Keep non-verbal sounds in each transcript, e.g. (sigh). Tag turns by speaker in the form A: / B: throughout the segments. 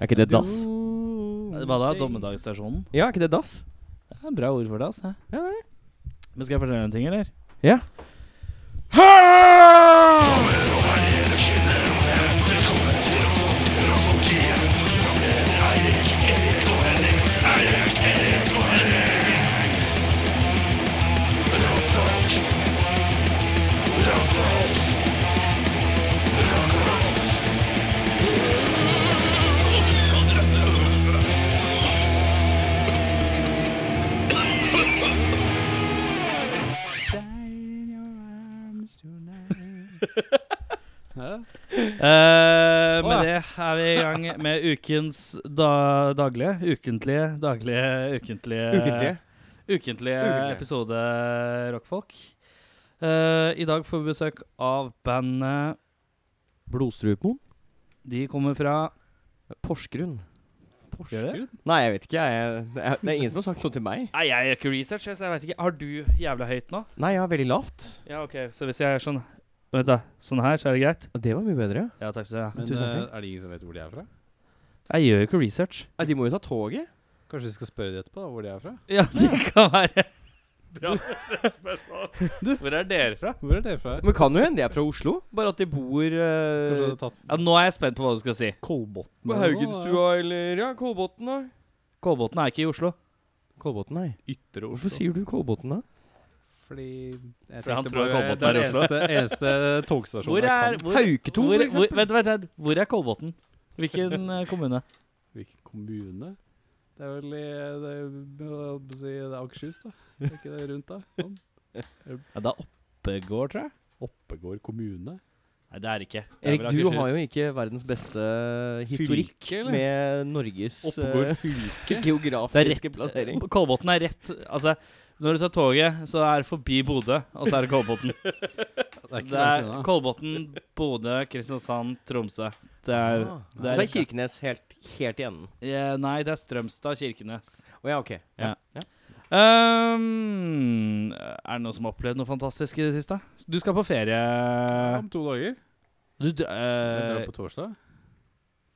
A: Er ikke det dass?
B: Hva da? Dommedagsstasjonen?
A: Ja, er ikke det dass?
B: Det er bra ord for det, altså.
A: Ja, det er det.
B: Men skal jeg fortelle deg en ting, eller?
A: Ja. (laughs)
B: Eh, med
A: Å,
B: det er vi i gang med ukens da daglige Ukentlige daglige Ukentlige
A: Ukentlige.
B: ukentlige
A: Ukentlige.
B: episode Rockfolk. Eh, I dag får vi besøk av bandet
A: Blodstrupmoen?
B: De kommer fra
A: Porsgrunn.
B: Gjør det?
A: Nei, jeg vet ikke. Jeg, det, er, det er ingen som har sagt noe til meg.
B: Nei, jeg gjør ikke research, så jeg vet ikke. Har du jævla høyt nå?
A: Nei, jeg har veldig lavt.
B: Ja, OK, så hvis jeg er sånn Vent, da. Sånn her, så er det greit?
A: Og Det var mye bedre.
B: Ja, takk skal du ha.
C: Men
A: Tusen
C: eh,
A: takk.
C: er det ingen som vet hvor de er fra?
B: Jeg gjør jo ikke research.
A: Nei, de må jo ta toget.
C: Kanskje vi skal spørre de etterpå da, hvor de er fra?
B: Ja, det kan være bra spørsmål. Hvor er dere fra?
C: Hvor er dere fra?
A: Men kan jo hende de er fra Oslo. Bare at de bor
C: Kanskje du
A: eh,
C: hadde tatt
B: Ja, nå er jeg spent på hva du skal si.
C: Kolbotn?
A: på Haugenstua eller ja, Kolbotn, da.
B: Kolbotn er ikke i Oslo.
A: Kolbotn, nei.
C: Ytre
A: Hvorfor
C: Oslo.
A: sier du Kolbotn, da?
C: Fordi jeg
B: Fordi han
C: tenkte
B: tror
C: bare-
B: Kolbotn
C: det
B: er i Oslo.
C: eneste, eneste togstasjonen
B: Hvor er
C: jeg kan.
B: hvor,
A: Hauketo,
B: hvor,
A: for
B: hvor,
A: eksempel.
B: vent, vent, vent. Hvor er Kolbotn? (laughs) Hvilken eh, kommune?
C: Hvilken kommune? Det er vel i det er, jeg holdt på å si, det er Akershus, da. Er ikke det rundt da? Sånn.
B: Ja, det er Oppegård, tror jeg.
C: Oppegård kommune.
B: Nei, det er det ikke. Det er
A: Erik,
B: vel
A: du
B: Akershus.
A: har jo ikke verdens beste historikk
C: Fylke, eller?
A: med Norges
C: Oppegård
A: eh,
C: fylke.
A: (laughs) geografiske plassering.
B: (laughs) Kolbotn er rett Altså, når du tar toget, så er det forbi Bodø, og så er (laughs) det Kolbotn.
C: Det er ikke
B: Det er
C: langt unna.
B: Kolbotn, Bodø, Kristiansand, Tromsø. Det er,
A: Ah,
B: det
A: så
B: er
A: er Kirkenes helt, helt i enden.
B: Eh, Nei, det er Strømstad, Kirkenes.
A: Å ja, ok.
B: Ehm, er det noen som har opplevd noe fantastisk i det siste? Du skal på ferie
C: Om to dager.
B: Du dr-
C: Jeg
B: eh,
C: drar på (laughs) torsdag.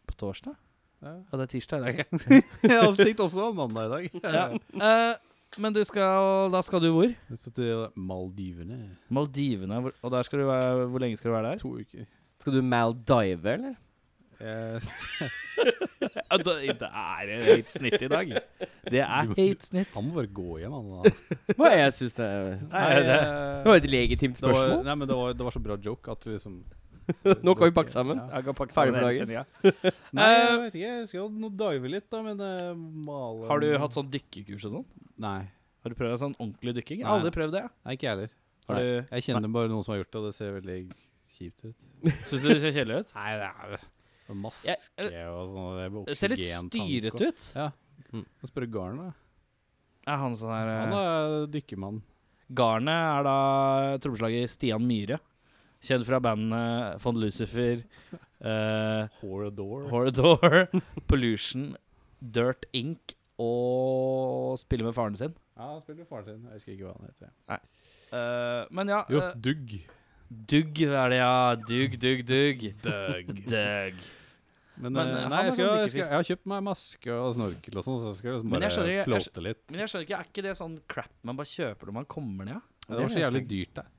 B: på torsdag?
C: Ja.
B: Ja, det er tirsdag. Det er ikke.
C: Jeg hadde tenkt også mandag i dag.
B: (laughs) ja. Eh, men du skal, da skal du hvor?
C: (laughs) Så til Maldivene.
B: Maldivene. Hvor, og der skal du være, hvor lenge skal du være der?
C: To uker.
A: Skal du maldive, eller?
C: Eh, Jeg-
B: Ja, da- det er høyt snitt i dag. Det er høyt snitt.
C: Han må bare gå hjem, han. da.
A: (laughs) Hva jeg syns det er
B: Nei,
C: Nei,
B: det,
C: eh,
A: Det var et legitimt
C: det var,
A: spørsmål.
C: nei, men det var, det var så bra joke at
B: (laughs)
C: du liksom
A: Nå kan vi pakke sammen.
C: Ja.
B: jeg kan pakke sammen Eh,
A: Ferdig
B: hele
A: for dagen.
B: sendingen. (laughs)
C: Nei, jeg vet ikke. Jeg skal nå dive litt, da, men eh, male
B: Har du hatt sånn dykkekurs og sånn?
C: Nei.
B: Har du prøvd sånn ordentlig dykking? Jeg har
C: Nei.
B: aldri prøvd det. jeg.
C: Nei, ikke jeg heller.
B: Har
C: Nei.
B: du
C: Jeg kjenner bare noen som har gjort det, og det ser veldig kjipt ut.
B: Syns du det ser kjedelig ut?
C: Nei, det er jo Maske
B: Jeg-
C: og sånn. Det er
B: Det ser litt styret ut.
C: Må spørre Garn, da.
B: Er han sånn her eh,
C: Han er dykkermann.
B: Garnet er da trommeslager Stian Myhre. Kjent fra bandene Von Lucifer, eh,
C: Horador.
B: Horridor, Pollution, Dirt Inc. og spiller med faren sin.
C: ja, han spiller faren sin. Jeg husker ikke hva han heter.
B: Eh, men ja
C: Jo,
B: eh,
C: Dugg.
B: Dugg er det, ja. Dugg, dugg, dugg. (laughs) Dugg.
C: Men,
B: Men,
C: eh,
B: eh, han
C: nei,
B: er
C: jeg, skal,
B: sånn
C: jeg, skal, jeg har kjøpt meg maske og snorkel og sånn, så jeg skal liksom
B: Men
C: bare
B: jeg skjønner- jeg- jeg
C: floate litt.
B: Men jeg skjønner ikke, er ikke det sånn crap man bare kjøper når man kommer ned? ja?
C: Det var så jævlig dyrt der.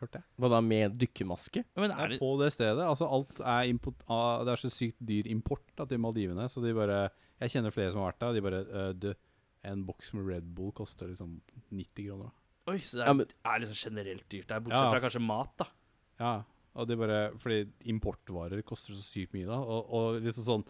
C: Hørte jeg.
A: Hva da med dykkermaske?
B: Men
C: Det
B: er
C: er
B: det
C: på det stedet. Altså alt er import, ah, Det er så sykt dyr import da, til Maldivene, så de bare Jeg kjenner flere som har vært der, og de bare eh, Du, en boks med Red Bull koster liksom 90 kroner. da.
B: Oi, så det er,
A: Ja, men-
B: er liksom generelt dyrt der, bortsett
C: Ja.
B: fra kanskje mat, da.
C: Ja, og de bare Fordi importvarer koster så sykt mye da, og, og liksom sånn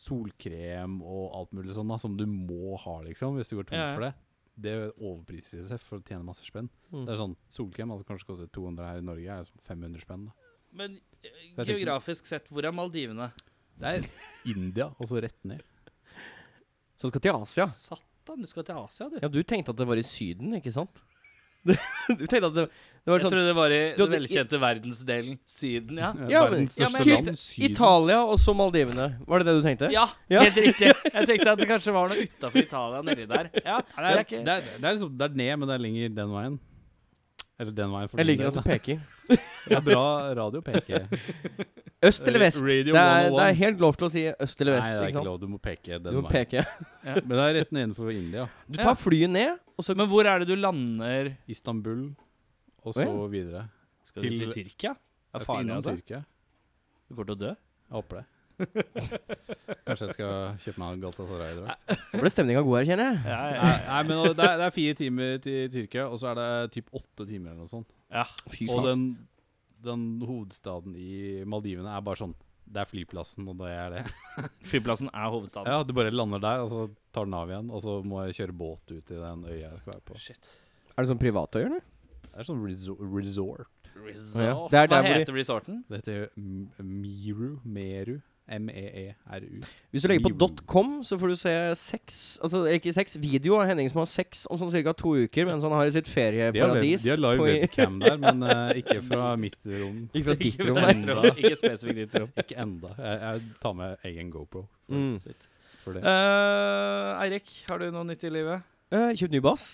C: Solkrem og alt mulig sånn da, som du må ha, liksom, hvis du går tom
B: Ja, ja.
C: for det. Det overpriser seg for å tjene masse spenn.
A: Mm.
C: Det er sånn, Solkrem altså, kanskje koster 200 her i Norge, er sånn 500 spenn. da.
B: Men eh,
C: Så jeg tenker-
B: geografisk sett, hvor er Maldivene?
C: Det er India, og så rett ned.
A: Som skal til Asia?
B: Satan, du skal til Asia, du.
A: Ja, du tenkte at det var i Syden, ikke sant? (laughs) Du tenkte at det, det var
B: Jeg
A: sånn
B: trodde det var i den
A: Du hadde-
B: velkjente verdensdelen Syden, ja.
A: Ja, men-
C: Verdens
A: ja,
C: største
A: men-
C: land, Syden.
A: Italia og så Maldivene. Var det det du tenkte?
B: Ja,
A: Ja.
B: helt riktig. Jeg tenkte at det kanskje var noe utafor Italia nedi der. Ja,
C: Ja, det, er,
B: ikke-
C: det, er, det, er liksom, det er ned, men det er lenger den veien. Eller den veien. for
A: Jeg
C: din
A: liker
C: del,
A: at du peker.
C: Det er bra radio, peke.
A: Øst eller vest?
C: Radio
A: det, er, det
C: 101.
A: er helt lov til å si øst eller
C: Nei,
A: vest.
C: det er
A: ikke
C: ikke
A: sant?
C: lov. Du må peke
A: Du
C: den
A: må
C: (laughs) veien.
A: peke.
C: Men det er rett nedenfor India.
A: Du
B: Ja.
A: tar flyet ned, og så
B: Men hvor er det du lander?
C: Istanbul, og så
A: Å,
C: videre.
B: Skal du til
C: Til-
B: Tyrkia? Det
C: Jeg
B: er
C: skal
B: farlig,
C: innom
B: altså.
C: Tyrkia.
B: Du går til å dø.
C: Jeg håper det. Kanskje jeg skal kjøpe meg en Galatasaray-drakt.
A: ble stemninga god her, kjenner jeg.
B: Ja, ja.
C: Nei, nei, men det er, det er fire timer til Tyrkia, og så er det typ åtte timer eller noe sånt.
B: ja.
A: Fy faen.
C: Og den, den hovedstaden i Maldivene er bare sånn Det er flyplassen, og det er det.
B: Flyplassen er hovedstaden.
C: Ja, Du bare lander der, og så tar den av igjen, og så må jeg kjøre båt ut til den øya jeg skal være på.
B: Shit.
A: Er det sånn privatøy, eller?
C: Det er sånn reso resort.
B: Resort.
A: Det er
B: Hva
A: der hvor de-
B: heter resorten?
C: Det heter M- Meru. Meru. E M-e-e-r-u.
A: Hvis du legger på
C: Meru.
A: .com, så får du se seks Altså ikke seks, video av Henning som har sex om sånn ca. to uker mens han har i sitt
C: De har, web,
A: ferieparadis.
C: de har live
A: på i- (laughs)
C: webcam der, men eh, ikke fra mitt rom.
A: Ikke fra ditt rom, nei.
B: Enda. Ikke spesifikt ditt
A: (laughs)
B: rom.
C: Ikke enda. Jeg, jeg tar med egen GoPro for,
A: Mm.
C: for det.
B: Eh, Eirik, har du noe nytt i
A: (laughs)
B: livet?
A: Eh, Kjøpt ny bass.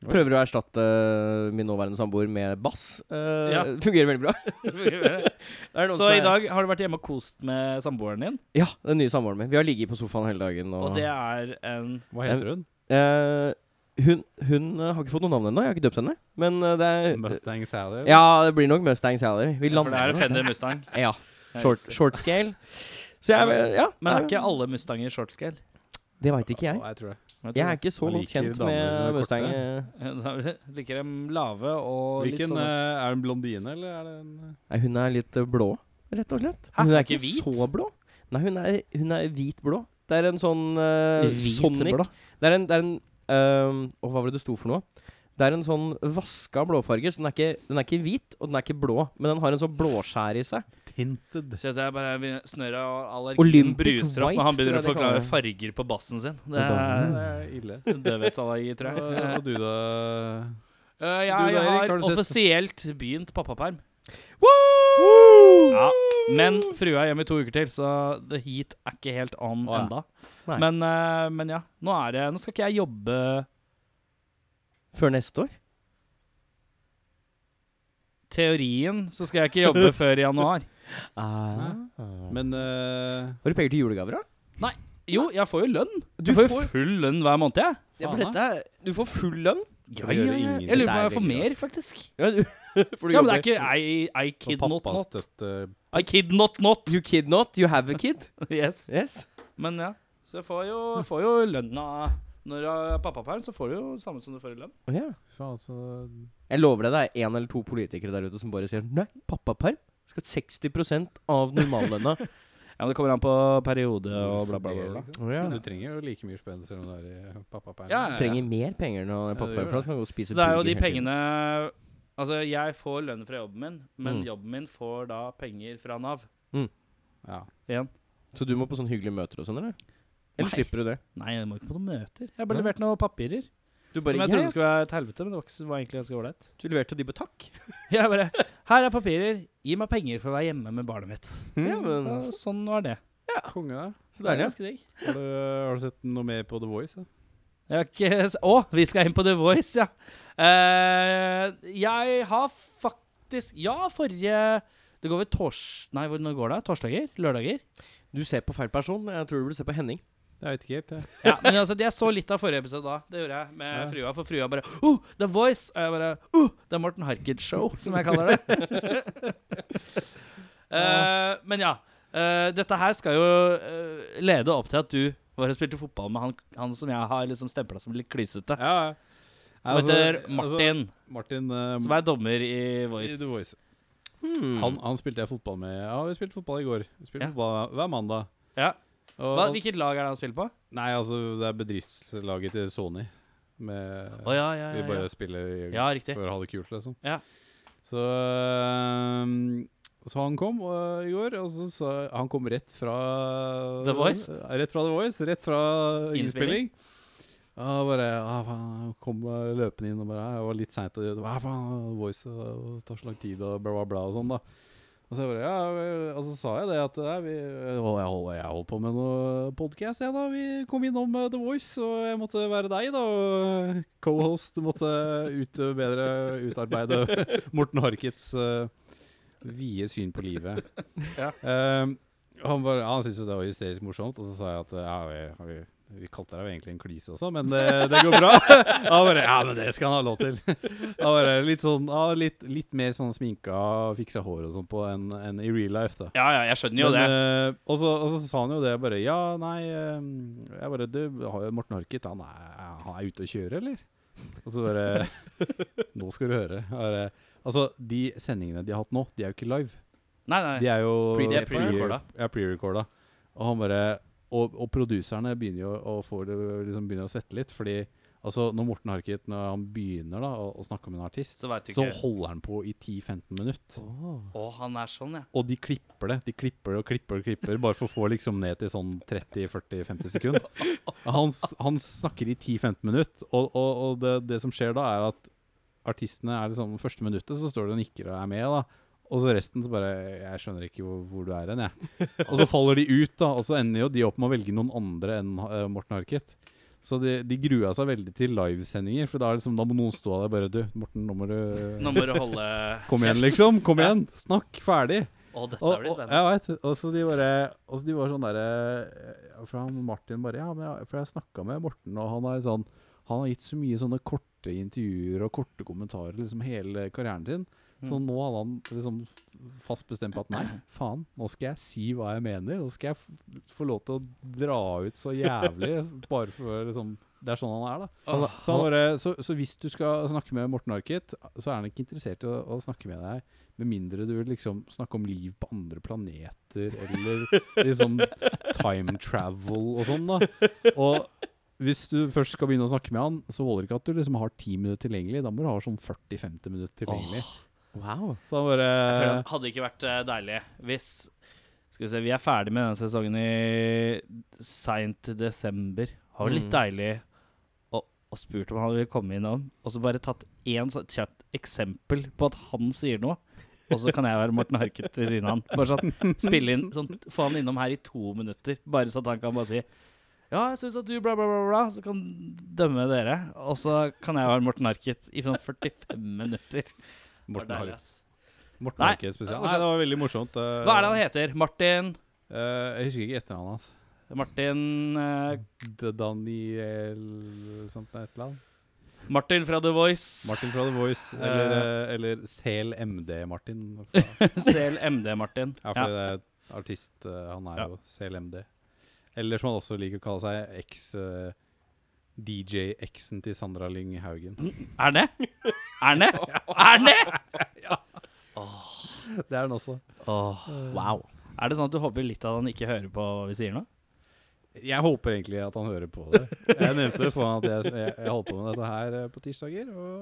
C: Oi.
A: Prøver å erstatte eh, min nåværende samboer med bass. Eh, (laughs)
B: Ja.
A: Fungerer veldig bra. Det er noen
B: Så
A: som er-
B: i dag har du vært hjemme og kost med samboeren din,
A: Ja, den nye samboeren min. Vi har ligget på sofaen hele dagen. Og,
B: og det er en
C: Hva heter hun?
A: Eh, hun hun eh, har ikke fått noe navn ennå. Jeg har ikke døpt henne. Men eh, det er
C: Mustang Sally?
A: Ja, det blir nok Mustang Sally.
B: Ja, For
A: Vi
B: det er
A: lander
B: en Fender (laughs) Mustang.
A: Ja. Short, short scale. Så jeg eh, Ja.
B: Men er ikke alle Mustanger shortscale?
A: Det veit ikke jeg.
C: jeg tror det.
A: Jeg er ikke så
C: Man
A: godt
C: liker
A: kjent
C: damer som
A: med
C: er
A: Mustang.
C: korte.
A: eh.
B: (laughs) Da Liker dem lave og litt
C: Hvilken,
B: sånn
C: eh, er det en blondine, eller er det en
A: Nei, hun er litt eh, blå, rett og slett.
B: Hæ,
A: Hun er
B: ikke
A: ikke
B: hvit?
A: så blå. Nei, hun er, hun er hvit-blå. Det er en sånn eh, Sonic
B: blå.
A: Det er en, det er en ehm, åh, Hva var det det sto for noe? Det er en sånn vaska blåfarge. Så den er, ikke, den er ikke hvit, og den er ikke blå, men den har en sånn blåskjær i seg.
C: Tinted.
B: Så det er bare snørra og allergien
A: Olympic
B: bruser opp
A: white,
B: når han begynner å
A: tror jeg de
B: forklare
A: kaller det.
B: farger på bassen sin. Det
A: Madonna.
B: er
C: Det er ille.
B: døvhetsallergi, tror
C: Og,
B: (laughs) jeg.
C: og du, da?
B: Eh, jeg,
C: Du da,
B: jeg
C: Erik,
B: har
C: har du sett-
B: offisielt begynt pappaperm.
A: Woo!
B: Ja, Men frua er hjemme i to uker til, så the heat er ikke helt on
C: Å, ja.
B: enda.
A: Nei.
B: Men, eh, men ja, nå, er det, nå skal ikke jeg jobbe
A: Før neste år?
B: teorien, så skal jeg ikke (laughs) jobbe før i januar.
A: Men,
C: Men eh,
A: har du penger til julegaver, da?
B: Jo, jeg får jo lønn.
A: Du
B: jeg får
A: får-
B: jo full lønn hver måned, jeg.
A: Ja, for
B: Faen,
A: dette er, du får full lønn.
B: Ja,
C: Det
B: ja,
C: gjør
B: ja.
C: ingenting.
B: Jeg lurer
A: Det
B: på om
A: er
B: jeg får
A: veldig
B: mer, faktisk.
A: Ja, du, for du
B: Ja, men det er
A: (laughs) jobber.
B: ikke I, I
C: for
B: kid not not.
C: pappastøtte
B: I kid not not.
A: You kid not, you have a kid.
B: (laughs) Yes.
A: Yes.
B: Men ja, så jeg får jo, får jo lønna Når jeg har pappaperm, så får du jo samme som du får i lønn.
A: Å, ja.
C: Faen, så
A: Jeg lover deg det er én eller to politikere der ute som bare sier nei, pappaperm skal 60 av normallønna.
B: (laughs) Ja, men Det kommer an på periode og bla, bla, bla. bla.
A: Oh, ja.
C: liksom. Du trenger jo like mye spenn selv om du er i eh, pappaperm.
B: Ja, ja.
A: Trenger mer penger når pappaperm, for da skal han gå og spise
B: Så det er jo de
A: burger hele tiden.
B: pengene Altså, jeg får lønn fra jobben min, men
A: Mm.
B: jobben min får da penger fra Nav.
C: Ja.
B: Igjen.
A: Så du må på sånne hyggelige møter og sånn, eller? Eller
B: Nei.
A: slipper du det?
B: Nei, jeg må ikke på noen møter. Jeg har bare
A: Nei.
B: levert noen papirer.
A: Du
B: som jeg trodde skulle være et helvete, men det var, ikke, var egentlig ganske ålreit. (laughs)
A: du leverte de på takk.
B: Jeg bare Her er papirer. Gi meg penger for å være hjemme med barnet mitt.
A: Ja, men
B: Og sånn var det.
C: Konge, da.
A: Så deilig.
B: Ganske digg.
C: Har du, har du sett noe mer på The Voice? Da?
B: Jeg har ikke s- Å, vi skal inn på The Voice, ja. Eh, jeg har faktisk Ja, forrige Det går vel tors... Nei, hvor- når går det? Torsdager? Lørdager?
A: Du ser på feil person. Jeg tror du burde se på Henning.
C: Jeg vet ikke helt. Jeg.
B: Ja, men altså, jeg så litt av forrige episode da. Det gjorde jeg med
C: Ja.
B: frua. For frua bare oh, The Voice! Og jeg bare oh, Det er Morten Harket-show, som jeg kaller det.
C: (laughs)
B: (laughs) Eh, men ja. eh, dette her skal jo eh, lede opp til at du var og spilte fotball med han, han som jeg har liksom stempla som litt klysete.
C: (laughs) Ja, ja.
B: Som
C: Altså,
B: heter
C: Altså,
B: Martin,
C: Martin eh,
B: som er dommer i Voice.
C: i The Voice.
A: Hmm.
C: Han, han spilte jeg fotball med. Ja, vi spilte fotball i går. Vi spilte
B: Ja.
C: fotball hver mandag.
B: Ja.
C: Og,
B: Hva, hvilket lag er det han spiller på?
C: Nei, altså, det er bedriftslaget til Sony. Med,
B: Å ja, ja, Eh,
C: Vi
B: ja,
C: bare
B: ja.
C: spiller i-
B: ja, riktig.
C: for å ha det kult, liksom.
B: Ja.
C: Så, øhm, så han kom øh, i går, og så sa Han kom rett fra
B: The Voice?
C: Rett fra The Voice, rett fra
B: Innspilling.
C: innspilling. Og bare ah, faen, Han kom øh, løpende inn og bare ah, Jeg var litt seint og ah, faen, Voice øh, tar så lang tid og bla, bla, bla og sånn, da. Og så, jeg bare, ja, øh, og så sa jeg det at nei, vi, øh, å, jeg, holder, jeg holdt på med noe podkast, jeg, da. Vi kom innom øh, The Voice, og jeg måtte være deg, da. Og (laughs) co-host måtte ut, bedre utarbeide Morten Harkits øh, Vie syn på livet.
B: Ja.
C: Ehm, han bare, han syntes jo det var hysterisk morsomt, og så sa jeg at ja, vi, vi, vi kalte deg jo egentlig en klyse også, men det, det går bra. (laughs) han bare Ja, men det skal han ha lov til. han bare Litt sånn ja, litt, litt mer sånn sminka og fiksa hår og sånn på enn enn i real life, da.
B: Ja, ja, jeg skjønner jo
C: Men,
B: det.
C: eh, og, så, og så sa han jo det, bare Ja, nei ehm, Jeg bare Du, har- Morten Harket, han er, han er ute å kjøre, eller? Og så bare Nå skal du høre. Jeg Bare, altså, de sendingene de har hatt nå, de er jo ikke live.
B: Nei, nei.
C: De er jo
B: Pre- de er pre-recorda.
C: pre- Ja, pre-recorda. Og han bare Og, og produserne begynner jo å få det liksom begynner å svette litt, fordi Altså, når Morten Harket Når han begynner da å, å snakke om en artist,
B: Så veit du
C: så
B: ikke.
C: holder han på i 10-15 minutter.
B: Å, han er sånn, ja.
C: Og de klipper det. De klipper det og klipper og klipper, bare for å få liksom ned til sånn 30-40-50 sekunder. Han, s- han snakker i 10-15 minutter, og, og, og det, det som skjer da, er at artistene er liksom Første minuttet så står de og nikker og er med, da. Og så resten så bare Jeg skjønner ikke hvor, hvor du er hen, jeg. Og så faller de ut, da. Og så ender jo de opp med å velge noen andre enn eh, Morten Harket. Så de, de grua seg veldig til livesendinger, for da, er det liksom, da må noen stå der bare Du, Morten, nå må du
B: Nå må du holde
C: (laughs) Kom igjen, liksom. Kom igjen. Snakk ferdig.
B: Å, dette
C: Og,
B: blir
C: og,
B: spennende.
C: jeg vet, og så de bare Og så de var sånn derre ja, For han Martin bare Ja, men jeg, for jeg snakka med Morten, og han er sånn Han har gitt så mye sånne korte intervjuer og korte kommentarer liksom hele karrieren sin. Så
B: Mm.
C: nå hadde han liksom fast bestemt på at nei, faen, nå skal jeg si hva jeg mener. Nå skal jeg f få lov til å dra ut så jævlig,
B: (laughs)
C: bare for liksom Det er sånn han er, da.
B: Åh,
C: Så, han bare, så, så hvis du skal snakke med Morten Harket, så er han ikke interessert i å, å snakke med deg, med mindre du vil liksom snakke om liv på andre planeter, eller liksom time travel og sånn, da. Og hvis du først skal begynne å snakke med han, så holder det ikke at du liksom har 10 minutter tilgjengelig. Da må du ha sånn 40-50 minutter tilgjengelig.
A: Wow.
C: Så han bare
B: jeg føler at det hadde ikke vært eh, deilig hvis Skal vi se, vi er ferdig med denne sesongen i seint desember. Det var litt
A: Mm.
B: deilig å, å spurt om han ville komme innom, og så bare tatt én sånn kjapt eksempel på at han sier noe. Og så kan jeg være Morten Harket ved siden av han. Bare sånn, spille inn, sånn, Få han innom her i to minutter, bare så at han kan bare si ja, jeg syns at du bla, bla, bla, bla, så kan dømme dere. Og så kan jeg være Morten Harket i sånn 45 minutter. Det var
C: Morten,
B: deilig,
C: Har-
B: ass.
C: Morten
B: Nei,
C: Harket
B: det er
C: spesielt.
B: morsomt.
C: Nei, det var veldig morsomt. eh,
B: Hva er det han heter? Martin
C: jeg husker ikke etternavnet hans.
B: Martin eh,
C: D- Daniel sånt et eller annet.
B: Martin fra The Voice.
C: Martin fra The Voice, eller, eh, eller Sel MD (laughs) Martin. fra-
B: (laughs) CLMD-Martin.
C: Ja, fordi det er artist, eh, han er
B: Ja.
C: jo Sel MD. Eller som han også liker å kalle seg, eks... eh, DJ-eksen til Sandra Lyng Haugen.
B: Er det? Er det? Er det?
C: (laughs) Det er han også.
A: Wow.
B: Er det sånn at du håper litt at han ikke hører på hva vi sier nå?
C: Jeg håper egentlig at han hører på det. Jeg nevnte det for han at jeg, jeg, jeg holdt på med dette her eh, på tirsdager, og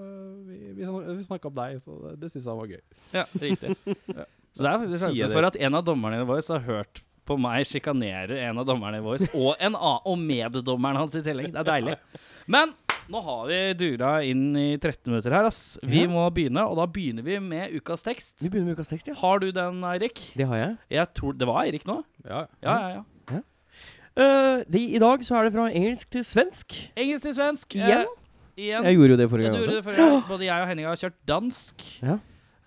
C: vi, vi, snak- vi snakka om deg, så det, det syns han var gøy.
B: Ja, (laughs) riktig. Så det er faktisk
C: Sier
B: sjanse
C: det.
B: for at en av dommerne i The Voice har hørt på meg sjikanere en av dommerne i Voice, og, en annen, og meddommeren hans i tillegg. Det er deilig. Men nå har vi dura inn i 13 minutter her, ass. Vi
A: Ja.
B: må begynne, og da begynner vi med ukas tekst.
A: Vi begynner med ukas tekst, ja.
B: Har du den, Eirik?
A: Det har jeg.
B: Jeg tror Det var Eirik nå?
C: Ja,
B: Ja, ja, ja.
A: Eh, de, I dag så er det fra engelsk til svensk.
B: Engelsk til svensk.
A: Igjen?
B: Eh, igjen.
A: Jeg gjorde jo det
B: Ja,
A: forrige
B: du
A: gang
B: gjorde
A: også.
B: det forrige gang. Både jeg og Henning har kjørt dansk.
A: Ja.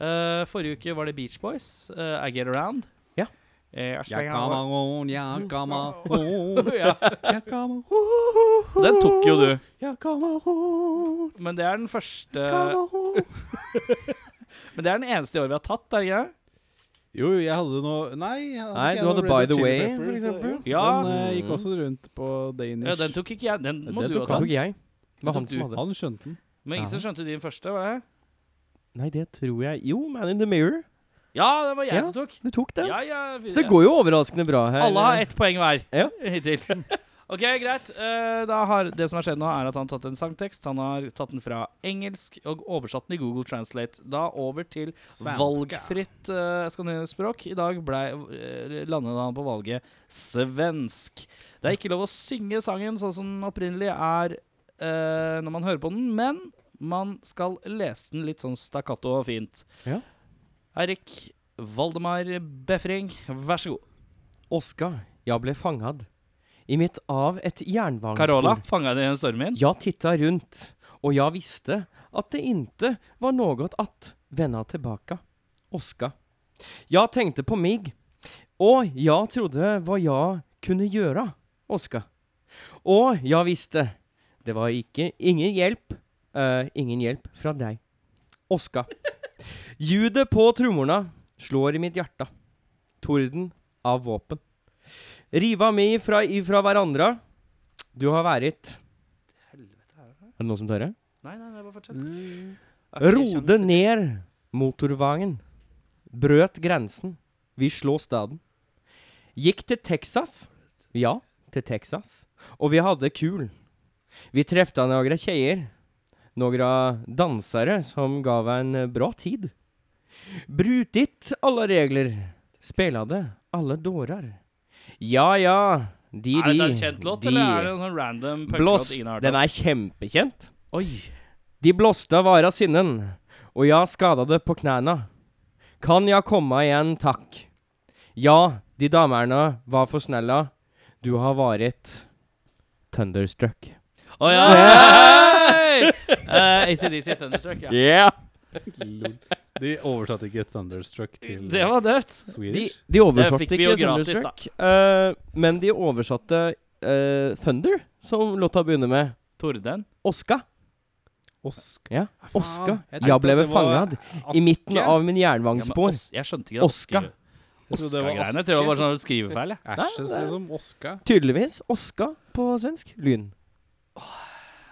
B: Eh, forrige uke var det Beach Boys. eh, I Get Around.
A: Ja.
B: Eh, jeg
C: Jeg
B: slenger
C: kan
B: av-
C: on, jeg kan (laughs)
A: (laughs)
B: ja.
C: jeg kan (laughs)
B: Den tok jo du.
C: Jeg kan on,
B: Men det er den første
C: kan on.
B: Men det er den eneste i år vi har tatt, er det ikke? det?
C: Jo, jo, jeg hadde noe Nei, jeg hadde
A: Nei,
C: ikke
A: du
C: noe
A: hadde
C: Red
A: By
C: Hot
A: the
C: Chili
A: Way,
C: Peppers, eh,
A: for eksempel.
C: jo.
B: Ja.
C: Den eh, gikk
A: Mm.
C: også rundt på Danish.
B: Ja, den tok ikke jeg. Den må
C: Det
B: du
C: tok
B: ha
A: Den
B: tatt.
A: tok jeg. Det
B: Den
A: var han
B: tok
A: som hadde.
C: Han skjønte den.
B: Men ingen som skjønte din første? var det?
A: Nei, det tror jeg Jo, Man in the Mirror.
B: Ja, det var jeg
A: Ja.
B: som tok.
A: Du tok den.
B: Ja, ja,
A: Så det går jo overraskende bra her.
B: Alle har ett poeng hver
A: Ja.
B: (laughs) hittil. Ok, greit. Eh, da har, det som har skjedd nå, er at han har tatt en sangtekst. Han har tatt den fra engelsk og oversatt den i Google Translate. Da over til valgfritt uh, skandinavisk-språk. I dag ble, eh, landet han på valget svensk. Det er ikke lov å synge sangen sånn som den opprinnelig er eh, når man hører på den, men man skal lese den litt sånn stakkato og fint.
A: Ja.
B: Eirik Valdemar Befring, vær så god.
A: Oskar, jeg ble fangad. I mitt av et jernbanespor.
B: Carola, fanga du en stormvind?
A: Jeg titta rundt, og jeg visste at det inte var något att vända tillbaka. Oskar, Jag tänkte på mig och jag trodde vad jag kunde göra, Oskar. Och jag visste, det var icke, ingen hjälp, eh, ingen hjälp från dig, Oskar. Ljudet på trummorna slår i mitt hjärta. Torden av våpen. Riva mig ifra, ifra varandra. Du har varit... Er det noen som tør det?
B: Nei, nei, nei, bare fortsett. Mm.
A: Rode ned motorvangen. Brøt grensen. Vi slå staden. Gikk til Texas. Ja, til Texas. Og vi hadde kul. Vi trefta noen tjejer. Noen dansere som gav en bra tid. Brutit alle regler. Spelade alle dårar. Ja, ja. De,
B: Er
A: de.
B: dette en kjent låt,
A: de.
B: eller er det en sånn random
A: Blåst.
B: punklåt ingen har hørt
A: Den
B: om?
A: er kjempekjent.
B: Oi.
A: De blåste av vara sinnen, og jeg skada det på knæna. Kan jeg komme igjen, takk? Ja, de damerne var for snella. Du har vært Thunderstruck.
B: Å ja! Hey! Eh, ACDC Thunderstruck,
A: (laughs)
B: ja.
A: Yeah!
C: Lol. (laughs) De oversatte ikke Thunderstruck til
B: Det var døvt.
A: De,
C: Swedish.
A: de oversatte
B: Det fikk vi jo
A: ikke
B: gratis,
A: Thunderstruck, eh, men de oversatte eh, Thunder, som låta begynner med.
B: Torden.
A: Oska.
C: Oska.
A: Ja.
C: Faen,
A: Oska.
C: jeg tenkte
A: Jeg ble
C: at det var
A: fangad i midten
C: aske.
A: av
B: Ja,
A: min
B: men
A: jernbangsspår.
B: os, jeg skjønte ikke det.
A: Oska.
B: Oska.
C: Jeg trodde det var
B: Oska-greiene. Jeg tror det var
C: aske.
B: sånn skrivefeil. jeg.
C: Ashes, liksom. Oska.
A: Tydeligvis Oska på svensk. Lyn.
B: Eh,
A: Eh.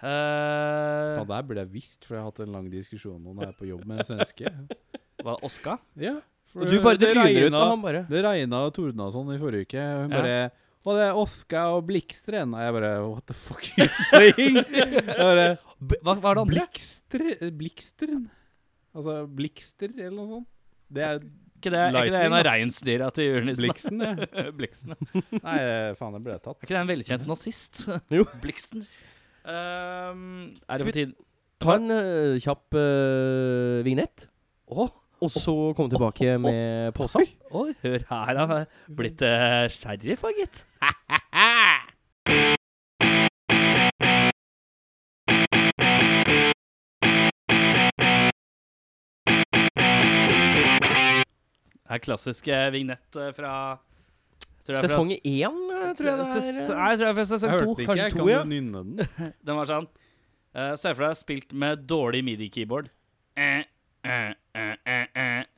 C: Faen, det her burde jeg visst, for jeg har hatt en lang diskusjon med noen her på jobb med en svenske.
A: (laughs)
B: var det Oska?
C: Ja. for
A: Og du bare det lyner ut,
C: regna-
A: og han bare
C: Det regna og tordna og sånn i forrige uke. og Hun
B: Ja.
C: bare Og det er Oska og Blikstren. Og jeg bare What the fuck (laughs) are you saying? Jeg bare,
B: B hva, hva er det andre?
C: Blikstre, Bliksteren? Altså Blikster, eller noe sånt? Det er
B: Ikke det, er ikke det en av
C: Lightning, da.
B: reinsdyra til (laughs) julenissen?
C: Bliksen, det.
B: Bliksen. Er
C: Nei, faen, det ble jeg tatt.
B: ikke det en velkjent nazist? (laughs)
A: Jo.
B: Bliksen. Ehm, er det
A: Skal
B: på tide
A: Ta en eh, kjapp eh, vignett,
B: Åh,
A: og så komme tilbake med posen.
B: oi, hør her, han er blitt eh, sheriff, da, gitt. Det er klassisk eh, vignett eh, fra tror jeg fra-
A: Sesong én, eh, tror jeg det
B: Ses-
A: er.
B: Nei, tror jeg fra sesong
C: Jeg
B: to.
C: hørte det ikke,
A: kanskje
C: jeg
A: to,
C: kan
A: ja.
C: jo nynne den.
B: Den var sånn eh, Se for deg spilt med dårlig midi-keyboard. Eh, eh, eh, eh, eh.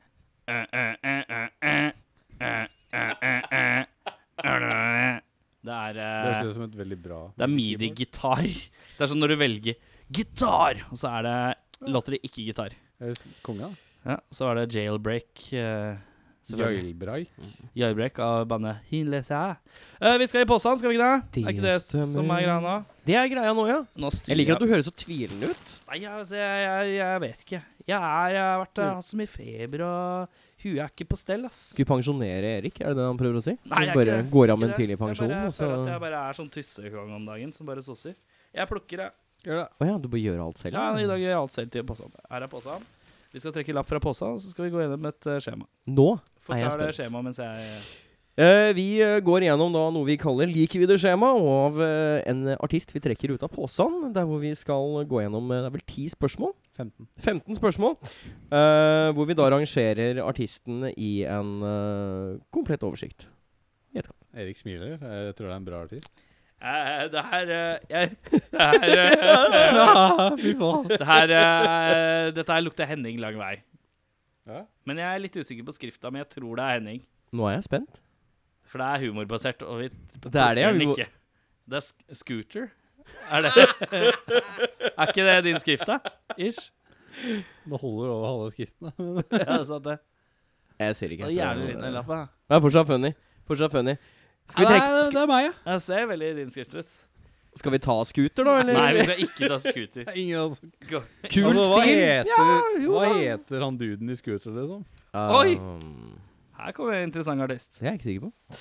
B: Eh, eh, eh, eh, eh. Eh, eh, eh, eh. Eh, Det er
C: Det
B: eh,
C: høres ut som et veldig bra
B: Det er midi-gitar. Det er sånn når du velger gitar, og så er det låter det ikke gitar.
C: Konga.
B: Ja, så er det jailbreak. eh, selvfølgelig.
C: Jailbraik.
B: Jailbreak av bandet Hinlesa. Eh, vi skal i posen, skal vi ikke det? Er ikke det som er greia nå?
A: Det er greia nå, ja.
B: Nå styrer
A: Jeg liker at du høres så tvilende ut.
B: Nei, altså, jeg, jeg, jeg vet ikke. Jeg, er, jeg har vært, jeg
A: Mm.
B: har hatt så mye feber, og huet er ikke på stell, ass.
A: Skulle pensjonere Erik, er det det han prøver å si?
B: Nei, jeg
A: Som bare
B: er ikke det.
A: går av
B: Ikke
A: med en
B: det.
A: tidlig pensjon,
B: jeg
A: altså.
B: bare, føler
A: og så
B: at jeg
A: Å
B: bare er sånn tyssekong om dagen, som bare sosser. Jeg plukker, jeg.
C: Gjør det.
A: ja, du bare gjør alt selv?
B: Ja, I
A: ja.
B: dag gjør jeg alt selv til posen. Her er posen. Vi skal trekke lapp fra posen, så skal vi gå gjennom et eh, skjema.
A: Nå er jeg
B: Forklar det
A: spent.
B: skjemaet mens jeg
A: Eh, vi eh, går igjennom da noe vi kaller Liker vi det skjema, og av eh, en artist vi trekker ut av posen, der hvor vi skal gå gjennom eh, Det er vel ti spørsmål?
C: 15.
A: 15 spørsmål, eh, hvor vi da rangerer artistene i en eh, komplett oversikt.
C: Erik smiler. Jeg tror det er en bra artist.
B: Eh, Det her eh, jeg, (laughs) Det her, eh,
C: Ah, Fy faen.
B: det her eh, Dette her lukter Henning lang vei.
C: Ja.
B: Men jeg er litt usikker på skrifta, men jeg tror det er Henning.
A: Nå er jeg spent.
B: For det er humorbasert, og vi
A: Det er det, ja,
B: plukker den
A: humor-
B: ikke. Det er sk scooter? Er det Er ikke det (laughs) din skrift, da? Ish?
C: Det holder over halve skriften.
B: (laughs)
C: da.
B: Ja, det satt det.
A: Jeg ser
B: Det
A: ikke
B: er jævlig liten den
A: det.
B: lappen. da.
A: Det er fortsatt funny. Fortsatt funny. Skal vi,
C: Nei,
A: trekke,
C: Det er meg, ja.
B: Den ser veldig din skrift ut.
A: sk- skal vi ta scooter, da? Eller?
B: Nei, vi skal ikke ta scooter.
C: Det er ingen av oss.
A: Kul
C: Altså, hva
A: stil!
C: Heter,
A: jo
C: hva
A: da.
C: heter han duden i scooter, liksom?
B: Oi!
A: Um,
B: (laughs) Her kommer en interessant artist.
A: det er jeg ikke sikker på.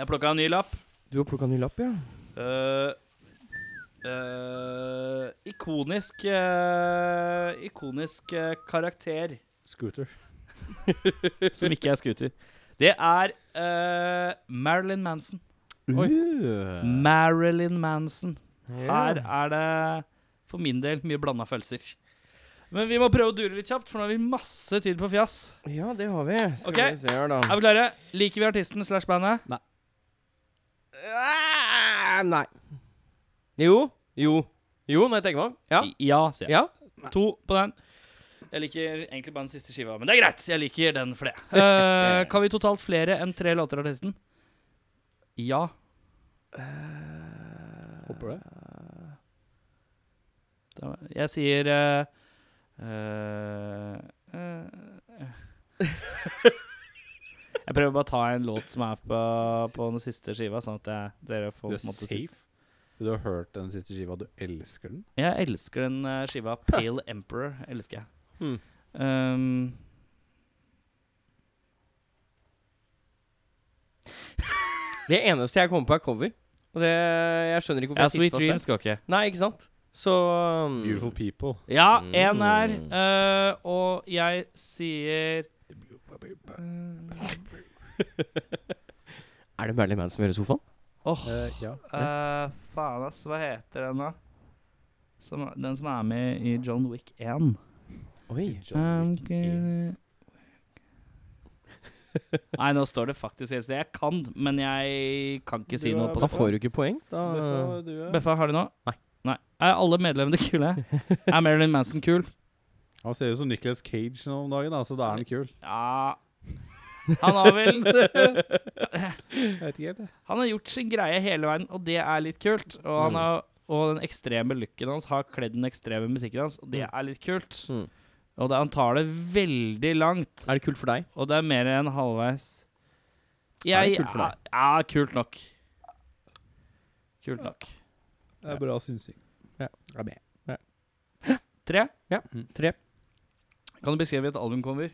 B: Jeg plukka en ny lapp.
A: Du har plukka ny lapp, ja?
B: Eh, eh, ikonisk eh, Ikonisk eh, karakter
C: Scooter.
B: (laughs) som ikke er scooter. Det er eh, Marilyn Manson.
C: Oi.
B: Eh.
A: Uh.
B: Marilyn Manson.
A: Ja.
B: Her er det for min del mye blanda følelser. Men vi må prøve å dure litt kjapt, for nå har vi masse tid på fjas.
A: Ja, det har vi. Skal
B: Ok.
A: vi se her, da.
B: Er vi klare? Liker vi artisten slash bandet?
A: Ah, Nei. Jo. Jo. Jo, når jeg tenker meg om. Ja.
B: ja, sier jeg.
A: Ja.
B: To på den. Jeg liker egentlig bare den siste skiva, men det er greit. Jeg liker den for det.
A: (laughs)
B: Eh, kan vi totalt flere enn tre låter av artisten? Ja.
C: Håper det.
B: Det var- Jeg sier eh, eh, eh,
C: (laughs)
B: Jeg prøver bare å ta en låt som er på, på den siste skiva, sånn at jeg, dere får
C: Du er
B: på en måte si-
C: safe. Du har hørt den siste skiva, du elsker den.
B: Jeg elsker den eh, skiva Pale Emperor. Elsker jeg.
A: Hmm.
B: Um,
A: Det eneste jeg kommer på, er cover. Og det, jeg skjønner ikke hvorfor
B: ja,
A: jeg
B: Sweet
A: sitter fast
B: Dreams skal ikke.
A: der. Nei, ikke sant? Så um,
C: Beautiful People.
B: Ja, én er
C: Hmm.
A: Mm.
B: eh, Og jeg sier
C: Oh.
B: eh,
A: Er det Marilyn Manson som gjør i sofaen?
B: Åh,
C: Eh, ja.
B: eh, faen ass, hva heter den da? Som, den som er med i John Wick 1.
A: Oi.
B: I'm
A: (laughs)
B: gonna- Nei, nå står det faktisk helt stille. Jeg kan, men jeg kan ikke si
C: Du
B: noe
C: er
B: på
A: Da
B: språk.
A: får du ikke poeng. Da
C: eh, Beffa, du er-
B: Beffa, har du noe?
A: Nei.
B: Nei. Er alle medlemmene kule?
A: (laughs)
B: Er Marilyn Manson kul?
C: Han ser jo ut som Nicolas Cage nå om dagen, da, så da er han kul.
B: Ja Han har vel
C: Jeg vet ikke helt, jeg.
B: Han har gjort sin greie hele veien, og det er litt kult. Og,
A: Mm.
B: han har, og den ekstreme looken hans har kledd den ekstreme musikken hans, og det er litt kult.
A: Mm.
B: Og det, han tar det veldig langt,
A: Er det kult for deg?
B: og det er mer enn halvveis.
A: Er det
B: Jeg-
A: kult for deg?
B: Ja, ja, kult nok. Kult nok.
C: Det er bra synsing.
A: Ja.
C: Jeg er med.
B: Tre.
A: Tre.
B: Kan du beskrive et albumcover?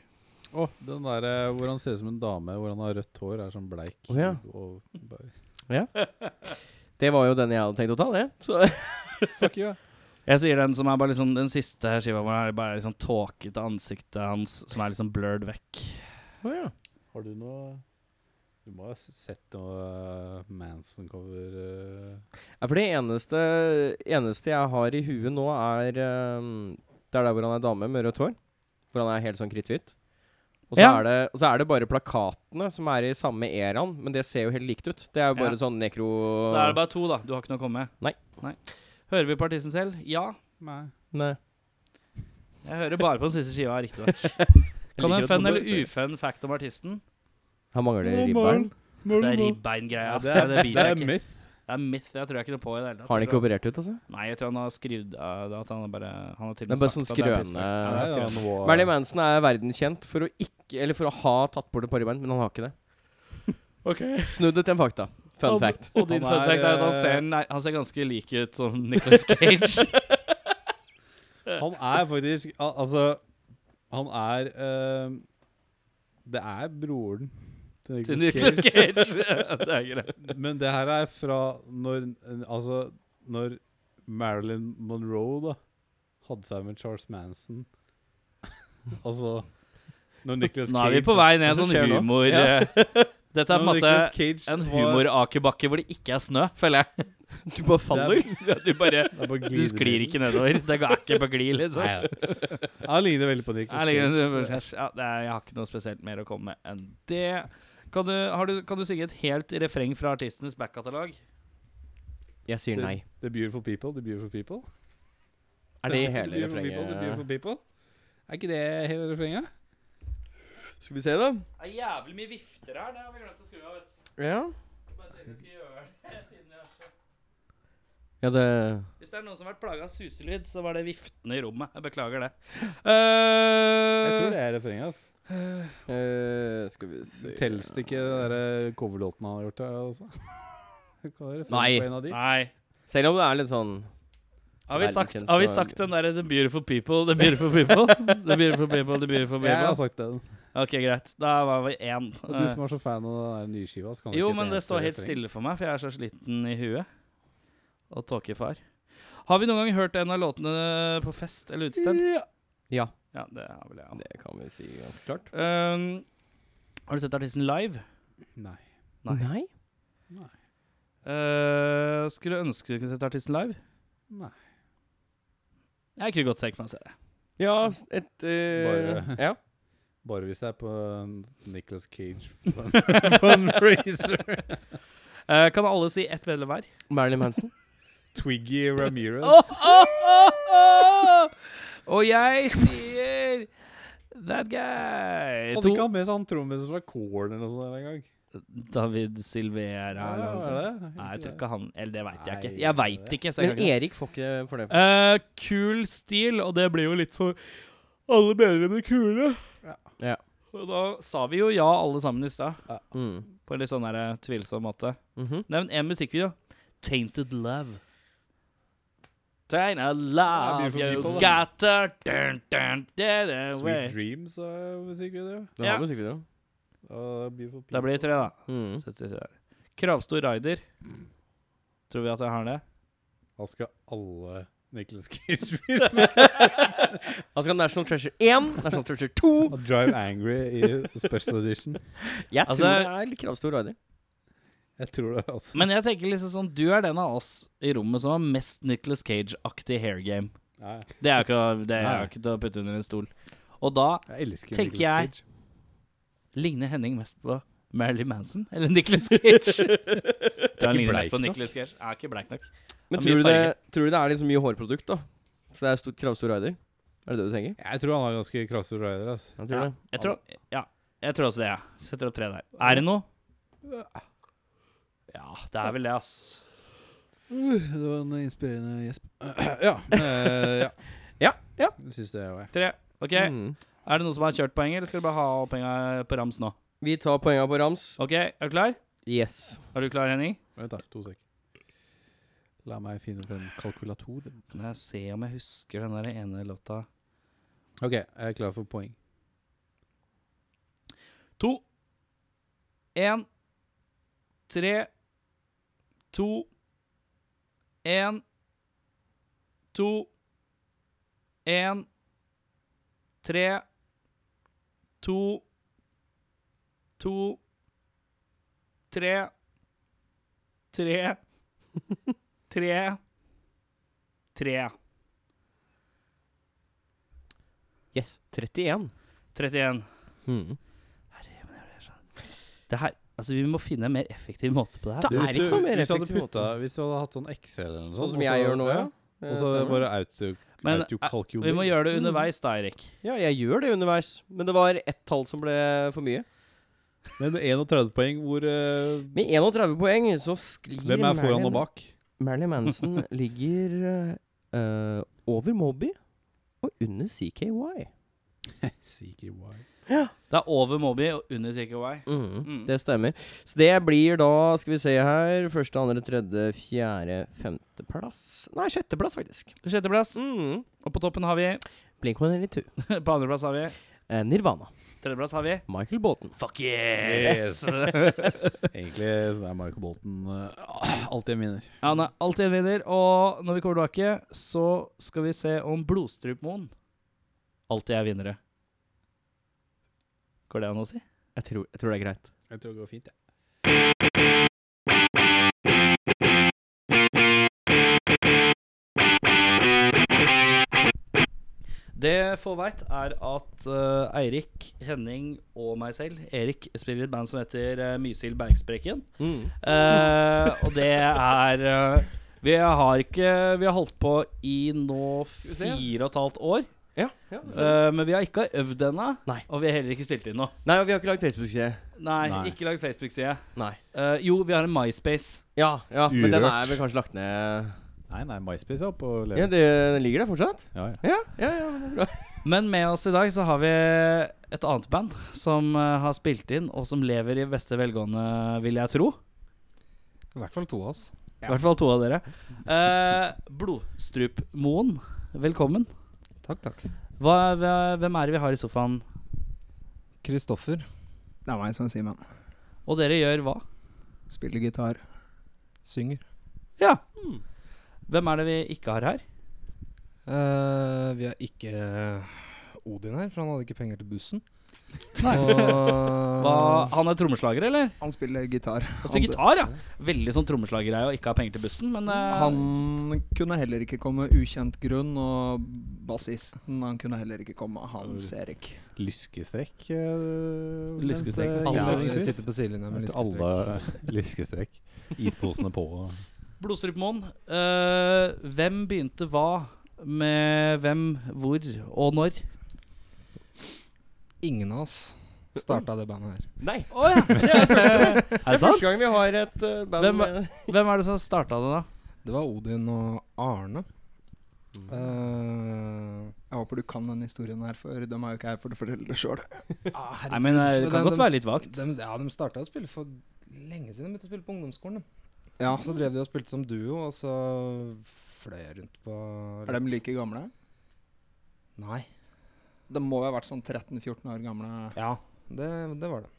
C: Å, den der eh, hvor han ser ut som en dame, hvor han har rødt hår, er sånn bleik.
A: Å, ja.
C: og bare,
A: Det var jo den jeg hadde tenkt å ta, det. Så
C: Fuck you, ja.
B: Jeg sier den som er bare liksom den siste skiva hvor det er bare liksom tåkete ansiktet hans som er liksom blurred vekk.
A: Å ja.
C: Har du noe Du må ha s- sett noe eh, Manson-cover eh.
A: Ja, For det eneste, eneste jeg har i huet nå, er ehm, Det er der hvor han er dame med rødt hår. Hvor han er helt sånn kritthvit. Og så,
B: Ja.
A: er det, og så er det bare plakatene som er i samme eraen, men det ser jo helt likt ut. Det er jo bare
B: Ja.
A: sånn nekro...
B: Så da er det bare to, da. Du har ikke noe å komme med.
A: Nei.
B: Hører vi på artisten selv? Ja.
C: Nei.
A: Nei.
B: Jeg hører bare på den siste skiva, (laughs) riktignok. Kan du en
A: liker at
B: fun
A: man
B: eller
A: prøver
B: ufun fact om artisten?
A: Han mangler ribbein.
B: Det er ribbeingreia. ass. Det, det,
C: det er
B: biter jeg ikke.
C: myth.
B: det er myth. Jeg tror jeg ikke noe på i det hele tatt.
A: Har han
B: Jeg
A: ikke
B: tror-
A: operert ut, altså?
B: Nei, jeg tror han har skrevet uh, det at han bare Han har til og
A: Det
B: med
A: er bare sånn
B: sagt at det er
A: skrøne-
B: pissbra. Ja, det er skrøne.
A: Marilyn Manson er verdenskjent for å ikke Eller for å ha tatt bort et par ribbein, men han har ikke det. Snudd det til en fakta. Fun
C: Al-
A: fact.
B: Og din
C: Han
B: fun
C: er,
B: fact er at han
C: eh,
B: ser, nei, han ser ganske lik ut som Nicholas (laughs) Cage.
C: eh, Han er faktisk al Altså, han er eh, Det er broren til
B: til
C: Nicolas
B: Nicolas
C: Cage.
B: Cage. (laughs) det er greit.
C: Men det her er fra når Altså, når Marilyn Monroe da hadde seg med Charles Manson. (laughs) altså Når Nicholas
B: Nå
C: Cage
B: er vi på vei ned en
A: Hva
B: sånn
A: skjer nå?
B: humor
A: Ja.
B: eh, Dette er
C: Når
B: på en
C: Nicolas
B: måte
C: Cage
B: en
C: var-
B: humorakebakke hvor det ikke er snø, føler jeg. Du bare
C: faller.
B: (laughs) Du bare
C: Det er bare
B: Du sklir ikke nedover. Det går ikke på gli, liksom.
C: Nei, ja. Han ligner veldig på Nicholas
B: Jeg, ligger,
C: Cage.
B: ja, det er, jeg har ikke noe spesielt mer å komme med enn det. Kan du, har du, kan du synge et helt refreng fra artistenes backkatalog?
A: Jeg sier nei.
C: The Beautiful People, The Beautiful People.
A: Er det
C: The
A: hele
C: Beautiful People, The
A: refrenget?
C: Beautiful People. Er ikke det hele refrenget?
A: Skal vi se, da?
B: Det er jævlig mye vifter her. Det har vi glemt å skru av. vet du.
A: Ja.
B: Bare tenkte jeg skulle gjøre det, siden jeg er så-
A: Ja, det
B: Hvis det er noen som har vært plaga av suselyd, så var det viftene i rommet. Jeg beklager det.
C: Jeg
B: Eh,
C: tror det er refrenget. Altså.
A: eh, Skal vi se
C: Telles det ikke den der eh, coverlåten han har gjort? Der, altså? (laughs) Hva er refrenget
A: Nei.
C: på en av de?
B: Nei.
A: Selv om det er litt sånn
B: Har vi, sagt,
A: Verdenskjent
B: har vi
A: så-
B: sagt den derre 'The beautiful people', 'The beautiful people'? The beautiful people, the beautiful
C: Jeg har
B: people.
C: sagt den.
B: Ok, greit. Da var vi én.
C: Og altså. du som er så fan av den der nye skiva så kan du
B: Eh. Jo,
C: ikke et
B: men det
C: eneste
B: står helt
C: refreng.
B: stille for meg, for jeg er så sliten i huet. Og tåkefar. Har vi noen gang hørt en av låtene på fest eller utested?
A: Ja,
C: Ja.
B: Ja, det har vel jeg. Ja.
A: det kan vi si ganske klart.
B: Um, har du sett artisten live?
C: Nei.
B: Nei.
C: Nei.
B: Uh, skulle ønske du kunne sett artisten live.
C: Nei.
B: Jeg kunne godt tenkt meg å se det.
A: Ja, et eh,
C: Bare-
A: Ja.
C: Bare hvis det er på Nicholas Cage (laughs) fundraiser.
B: Eh, kan alle si ett medlem hver?
A: Marilyn (laughs) Manson.
C: Twiggy Ramirez.
B: Og jeg sier That guy.
C: Hadde ikke han med seg han trommisen fra Korn eller noe sånt der en gang?
B: David Silvera.
C: Ja,
B: eller noe
C: var
B: sånt.
C: det? Er
B: Nei, jeg
C: ikke
B: tror ikke han Eller det veit jeg ikke.
C: Nei,
B: Jeg
C: det-
B: veit ikke. Så jeg
A: Men
B: kan ikke.
A: Erik får ikke for det.
B: Eh, kul stil, og det blir jo litt så Alle medlemmene kule.
C: Ja.
A: Ja.
B: Og da sa vi jo ja, alle sammen i stad,
A: Mm.
B: på en litt sånn der eh, tvilsom måte.
A: Mhm.
B: Nevn én musikkvideo. Tainted Love. Tainted
C: Ja,
B: love,
C: Beautiful
B: you
C: People, da.
B: got her dun, dun, dun, dun,
C: Sweet
B: way.
C: Dreams er musikkvideo.
A: Den
B: Ja.
A: har musikkvideo.
C: Uh, Beautiful
B: Da blir det tre, da.
A: Mm.
B: Sett det der. Kravstor rider. Tror vi at jeg har det?
C: Da skal alle Nicholas (laughs) Cage-filmer.
A: (laughs) Han skal ha National Treasure 1, National Treasure 2
C: Drive Angry i special edition.
A: Jeg
B: Altså-
A: tror det er litt kravstor rider.
C: Jeg tror det, altså.
B: Men jeg tenker liksom sånn Du er den av oss i rommet som har mest Nicholas Cage-aktig hair game.
C: Nei,
B: Det er jo ikke, det er
C: Nei.
B: jo ikke til å putte under en stol. Og da
C: jeg elsker
B: Tenker jeg.
C: Nicolas Cage.
B: ligner Henning mest på Marilyn Manson eller Nicholas
C: (laughs)
B: Cage. Du
C: ikke
B: ligner
C: bleik
B: mest på
C: nok.
B: Nicolas Cage. Jeg er ikke bleik nok. Det
A: Men
B: er mye
A: tror du, det, tror du det er liksom mye hårprodukt, da? Så det er stort kravstor rider? Er det det du tenker?
C: Jeg tror han er ganske kraftig rider. Altså.
A: Jeg tror
B: Ja,
A: det.
B: jeg tror, ja, jeg tror også det. Ja. Setter opp tre der. Er det noe? Ja, det er vel det, ass.
C: Uh, Det var en inspirerende gjesp. (clears throat) ja. eh,
B: (laughs)
C: ja.
A: Ja, ja.
C: Jeg syns det òg, jeg.
B: Tre. Ok,
A: Mm.
B: Er det noen som har kjørt poeng, eller skal du bare ha penga på rams nå?
A: Vi tar poenga på rams.
B: Ok, Er du klar?
A: Yes.
B: Er du klar, Henning?
C: Vent, da. To sek. La meg finne frem kalkulatoren.
B: Kan jeg se om jeg husker den der ene låta
C: OK, jeg er klar for poeng.
B: To. En. Tre. To. En. To. En. Tre. To. To. Tre. Tre. (laughs) Tre. Tre.
A: Yes. 31.
B: 31.
C: Hmm.
A: Mm.
B: Det her Altså, vi må finne en mer effektiv måte på det her.
A: Da- Det er ikke noe mer
C: hvis du, hadde
A: effektiv måte.
C: putta- hvis du hadde hatt sånn Excel eller noe
A: Sånn
C: sånt
A: som jeg gjør nå, ja. Eh,
C: Og så
A: stemmer.
C: bare auto,
B: Men, eh,
C: autokalkulere.
B: Vi må gjøre det underveis, da, Eirik.
A: Ja, jeg gjør det underveis. Men det var ett tall som ble for mye.
C: (laughs) Men 31 poeng, hvor eh,
A: Med 31 poeng så sklir
C: Hvem er foran
A: Marilyn-
C: og bak? (laughs)
A: Marilyn Manson ligger eh, eh, over Moby og under CKY.
C: CKY.
B: Det er over Moby og under CKY.
A: Mm,
B: Mm.
A: Det stemmer. Så det blir da, skal vi se her Første, andre, tredje, fjerde, femteplass Nei, sjetteplass, faktisk.
B: Sjetteplass.
A: Mm.
B: Og på toppen har vi (laughs)
A: Blink 182.
B: På andreplass har vi
A: Eh, Nirvana.
B: Tredjeplass har vi
A: Michael Bolton.
B: Fuck
A: (laughs)
C: (laughs)
B: yes!
C: Egentlig så er Michael Bolton eh, (clears throat) alt jeg minner.
B: Han er alltid en vinner. Og når vi kommer tilbake, så skal vi se om Blodstrupmoen alltid er vinnere. Går det an å si?
A: Jeg tror, jeg tror det er greit.
C: Jeg tror det går fint, jeg.
B: Det få veit, er at eh, Eirik, Henning og meg selv, Erik, spiller i et band som heter eh, Mysil Bergsprekken.
A: Mm.
B: Eh, og det er eh, Vi har ikke Vi har holdt på i nå
C: vi se?
B: fire og et halvt år.
A: Ja, ja.
B: eh, men vi har ikke øvd ennå.
A: Nei.
B: Og vi har heller ikke spilt inn noe.
A: Nei, og vi har ikke lagd Facebook-side.
B: Nei,
C: Nei.
B: ikke lag Facebook-side.
A: Nei.
B: Eh, jo, vi har en MySpace.
A: Ja, ja men den
C: Urørt.
A: er vel kanskje lagt ned
C: Nei, nei, MySpace er oppe og
A: Ja,
C: lever.
A: det, Den ligger der fortsatt?
C: Ja, ja.
A: Ja, ja, ja men det (laughs) er bra.
B: Men med oss i dag så har vi et annet band som eh, har spilt inn, og som lever i beste velgående, vil jeg tro.
D: I hvert fall to av oss.
B: I hvert fall to av dere. Eh, Blodstrupmoen, velkommen.
D: Takk, takk.
B: Hva, hva- hvem er det vi har i sofaen?
D: Kristoffer.
E: Det er meg som er Simen.
B: Og dere gjør hva?
E: Spiller gitar.
D: Synger.
B: Ja. Hmm. Hvem er det vi ikke har her?
D: Eh, vi har ikke Odin her, for han hadde ikke penger til bussen.
B: Hva,
D: Og
B: han er trommeslager, eller?
E: Han spiller gitar.
B: Han spiller gitar, ja. Veldig sånn trommeslagergreie og ikke har penger til bussen, men eh,
E: Han kunne heller ikke komme ukjent grunn, og bassisten han kunne heller ikke komme, Hans Erik.
C: Lyskestrekk.
B: Lyskestrekk.
D: alle sitter på sidelinja med
C: Alle
D: lyskestrekk.
C: lyskestrekk. Isposene på.
B: Blodstrupemoen. eh, hvem begynte hva med hvem, hvor og når?
D: Ingen av oss starta det bandet her.
A: Nei!
B: Å ja! Det (laughs) er første,
A: Er det
B: sant?
A: første gang vi har et eh, band
B: Hvem
A: med-
B: hvem er det som starta det, da?
D: Det var Odin og Arne. Eh,
E: Jeg håper du kan den historien her, for de er jo ikke her for å fortelle det sjøl.
B: Nei, men eh, Det kan
D: Den-
B: godt
D: den-
B: være litt vagt.
D: de, ja, de starta å spille for lenge siden. De begynte å spille på ungdomsskolen. de.
E: Ja.
D: Og Så drev de og spilte som duo, og så fløy jeg rundt på
E: Er de like gamle?
D: Nei.
E: De må jo ha vært sånn 13-14 år gamle.
D: Ja, det, det var det.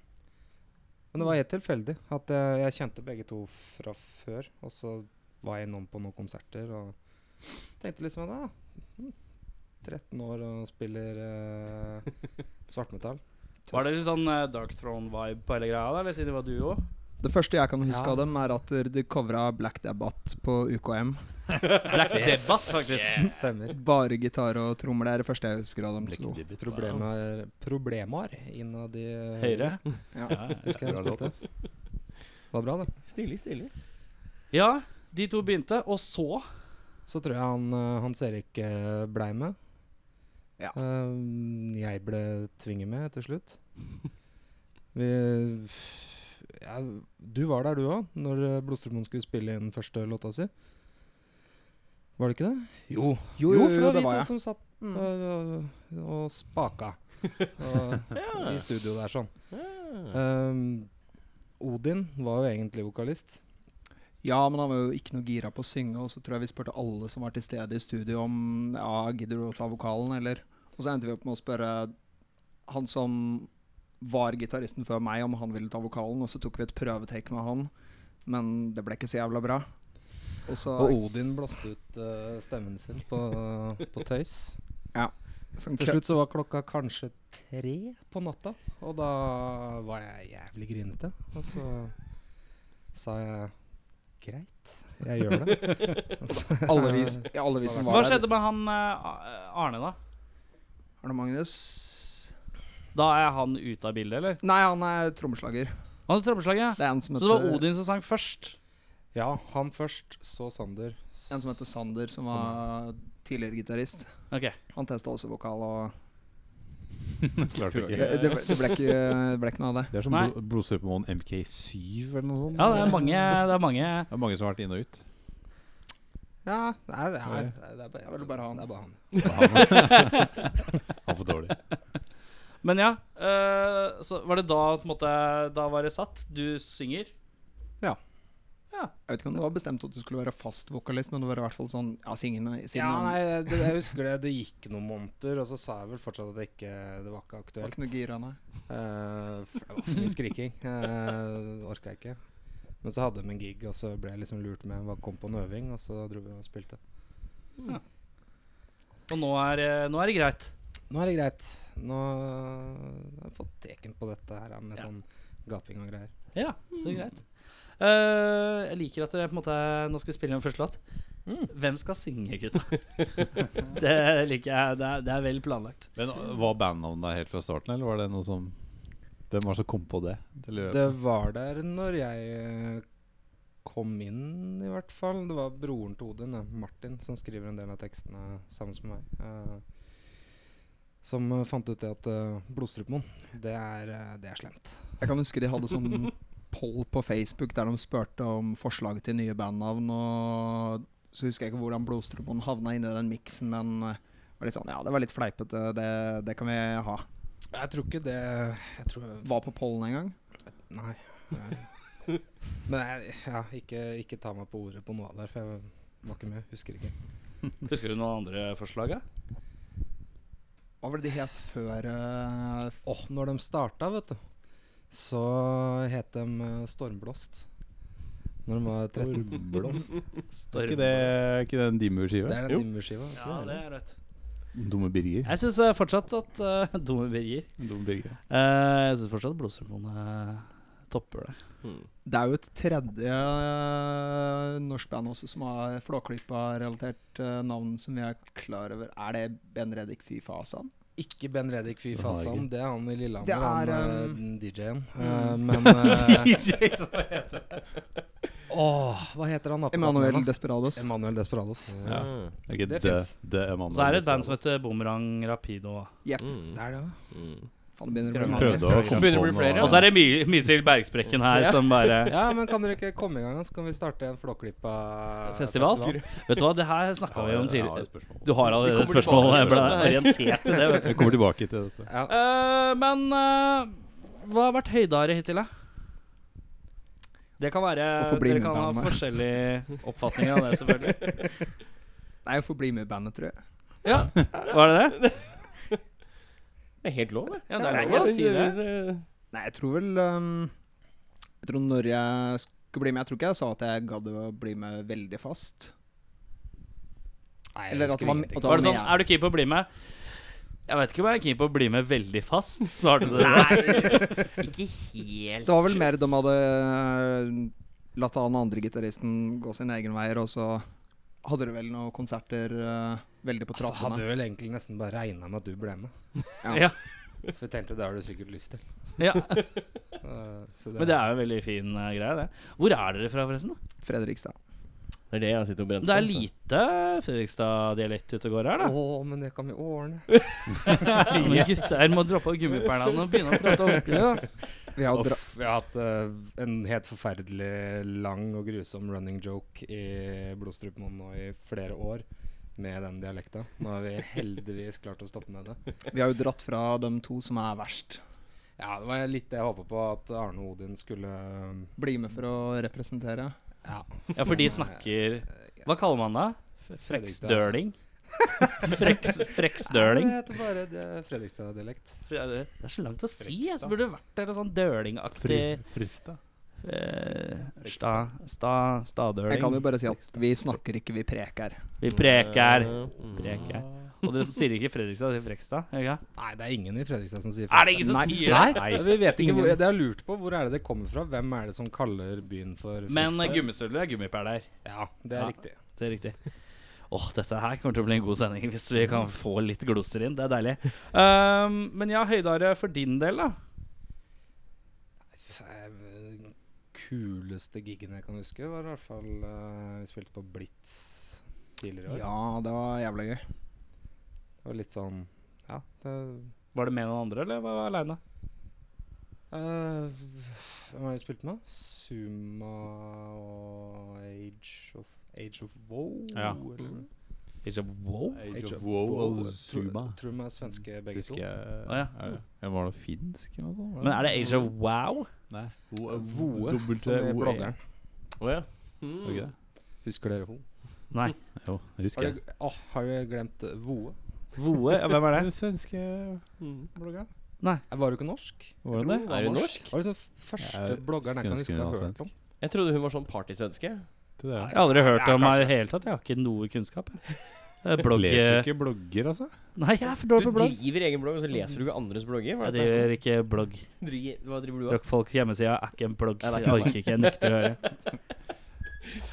D: Men det var helt tilfeldig at jeg, jeg kjente begge to fra før. Og så var jeg innom på noen konserter og tenkte liksom at ah, hm, 13 år og spiller eh,
E: (laughs)
D: svartmetall.
B: Var det litt sånn eh, Dark Throne-vibe på hele greia, da? Eller siden det var duo?
E: Det første jeg kan huske
D: Ja.
E: av dem, er at de covra Black Debate på UKM.
B: Black Debatt, faktisk.
D: Stemmer.
E: Bare gitar og trommer. Det er det første jeg husker av dem. to.
D: Problemer, problemer innad i
B: Høyre.
E: Ja.
D: Husker jeg spilte. Det var bra, det.
A: Stilig, stilig.
B: Ja, de to begynte, og så
D: Så tror jeg han eh, Hans Erik eh, blei med.
E: Ja.
D: Eh, jeg ble tvinget med til slutt.
E: (laughs)
D: Vi ja, Du var der, du òg, når eh, Blodstrømmen skulle spille inn første låta si. Var det ikke det? Jo,
E: Jo, jo,
D: for
E: jo,
D: det var
E: det
D: vi to
E: var jeg. Mm.
D: som satt eh, og spaka
E: (laughs)
D: og, i studio der sånn. Eh, Odin var jo egentlig vokalist.
E: Ja, men han var jo ikke noe gira på å synge, og så tror jeg vi spurte alle som var til stede i studio om ja, gidder du å ta vokalen, eller? Og så endte vi opp med å spørre han som var gitaristen før meg, om han ville ta vokalen, og så tok vi et prøvetake med han, men det ble ikke så jævla bra. Og så
D: Og Odin blåste ut eh, stemmen sin (laughs) på, på tøys.
E: sånn
D: Til
E: kø-
D: slutt så var klokka kanskje tre på natta, og da var jeg jævlig grinete. Og så sa jeg greit, jeg gjør det. (laughs) Og så-
E: alle vi, s- ja, alle vi som
B: Hva
E: var der.
B: skjedde med han eh, A- Arne, da?
E: Arne Magnus
B: Da er han ute av bildet, eller?
E: Nei, han er trommeslager.
B: Han hadde trommeslaget.
E: Det er en som eh,
B: Så det var
E: heter-
B: Odin som sang først.
D: Ja, han først, så Sander. s-
E: En som heter Sander, som var tidligere gitarist.
B: Ok.
E: Han testa også vokal, og
C: Klarte
B: Eh.
E: det,
C: ikke.
E: det, ble, det, ble, ikke, det ble ikke noe av det.
C: Det er som
B: Nei.
C: blo- Blodsupermon MK7 eller noe sånt.
B: Ja, det er mange, det er mange
C: Det er mange som har vært inn og ut.
D: Ja, nei, det er, det er, det er,
E: Det er vel bare han.
D: Det er bare han.
C: Han var for dårlig.
B: Men ja, eh, så var det da på en måte Da var det satt. Du synger.
E: Jeg vet ikke om det var bestemt at du skulle være fast vokalist, men det var i hvert fall sånn Ja, singende
D: Ja,
E: det
D: nei, det, jeg husker det, det gikk noen måneder, og så sa jeg vel fortsatt at det ikke det var ikke
E: var
D: aktuelt.
E: ikke noe gira, nei.
D: Eh, for det var for mye skriking. Uh, Orka jeg ikke. Men så hadde de en gig, og så ble jeg liksom lurt med. Hva kom på en øving, og så dro vi og spilte.
B: Og nå er, eh, nå er det greit.
D: Nå er det greit. Nå har jeg fått teken på dette her ja, med sånn gaping og greier.
B: Ja, så greit. Mm. Eh, jeg liker at dere på en måte Nå skal vi spille en første låt. Hvem skal synge, gutta? (laughs) det liker jeg. Det er, det er vel planlagt.
C: (laughs) Men uh, Var bandnavnet der helt fra starten, eller var det noe som Hvem var det som kom på det? Det lurer jeg på.
D: Det var der når jeg eh, kom inn, i hvert fall. Det var broren til Odin, eh, Martin, som skriver en del av tekstene sammen med meg. eh, som eh, fant ut det at uh, blodstrupemoen, det, er, eh, det er slemt.
E: Jeg kan huske de hadde (laughs) sånn poll på Facebook der de spurte om forslag til nye bandnavn, og så husker jeg ikke hvordan Blodstrupen havna inni den miksen, men eh, det var litt sånn Ja, det var litt fleipete, det, det kan vi ha.
D: Jeg tror ikke det Jeg tror
E: Var på pollen en gang.
D: Nei. nei. Men jeg, ja, ikke, ikke ta meg på ordet på noe av det her, for jeg var ikke med. Husker ikke.
B: Husker du noen andre forslag? da?
E: Hva var det de het før eh, f-
D: Åh, når de starta, vet du, så het de eh, Stormblåst. Når de var 13.
C: Stormblåst. Er
B: Storm.
C: ikke det, er ikke det en
D: Det
C: Dimmu-skive?
D: er den dimmerskiva.
B: Ja, det er rett.
C: Dumme Birger.
B: Jeg syns fortsatt at eh, (laughs) Dumme Birger
C: Dumme Birger.
B: Eh, Jeg syns fortsatt at Blodstrømpene eh, topper det.
A: Mm.
E: Det er jo et tredje eh, norsk band også som har Flåklypa-relatert eh, navn som vi er klar over. Er det Ben Reddik Fy Fasan?
D: Ikke Ben Reddik, fy
C: Det har jeg
D: fasan.
C: ikke.
D: Det er han i Lillehammer,
E: Det er,
D: han eh,
E: um,
D: den DJ-en.
E: mm.
D: Eh,
C: (laughs)
D: men eh, Åh, hva heter han? da på
E: Emanuel
D: gaten her, da?
E: Desperados.
D: Emanuel Desperados.
C: Ja.
A: Mm.
C: Det er ikke
D: Det
C: det,
D: finnes.
C: det er mannen.
B: Og så er det et band som heter Bumerang Rapido.
D: Det er det òg.
A: Mm.
E: Faen, det begynner å
B: Skal
E: bli
B: jeg
E: mange.
C: Prøvde å komme
B: Begynner å
C: på
B: bli
C: noe.
B: flere. Og så er det mye Mysil Bergsprekken her som bare
D: (laughs) Ja, men kan dere ikke komme i gang, da? så kan vi starte en Flåklypa
B: Festival? Vet du hva, det her snakka vi om
C: Jeg har
B: tidligere.
C: et spørsmål.
B: Du har allerede et
A: Vi kommer
B: spørsmål.
A: tilbake
B: Jeg ble
A: til
B: orientert til det, vet du.
C: Vi kommer tilbake til dette.
D: Ja.
B: Eh, men eh, hva har vært høydare hittil, da? Det kan være
E: Å få bli
B: Dere
E: med
B: kan ha
E: bandet.
B: forskjellig oppfatning av det, selvfølgelig.
E: Nei, få bli med i bandet, tror jeg.
B: Ja, Var det det?
A: Det er helt lov, det.
B: Ja, det er lov å si det.
A: eh,
E: Nei, jeg tror vel ehm, Jeg tror når jeg skulle bli med Jeg tror ikke jeg sa at jeg gadd å bli med veldig fast.
D: Nei, jeg
E: Eller at
D: husker
E: det var,
D: ingenting.
E: at det
B: Var
E: var
B: det sånn,
E: med.
B: Er du keen på å bli med? Jeg vet ikke om jeg er keen på å bli med veldig fast. Svarte du det?
A: Ikke helt
E: Det var vel mer de hadde eh, latt han andre gitaristen gå sine egne veier, og så hadde du vel noen konserter eh, veldig på
D: Altså, hadde
E: trappene.
D: jeg vel egentlig nesten bare regna med at du ble med.
B: Ja.
D: For jeg tenkte det har du sikkert lyst til.
B: Ja,
D: Eh, så
B: Men det er jo en veldig fin eh, greie, det. Hvor er dere fra, forresten? da?
E: Fredrikstad.
A: Det er det jeg sitter og brenner
B: Det er lite Fredrikstad-dialekt ute og går her, da.
D: Å, men det kan vi ordne.
B: Ja, men gutter må droppe gummiperlene og begynne å prate ordentlig, da.
E: Vi har dra
D: Uff, vi har hatt eh, en helt forferdelig lang og grusom running joke i blodstrupen nå i flere år med den dialekta. Nå har vi (laughs) heldigvis klart å stoppe med det.
E: Vi har jo dratt fra de to som er verst.
D: Ja, det var litt det jeg håpa på, at Arne og Odin skulle eh,
E: Bli med for å representere.
D: Ja.
B: Ja, for de snakker Hva kaller man det? Freksdøling? Freks, freksdøling?
D: Ja, det heter bare det- Fredrikstad-dialekt.
B: Det er så langt å si. Jeg så burde det vært en sånn dølingaktig
C: Frista.
B: eh, sta, sta,
E: Jeg kan jo
B: Stadøling.
E: bare si at vi snakker ikke, vi preker.
A: Mm.
B: Vi preker.
C: Mm.
B: preker. Og dere sier ikke Fredrikstad, dere sier Frekstad? gjør dere ikke?
D: Nei, det er ingen i Fredrikstad som sier
B: Er det ingen som
D: Fredrikstad.
B: sier
D: Nei,
B: det?
D: Nei, vi vet ikke
E: Ingen.
D: hvor, Det har jeg lurt på. Hvor er det det kommer fra? Hvem er det som kaller byen for
B: Men eh,
D: Fredrikstad?
B: gummistøvler er gummipæler.
D: Ja, det er
B: Ja.
D: riktig.
B: Det er riktig. Åh, dette her kommer til å bli en god sending hvis vi kan få litt gloser inn. Det er deilig. Ehm, men ja, Høydare, for din del, da?
D: F- eh, Den kuleste giggen jeg kan huske, var i hvert fall eh, Vi spilte på Blitz tidligere i år.
E: Ja, det var jævla gøy.
D: Det var litt sånn Ja, det
B: Var det med noen andre, eller var du aleine?
D: eh, Hvem har vi spilt med? Suma og Age of Age of Wow?
C: Ja.
D: eller?
B: Ikke wow?
C: Age of Wow og Zuma.
D: Tror de er svenske, begge to.
C: Husker jeg
B: Å, ja.
C: er det- ja, Var det finsk eller noe sånt? var
B: Men er det Age of Wow?
C: Nei.
D: Eh, Voe, som
C: eh,
D: er bloggeren. Mm.
A: Å ja.
C: Var det ikke det?
D: Husker dere hun?
B: Nei.
C: Jo, jeg husker
D: Har
C: jeg.
D: dere, åh, har dere glemt eh, Voe?
B: Voe? Ja, hvem er det?
C: Den svenske mm,
D: Bloggeren?
B: Nei.
D: Eh, Var hun ikke norsk?
C: Var det det?
A: Er hun norsk?
D: Var det sånn f- første
C: Jeg
D: bloggeren jeg kan
C: skulle ønske hun
D: huske å ha
C: var
D: hørt
C: svensk.
D: om?
A: Jeg trodde hun var sånn partysvenske.
C: Det er
B: Jeg
C: det.
B: har aldri hørt om henne i det hele tatt. Jeg har ikke noe kunnskap. jeg. Eh, Blogg
C: Leser ikke blogger, altså?
B: Nei, jeg er for
A: Du
B: dårlig på blogg.
A: driver egen blogg, og så leser du ikke andres blogger? Hva,
B: Jeg
A: er det?
B: driver ikke blogg.
A: Dri- Hva driver du av?
B: Rockfolks hjemmeside er ikke en plugg.
A: Nei, det er
B: Jeg
A: ikke
B: orker ikke, jeg nekter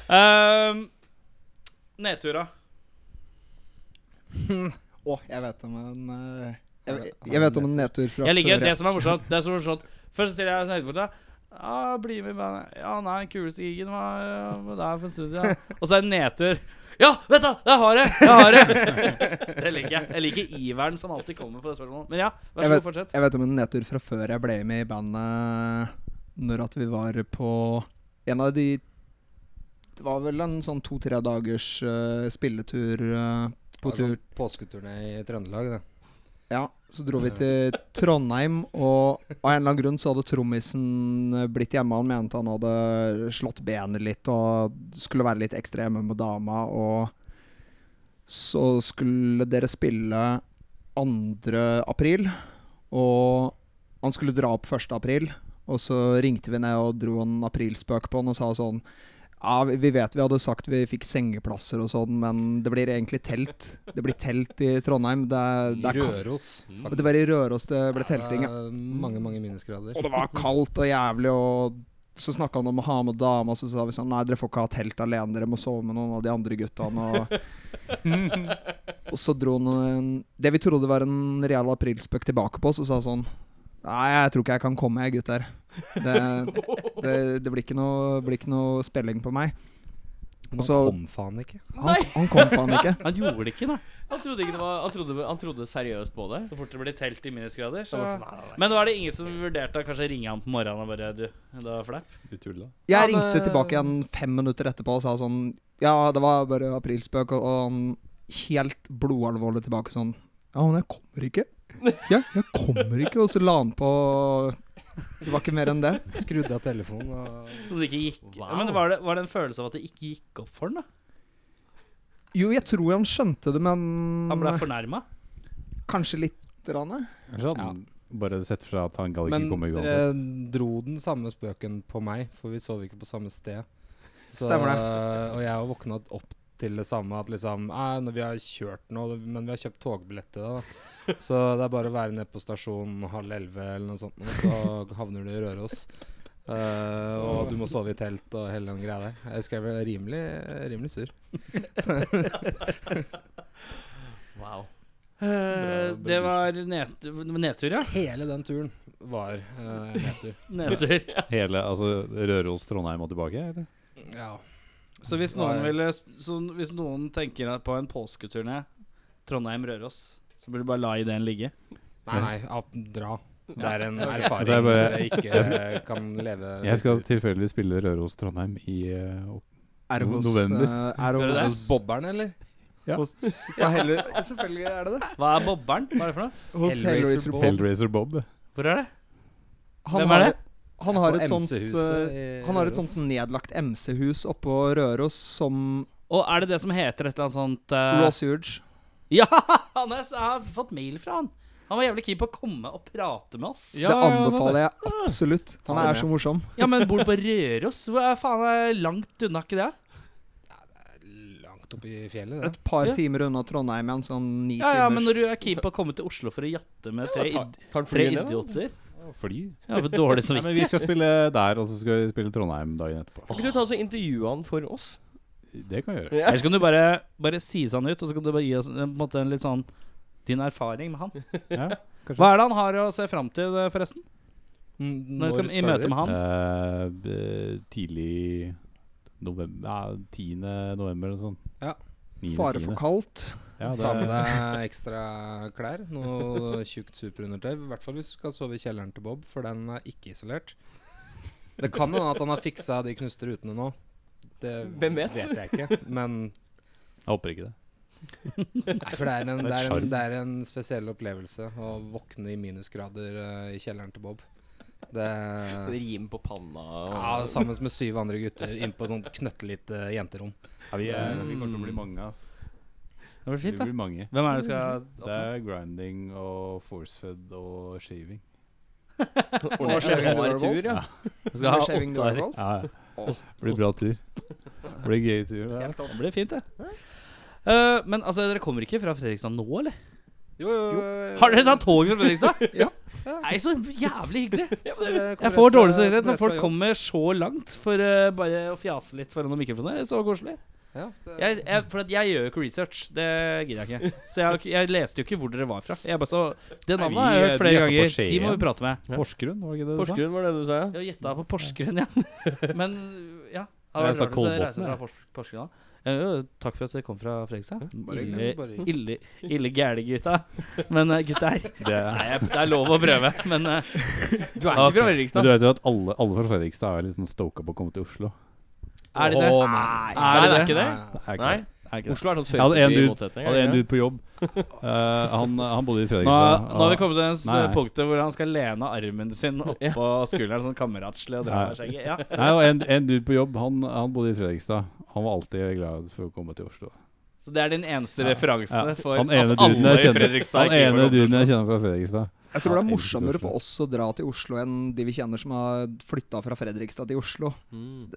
B: å (laughs) høre. um, Nedtura.
E: Å, jeg vet om en eh,
D: Har du-
E: jeg,
D: har du
E: jeg vet om en nedtur fra
B: Jeg liker
E: før.
B: det som er morsomt. Det som er morsomt Først så sier jeg sånn etterpå til deg, Ja, bli med i bandet. Ja, nei, den kuleste gigen var ja, var der for en stund siden. Og så er det nedtur. Ja, vet du! Jeg har det! Jeg har det! Det liker jeg. Jeg liker iveren som alltid kommer på det spørsmålet. Men ja, vær
E: Jeg
B: så god, fortsett.
E: Jeg vet om en nedtur fra før jeg ble med i bandet Når at vi var på En av de Det var vel en sånn to-tre dagers eh, spilletur eh,
D: Det
E: på
D: var
E: tur
D: sånn Påsketurné i Trøndelag, det.
E: Ja, så dro vi til Trondheim Og av en eller annen grunn så hadde trommisen eh, blitt hjemme Han mente han hadde slått benet litt Og skulle være litt ekstra hjemme med dama Og så skulle dere spille 2. april Og han skulle dra opp 1. april, og så ringte vi ned og dro en aprilspøk på han og sa sånn Ja, vi- vi vet vi hadde sagt vi fikk sengeplasser og sånn, men det blir egentlig telt. Det blir telt i Trondheim. Det, er- det, er kal-
D: Røros.
E: det var i Røros det ble telting, ja.
D: Det er Mange, mange minusgrader.
E: Og det var kaldt og jævlig, og så snakka han om å ha med dama, så sa vi sånn Nei, dere får ikke ha telt alene, dere må sove med noen av de andre guttene. Og, og så dro han en, det vi trodde var en real aprilspøk tilbake på oss, og sa sånn Nei, jeg tror ikke jeg kan komme, jeg, gutter. Det, det, det blir, ikke noe, blir ikke noe spilling på meg.
D: Men
E: Og så
D: han kom faen ikke.
E: han, han kom faen ikke.
B: Han gjorde det ikke, nei.
A: Han trodde, ikke det var, han, trodde, han trodde seriøst på det.
B: (laughs) Så fort det blir telt i minusgrader. Så.
A: var det sånn, nei, nei, nei.
B: Men da er det ingen som vurderte å kanskje ringe ham på morgenen og bare Du, det var flaut.
C: Du tulla.
E: Jeg
D: Ja, men-
E: ringte tilbake igjen fem minutter etterpå og sa sånn Ja, det var bare aprilspøk, og, og han helt blodalvorlig tilbake sånn Ja, men jeg kommer ikke. Ja, jeg kommer ikke. Og så la han på Det var ikke mer enn det.
D: Skrudde av telefonen og
B: Som det ikke gikk
A: Wow.
B: Men var det, var det en følelse av at det ikke gikk opp for han da?
E: Jo, jeg tror han skjønte det, men
B: Han
E: Mm.
B: ble fornærma?
E: kanskje litt rane.
C: Kanskje han bare sett fra at han gadd ikke
D: Men
C: komme uansett.
D: dere dro den samme spøken på meg, for vi sov ikke på samme sted. Så, eh,
E: Stemmer det.
D: Og jeg har våkna opp til det samme, at liksom «Nei, når Vi har kjørt nå, men vi har kjøpt togbillett til det, da. Så det er bare å være nede på stasjonen halv elleve eller noe sånt, og så havner du i Røros. Eh, og du må sove i telt og hele den greia der. Jeg husker jeg ble rimelig, rimelig sur.
A: Wow.
B: Eh,
D: Bra,
B: det var net, nedtur, ja.
D: Hele den turen var eh, en nedtur.
B: Nedtur.
C: Hele altså, Røros, Trondheim og tilbake? Eller?
D: Ja.
B: Så hvis noen, ville, sp- så hvis noen tenker at på en påsketurné Trondheim-Røros, så burde du bare la ideen ligge.
D: Nei, nei, ap- dra. Det er
B: (laughs)
D: en
C: Det er
D: erfaring
C: Altså, bare-
D: dere ikke eh, kan leve
C: Jeg skal tilfeldigvis spille Røros, Trondheim i eh, opp-
E: Er hos
C: November.
E: eh, Er
B: Skal du
E: hos
D: Hos Bobberen, eller?
C: Ja.
E: hos, på Hell- Selvfølgelig er det det.
B: Hva er bobberen? Hva er det for noe?
E: Hos
D: Hellraiser
E: Hellraiser
D: Bob.
E: Bob.
C: Hellraiser Bob.
B: Hvor er det?
E: Han
B: Hvem er
E: har,
B: det?
E: han har
D: På
E: et sånt
D: MC-huset
E: eh,
D: i
E: Han har et
D: Røros.
E: sånt nedlagt MC-hus oppå Røros som
B: Og er det det som heter et eller annet sånt eh,
E: Ross Huge.
B: Ja! Han er, jeg har fått mail fra han. Han var jævlig keen på å komme og prate med oss.
E: det anbefaler jeg absolutt. Han
D: det
E: er
D: med.
E: så morsom.
B: Ja, men bor du på Røros? Hvor er faen er langt unna ikke det?
D: Langt oppe i fjellet, det.
E: Et par
B: Ja.
E: timer unna Trondheim igjen, sånn ni
B: Ja, ja, men
E: timers
B: når du er keen på å komme til Oslo for å jatte med tre,
A: Ja,
B: id
A: Tar han
B: tre
A: flyet ned, da?
B: idioter
C: Fly?
B: Ja, for dårlig
C: Nei, men vi
B: samvittighet.
C: skal spille der, og så skal vi spille Trondheim dagen etterpå.
A: Kan ikke du ta og intervjue han for oss?
C: Det kan vi gjøre.
A: Ja.
B: Eller så kan du bare, bare si sånn ut, og så kan du bare gi oss eh, på en måte en litt sånn din erfaring med han.
C: Ja,
B: Hva
C: kanskje.
B: er det han har å se fram til, eh, forresten? Når vi skal i møte med han?
C: Eh, b- tidlig november ja, 10. november eller noe sånt.
D: Ja.
C: Niende,
E: fare for
C: tiende.
E: kaldt.
C: Ja, det
D: Ta med
C: er
D: deg ekstra klær. Noe tjukt superundertøy. I hvert fall hvis du skal sove i kjelleren til Bob, for den er ikke isolert. Det kan hende at han har fiksa de knuste rutene nå. Det
A: Hvem vet?
D: jeg ikke. Men
C: Jeg håper ikke det.
D: nei, for det er,
C: Det
D: en,
C: er
D: det, er
C: sjarm.
D: en, det er en spesiell opplevelse å våkne i minusgrader eh, i kjelleren til Bob. Det
A: Så det rimer på panna og
D: ja, Sammen med syv andre gutter inn på et sånt knøttelite jenterom.
C: Ja, vi, eh,
D: er-
C: vi kommer til
E: Mm.
C: å bli mange, ass.
B: Det blir
C: Vi
B: fint, da.
C: blir mange.
B: Hvem er det du skal
C: Det er grinding og forcefed og shaving.
E: Og shaving the werewolf.
A: ja.
B: Du skal ha
E: Og shaving the
B: åtte år.
E: werewolf.
C: Ja, det blir bra tur. Det blir gøy tur. Det.
E: Helt
B: Det
E: topp.
B: blir fint, det. Eh, men altså, dere kommer ikke fra Fredrikstad nå, eller?
D: Jo, jo,
B: Har dere tatt tog fra Fredrikstad? (laughs)
E: Ja.
B: Nei, så jævlig hyggelig.
D: Jeg
B: Jeg får dårlig samvittighet når folk kommer så langt for eh, bare å fjase litt foran noen mikrofoner. Det er så koselig.
D: Ja,
B: Jeg, jeg, for at jeg gjør jo ikke research. Det gidder jeg ikke. Så jeg, jeg leste jo ikke hvor dere var fra. Jeg bare så, Det
C: Nei,
B: navnet har jeg
C: vi-
B: hørt
C: vi
B: flere
C: gjetta på
B: ganger.
C: Skien.
B: De må vi prate med.
C: Porsgrunn, var det ikke det du sa?
A: Porsgrunn var det du sa, ja?
B: Jeg gjetta på Porsgrunn,
C: (laughs)
B: ja. Men ja. Det hadde
C: Jeg
B: vært rart å
C: sa altså Kolbotn,
B: reise fra
C: jeg.
B: Pors Porsgrunn. da. Eh, jo, takk for at dere kom fra Fredrikstad. Ille,
D: hyggelig, bare hyggelig.
B: ille, ille gæle gutta. Men eh, gutta her
C: Det
B: Nei, jeg- det er lov å prøve, men eh,
A: Du er ikke
B: Ok.
A: fra
C: Men
A: Fredrikstad?
C: du vet jo at alle, alle fra Fredrikstad er litt sånn stoka på å komme til Oslo.
B: er det det?
D: Åh,
B: Er
A: Nei, det
B: det
A: er ikke det?
C: Det er ikke
A: Nei.
C: det.
B: Er ikke det?
A: Oslo er sånn
C: Jeg hadde en
A: sørpå i
C: dude-
A: motsetning.
C: Hadde
A: er
C: en
A: det ikke
C: dude på jobb.
E: (laughs)
C: Eh, han, han bodde i
B: Nå,
C: Fredrikstad.
B: nå har vi kommet til ens
C: Nei, nei.
B: punktet hvor han skal lene armen sin oppå skulderen sånn kameratslig og dra
C: Nei.
B: med skjegget. Ja.
C: Nei, og en, en dude på jobb, han, han bodde i Fredrikstad. Han var alltid glad for å komme til Oslo.
B: Så det er din eneste
C: Ja.
B: referanse
C: Ja.
B: for
C: Han ene
B: at alle
C: duden jeg
B: i
C: kjenner,
B: Fredrikstad
C: han
B: ikke
C: ene
B: får lov til
C: duden
B: å-
C: jeg kjenner fra Fredrikstad.
E: Jeg tror det er
C: Ja,
E: morsommere
C: Oslo.
E: for oss å dra til Oslo enn de vi kjenner som har flytta fra Fredrikstad til Oslo.
A: det? Mm.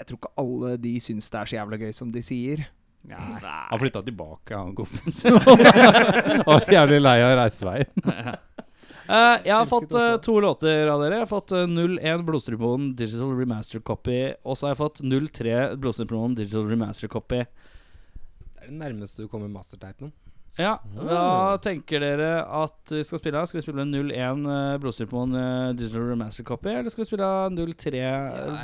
E: Jeg tror ikke alle de syns det er så jævla gøy som de sier.
C: Han flytta tilbake, han kompisen. Han var jævlig lei av reiseveien.
B: Eh, jeg har fått eh, to låter av dere. Jeg har fått eh, 01 Blodstrupmoen Digital Remaster Copy. Og så har jeg fått 03 Blodstrupmoen Digital Remaster Copy.
D: Det er det nærmeste du kommer masterteipen.
B: Ja,
C: Ah.
B: Hva tenker dere at vi skal spille? av? Skal vi spille 01 eh, Blodstrupmoen eh, Digital Remaster Copy, eller skal vi spille av 03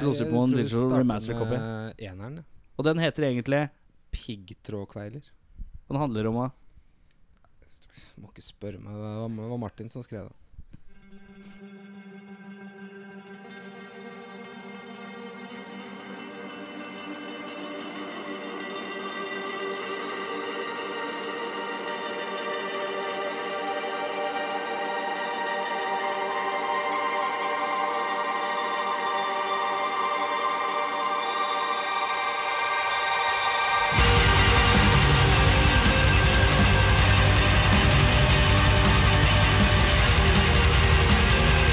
B: Blodstrupmoen Digital Remaster Copy?
D: Eneren. ja.
B: Og den heter egentlig
D: Piggtrådkveiler.
B: Den handler om å
D: Må ikke spørre meg. Det var- det var Martin som
B: (laughs)
D: skrev det.
F: Thank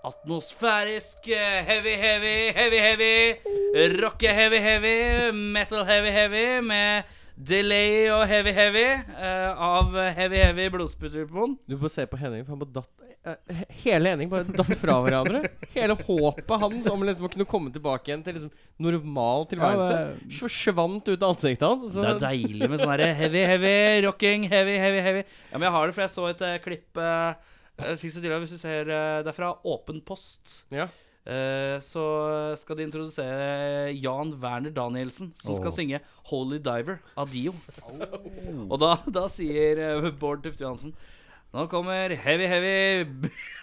B: Atmosfærisk eh, heavy, heavy, heavy, heavy. Rocke heavy, heavy. Metal heavy, heavy. Med delay og heavy, heavy. eh, av heavy, heavy blodsputtdemon.
A: Du bør se på Henning, for han bare datt eh, he- Hele Henning bare datt fra hverandre. Hele håpet hans om liksom å kunne komme tilbake igjen til liksom normal tilværelse, forsvant ut av ansiktet hans.
B: Det er
A: og Så,
B: deilig med sånn derre heavy, heavy, rocking, heavy, heavy, heavy. Ja, men jeg har det, for jeg så et eh, klipp eh, jeg fikk så til at hvis du ser eh, Det er fra Åpen post.
A: ja.
B: Eh, så skal de introdusere Jan Werner Danielsen, som skal synge 'Holy Diver' av Dio. Og da, da sier eh, Bård Tufte Johansen nå kommer heavy, heavy,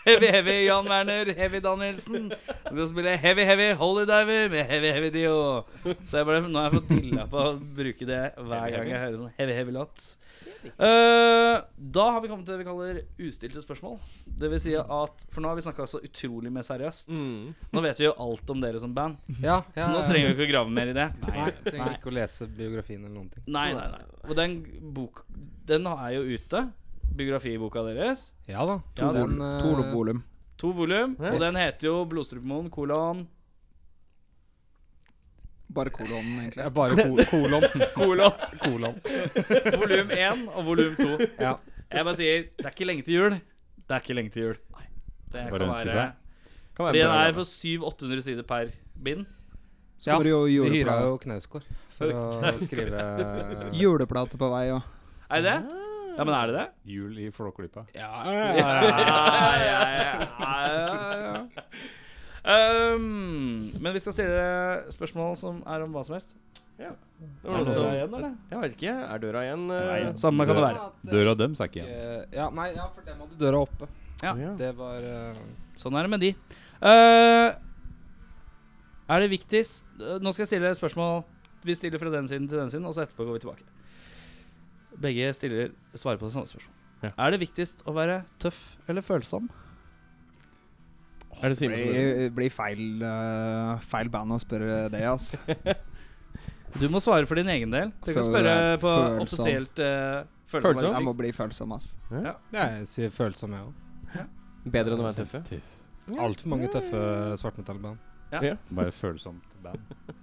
B: heavy, heavy Jan Werner, heavy Danielsen. Så skal spille heavy, heavy Holy Diver med heavy, heavy Dio. Så jeg bare, nå har jeg fått dilla på å bruke det hver gang jeg hører sånn heavy, heavy låt. Eh, da har vi kommet til det vi kaller ustilte spørsmål. Det vil si at, For nå har vi snakka så utrolig mer seriøst.
A: Mm.
B: Nå vet vi jo alt om dere som band,
D: Ja,
B: så
D: ja,
B: nå
D: ja.
B: trenger vi ikke å grave mer i det.
D: Nei, trenger ikke å lese biografien eller noen ting.
B: Nei, nei, nei. Og den bok, den er jo ute. Biografiboka deres.
D: Ja da.
B: Ja,
E: Vol-
D: den, eh,
E: to volum.
B: To volum. Og
A: Yes.
B: den heter jo 'Blodstrupemoen kolon
E: Bare kolonen, egentlig.
D: Ja, bare kol kolon.
B: (laughs) kolon
D: kolon.
B: volum 1 og volum 2.
D: Ja.
B: Jeg bare sier det er ikke lenge til jul. Det er ikke lenge til jul. Det
F: Bare
B: kan
F: ønske
B: være
F: seg.
A: Kan
B: Fordi
A: være
B: den
A: bra,
B: er
A: da.
B: på 700-800 sider per bind.
E: Så var det jo
D: Vi hyra
E: juleplate.
D: jo
B: (laughs)
D: Knausgård for å skrive
E: juleplate på vei, ja.
B: Er det det?
A: Ah.
B: Ja, men er det det?
F: Jul i (laughs) Flåklypa.
B: ja, ja, ja, ja, ja. Um, men vi skal stille spørsmål som er om hva som helst.
A: Det var noen som-
B: igjen, eller?
A: Jeg vet ikke. Er døra igjen?
F: Nei,
A: eh?
B: Samme kan det være.
F: Døra døms er ikke igjen.
D: Eh, Ja, nei, ja, for dem hadde døra oppe.
B: Ja.
A: Ja.
D: Det var eh,
B: Sånn er det med de. Eh, er det viktigst eh, Nå skal jeg stille spørsmål. Vi stiller fra den siden til den siden, og så etterpå går vi tilbake. Begge stiller svarer på det samme spørsmålet.
A: Ja.
B: Er det viktigst å være tøff eller følsom?
A: Er det Simen som lurer?
E: Blir, blir feil, eh, feil band å spørre det, ass.
B: Du må svare for din egen del. Du kan
E: Føl-
B: spørre på
E: følsom.
B: offisielt eh, følsom.
A: Følsom?
E: Jeg må bli følsom, ass.
D: Jeg sier følsom, jeg òg.
A: Bedre enn å være tøffe?
D: Altfor mange tøffe svartmetallband.
F: Bare følsomt band.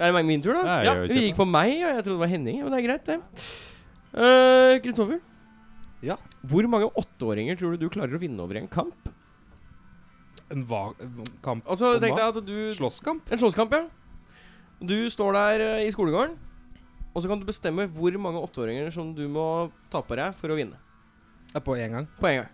A: Er det meg- min tur, da?
F: Nei,
A: ja,
F: jeg gjør
A: vi
F: ikke
A: gikk på meg, og jeg trodde det var Henning. Men det er greit, det. Eh, Kristoffer?
D: Ja.
A: Hvor mange åtteåringer tror du du klarer å vinne over i en kamp?
D: En va kamp
A: Altså,
D: Om
A: tenk deg
D: hva?
A: at du
D: Slåsskamp?
A: En slåsskamp, ja. Du står der eh, i skolegården, og så kan du bestemme hvor mange åtteåringer som du må ta på deg for å vinne.
D: Ja, på én gang.
A: På en gang.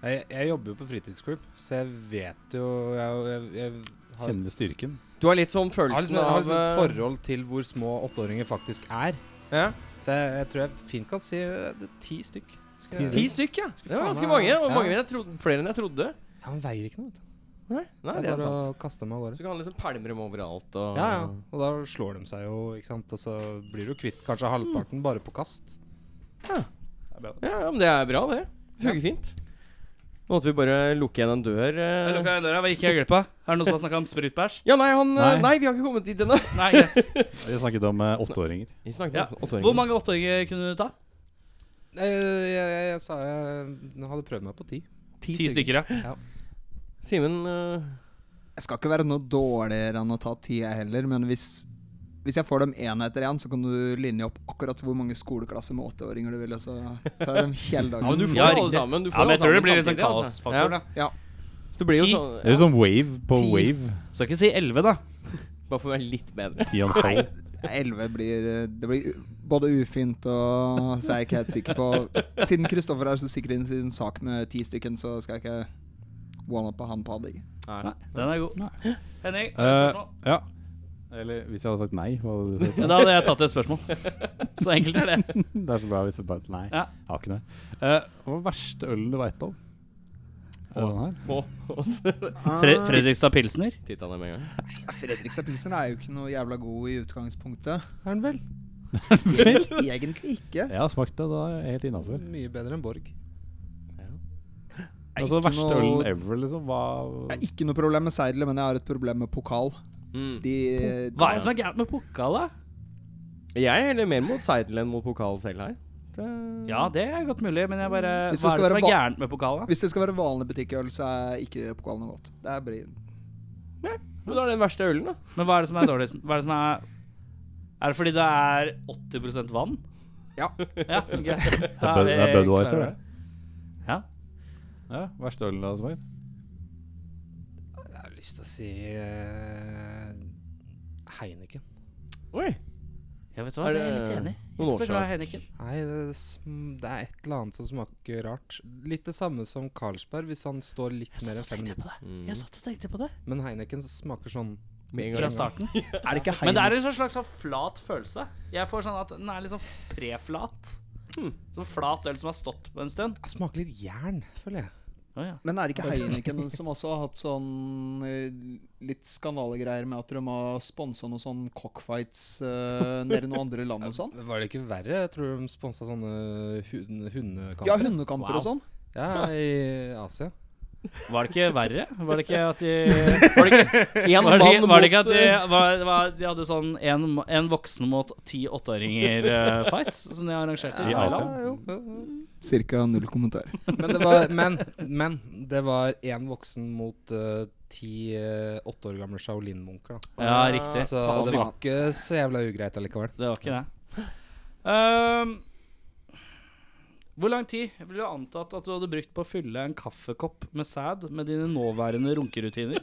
D: Jeg, jeg jobber jo på fritidsklubb, så jeg vet jo Jeg, jeg, jeg har,
F: Kjenner styrken.
A: Du har litt sånn
D: har
A: følelsen
D: liksom, jeg har liksom et
A: av eh,
D: forhold til hvor små åtteåringer faktisk er.
A: ja.
D: Så jeg, jeg tror jeg fint kan si eh, det, er ti stykk. Skal jeg-
A: Ti stykk, ja. Det var
D: faen
A: ganske
D: meg-
A: mange. Det var
D: ja.
A: mange enn jeg trodde, flere enn jeg trodde.
D: Ja, Han veier ikke noe, vet du.
A: Nei, nei
D: Det
A: det
D: er
A: er
D: bare
A: sant.
D: å kaste dem av gårde.
A: Så kan han liksom pælme dem overalt og
D: Ja, ja. Og da slår de seg jo, ikke sant. Og så blir du kvitt kanskje halvparten bare på kast.
A: Ja, ja, men det er bra, det. Det Fungerer fint. Nå måtte vi bare lukke igjen en dør. eh.
B: Jeg lukka igjen døra. Hva gikk jeg glipp av? Er det noen som har snakka om sprutbæsj?
A: Ja, nei, han eh,
F: Nei.
A: Nei, vi har ikke kommet dit ennå.
B: (laughs) Nei, greit.
F: Vi snakket om eh, åtteåringer.
A: Vi snakket
B: Ja.
A: om åtteåringer.
B: Hvor mange åtteåringer kunne du ta?
D: Nei, Eh, Jeg, jeg, jeg, sa jeg hadde prøvd meg på ti.
B: Ti stykker, ja.
A: Simen eh,
E: Jeg skal ikke være noe dårligere enn å ta ti, jeg heller, men hvis, hvis jeg får dem én etter én, så kan du linje opp akkurat hvor mange skoleklasser med åtteåringer du vil, og så tar jeg dem
A: Ja, men
E: hele dagen.
A: du får
B: Ja,
A: jo alle
B: riktig.
A: sammen. Du får
B: Ja, men
A: alle
B: jeg tror det
A: sammen
B: blir litt sånn
A: samtidig, altså.
B: kaosfaktor, da.
E: Ja.
A: Ja. Så det blir jo
B: Ti.
A: sånn
F: Det er sånn wave på
E: Ti.
F: wave.
B: sånn- Skal ikke si elleve, da.
A: Bare for å være litt bedre.
F: Ti og en halv.
E: Elleve blir Det blir u- både ufint og Så er jeg ikke helt sikker på Siden Kristoffer er så sikker i sin sak med ti stykken, så skal jeg ikke one-uppe han på det.
B: Nei, den er god. Henning, har du
F: Eh,
B: spørsmål?
F: ja. Eller hvis jeg hadde sagt nei, hva hadde du sagt? (laughs)
B: Ja, Da hadde jeg tatt et spørsmål. (laughs) Så enkelt er det.
F: Det er så bra hvis det bare Nei,
B: Ja.
F: jeg har ikke noe. Eh, hva var verste ølen du veit om? Er det den her?
B: Fre Fredrikstad Pilsner.
A: Titta ned med en gang.
E: Fredrikstad Pilsner er jo ikke noe jævla god i utgangspunktet.
D: Er den vel?
E: Egentlig ikke.
F: Jeg har smakt det, da er jeg helt innafor.
D: Mye bedre enn Borg.
E: er
F: Altså
E: ikke
F: verste
E: noe-
F: ølen ever, liksom. Hva
E: Jeg har ikke noe problem med seidler, men jeg har et problem med pokal.
A: Mm.
E: De,
B: Hva er det som er gærent med pokal, da?
A: Jeg heller mer mot seidel enn mot pokal selv her. Det-
B: Ja, det er godt mulig, men jeg bare
E: Hvis du
B: Hva er
E: skal
B: det som
E: være
B: er
E: va-
B: gærent med pokalen? da?
E: Hvis det skal være vanlig butikkøl, så er ikke pokalen noe godt. Det er bri...
A: Men da er det den verste ølen, da.
B: Men hva er det som er dårligst? Hva er det som er Er det fordi det er 80 vann?
E: Ja.
A: (laughs)
B: Ja, greit. Det
F: Bud- Det er Budwiser, det.
B: Ja.
F: Ja, Verste øl du har smakt?
D: Jeg har lyst til å si eh, Heineken.
A: Oi.
B: Jeg vet hva,
A: Er
B: det er jeg
A: det
B: litt enig i. Jeg
A: noen
B: er ikke
A: år
B: så glad i
A: siden?
B: Heineken.
D: Nei, det, sm- det er et eller annet som smaker rart. Litt det samme som Carlsberg, hvis han står litt
B: Jeg
D: mer
B: satt og
D: enn fem
B: tenkte
D: minutter. Mm.
B: på det. Jeg satt og tenkte på det
D: Men Heineken smaker sånn
A: Med en gang.
B: fra (laughs) starten.
E: Er det ikke
B: Men det er en sånn slags sånn flat følelse. Jeg får sånn at den er liksom preflat.
D: Hmm.
B: Sånn flat øl som har stått på en stund.
D: Det smaker litt jern, føler jeg.
B: Å ja.
E: Men er det ikke Heineken som også har hatt sånn eh, litt skandalegreier med at de har sponsa noen sånn cockfights eh, nede i noen andre land og
B: (laughs)
E: sånn?
D: Var det ikke verre? Jeg tror de sponsa sånne hun, hundekamper.
E: Ja, hundekamper
B: Wow.
E: og sånn.
D: Ja, i Asia.
B: Var det ikke verre? Var det ikke at de (laughs) Var det ikke,
A: En
B: var det ikke,
A: mann
B: var det ikke
A: mot
B: at de, eh, var, var, de hadde sånn en, en voksen mot ti åtteåringer-fights som de arrangerte?
F: I
B: i
F: Asia.
B: Thailand?
D: jo, jo, jo.
E: Cirka null kommentar.
D: Men det var Men, men det var én voksen mot eh, ti eh, åtte år gamle Shaolin-munker. da.
B: Ja, riktig.
D: Så det var ikke så jævla ugreit allikevel.
B: Det var ikke det. Ehm, hvor lang tid ville du antatt at du hadde brukt på å fylle en kaffekopp med sæd med dine nåværende runkerutiner?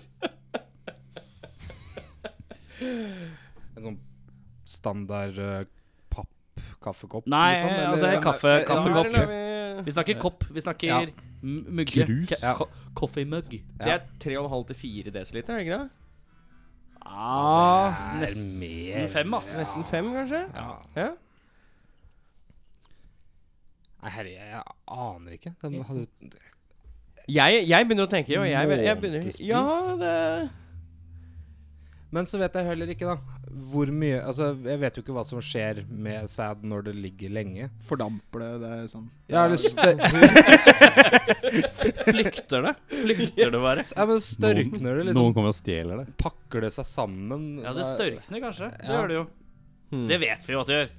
D: En sånn standard eh, papp-kaffekopp.
F: sånn,
B: Nei,
D: liksom, eller-
B: altså
D: Ja,
B: kaffe,
D: nei,
B: kaffekopp.
D: ja,
B: Vi snakker kopp, vi snakker
D: Ja.
B: m- mugge.
F: Krus.
B: Ka- ko- Coffee mug.
A: Det er 3,5 til 4 desiliter, er det ikke det?
B: Ah,
D: Det er mer.
B: nesten fem, ass.
A: Nesten 5, kanskje?
B: Ja.
A: Ja.
D: Nei, herre, jeg aner ikke. De hadde,
A: Jeg, jeg begynner å tenke, jo. Jeg, jeg, jeg begynner
D: Månedspris.
A: Ja, det
D: men så vet jeg heller ikke, da. Hvor mye Altså, jeg vet jo ikke hva som skjer med sæd når det ligger lenge.
E: Fordamper det, det er sånn.
D: Jeg har lyst til
B: Flykter det? Flykter det
D: (laughs)
B: bare?
D: (laughs) Ja, men størkner
F: Noen
D: det, liksom?
F: kommer og stjeler det.
D: Pakker det seg sammen?
B: Ja, det størkner kanskje. Det
D: Ja.
B: gjør det jo.
A: Hmm.
B: Det vet vi jo at det gjør.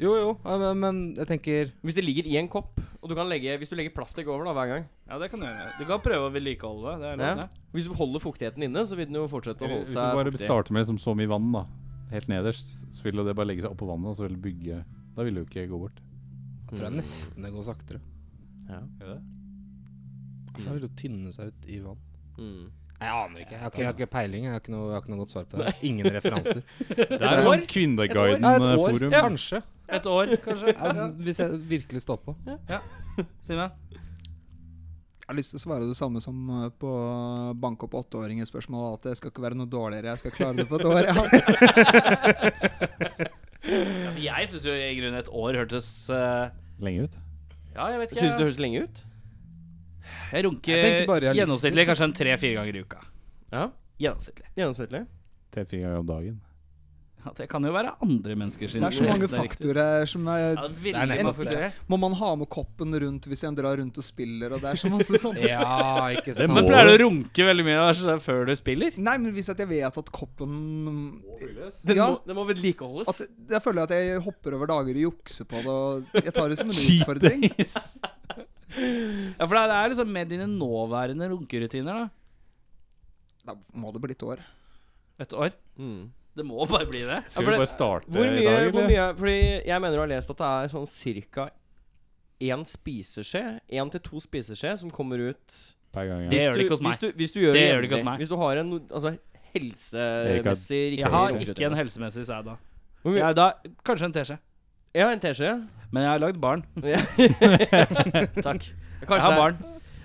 D: Jo, jo, ja, men- men jeg tenker
A: Hvis det ligger i en kopp, og du kan legge Hvis du legger plastikk over da hver gang
B: Ja, det kan du gjøre. Du kan prøve å vedlikeholde det. det. er
A: Ja.
B: lov, det.
A: Hvis du holder fuktigheten inne, så vil den jo fortsette å holde
F: Hvis du
A: seg
F: bare
A: fuktig.
F: starter med liksom så mye vann, da, helt nederst, så vil jo det bare legge seg oppå vannet, og så vil det bygge Da vil det jo ikke gå bort.
D: Jeg tror jeg nesten det går saktere. For det vil jo tynne seg ut i vann.
A: Mm.
D: Nei, Jeg aner ikke. Jeg har ikke, jeg har ikke peiling. Jeg har ikke, noe, jeg har ikke noe godt svar på det. Ingen referanser.
F: Det er
A: år?
F: sånn
C: eh,
F: Kvinneguiden-forum.
D: (laughs) Ja, kanskje.
B: Et år, kanskje.
D: Ja, hvis jeg virkelig står på.
B: Simen?
E: Jeg har lyst til å svare det samme som eh, på bank opp åtteåringer-spørsmålet. At det skal ikke være noe dårligere. Jeg skal klare det på et år. Ja.
B: Ja, for jeg syns jo i grunnen et år hørtes eh,
F: Lenge ut.
B: Ja, jeg vet ikke.
A: Syns du det høres lenge ut?
B: Jeg runker
D: Jeg tenker bare realistisk.
B: gjennomsnittlig kanskje en tre-fire ganger i uka.
A: Ja.
B: Gjennomsnittlig.
A: Gjennomsnittlig?
F: Tre-fire ganger om dagen.
B: Ja, det kan jo være andre menneskers
E: Det er så
B: (laughs)
E: mange
B: riktig.
E: faktorer som er
B: Ja, det
D: Det
B: er
D: er
B: veldig
E: nettopp
B: mange faktorer.
E: Må man ha med koppen rundt hvis en drar rundt og spiller, og det er så
B: (laughs)
E: masse sånn
D: (laughs) Ja, ikke sant.
B: Men pleier du å runke veldig mye altså, før du spiller?
E: Nei, men hvis at jeg vet at koppen
A: Den
E: Ja.
A: må, den må vedlikeholdes.
E: at Jeg føler at jeg hopper over dager og jukser på det. Og jeg tar det som en utfordring.
B: Ja, for det er liksom med dine nåværende runkerutiner, da.
E: Da må det bli et år.
B: Et år.
A: Mm.
B: Det må bare bli det.
A: Ja,
F: Skal
A: for
F: vi
A: det,
F: bare starte
A: hvor
F: i
A: mye,
F: dag,
A: hvor
F: eller?
A: mye Fordi jeg mener du har lest at det er sånn cirka én spiseskje, én til to spiseskje, som kommer ut
F: Per gang,
B: Det
F: ja.
B: gjør det
A: du-
B: ikke hos meg.
A: Hvis du, hvis du gjør
B: Det
A: det,
B: gjør det ikke hos
A: jevnlig.
B: meg.
A: Hvis du har en altså, helsemessig riktig
B: Jeg har
A: rundt
B: ikke
A: utgang.
B: en helsemessig sæd da.
A: Hvor
B: Jeg
A: mye-
B: er da kanskje en teskje.
A: Jeg har en
B: (laughs)
A: teskje.
B: Men jeg har lagd barn.
A: Ja.
B: Takk.
A: Kanskje
B: jeg har
A: det er-
B: barn.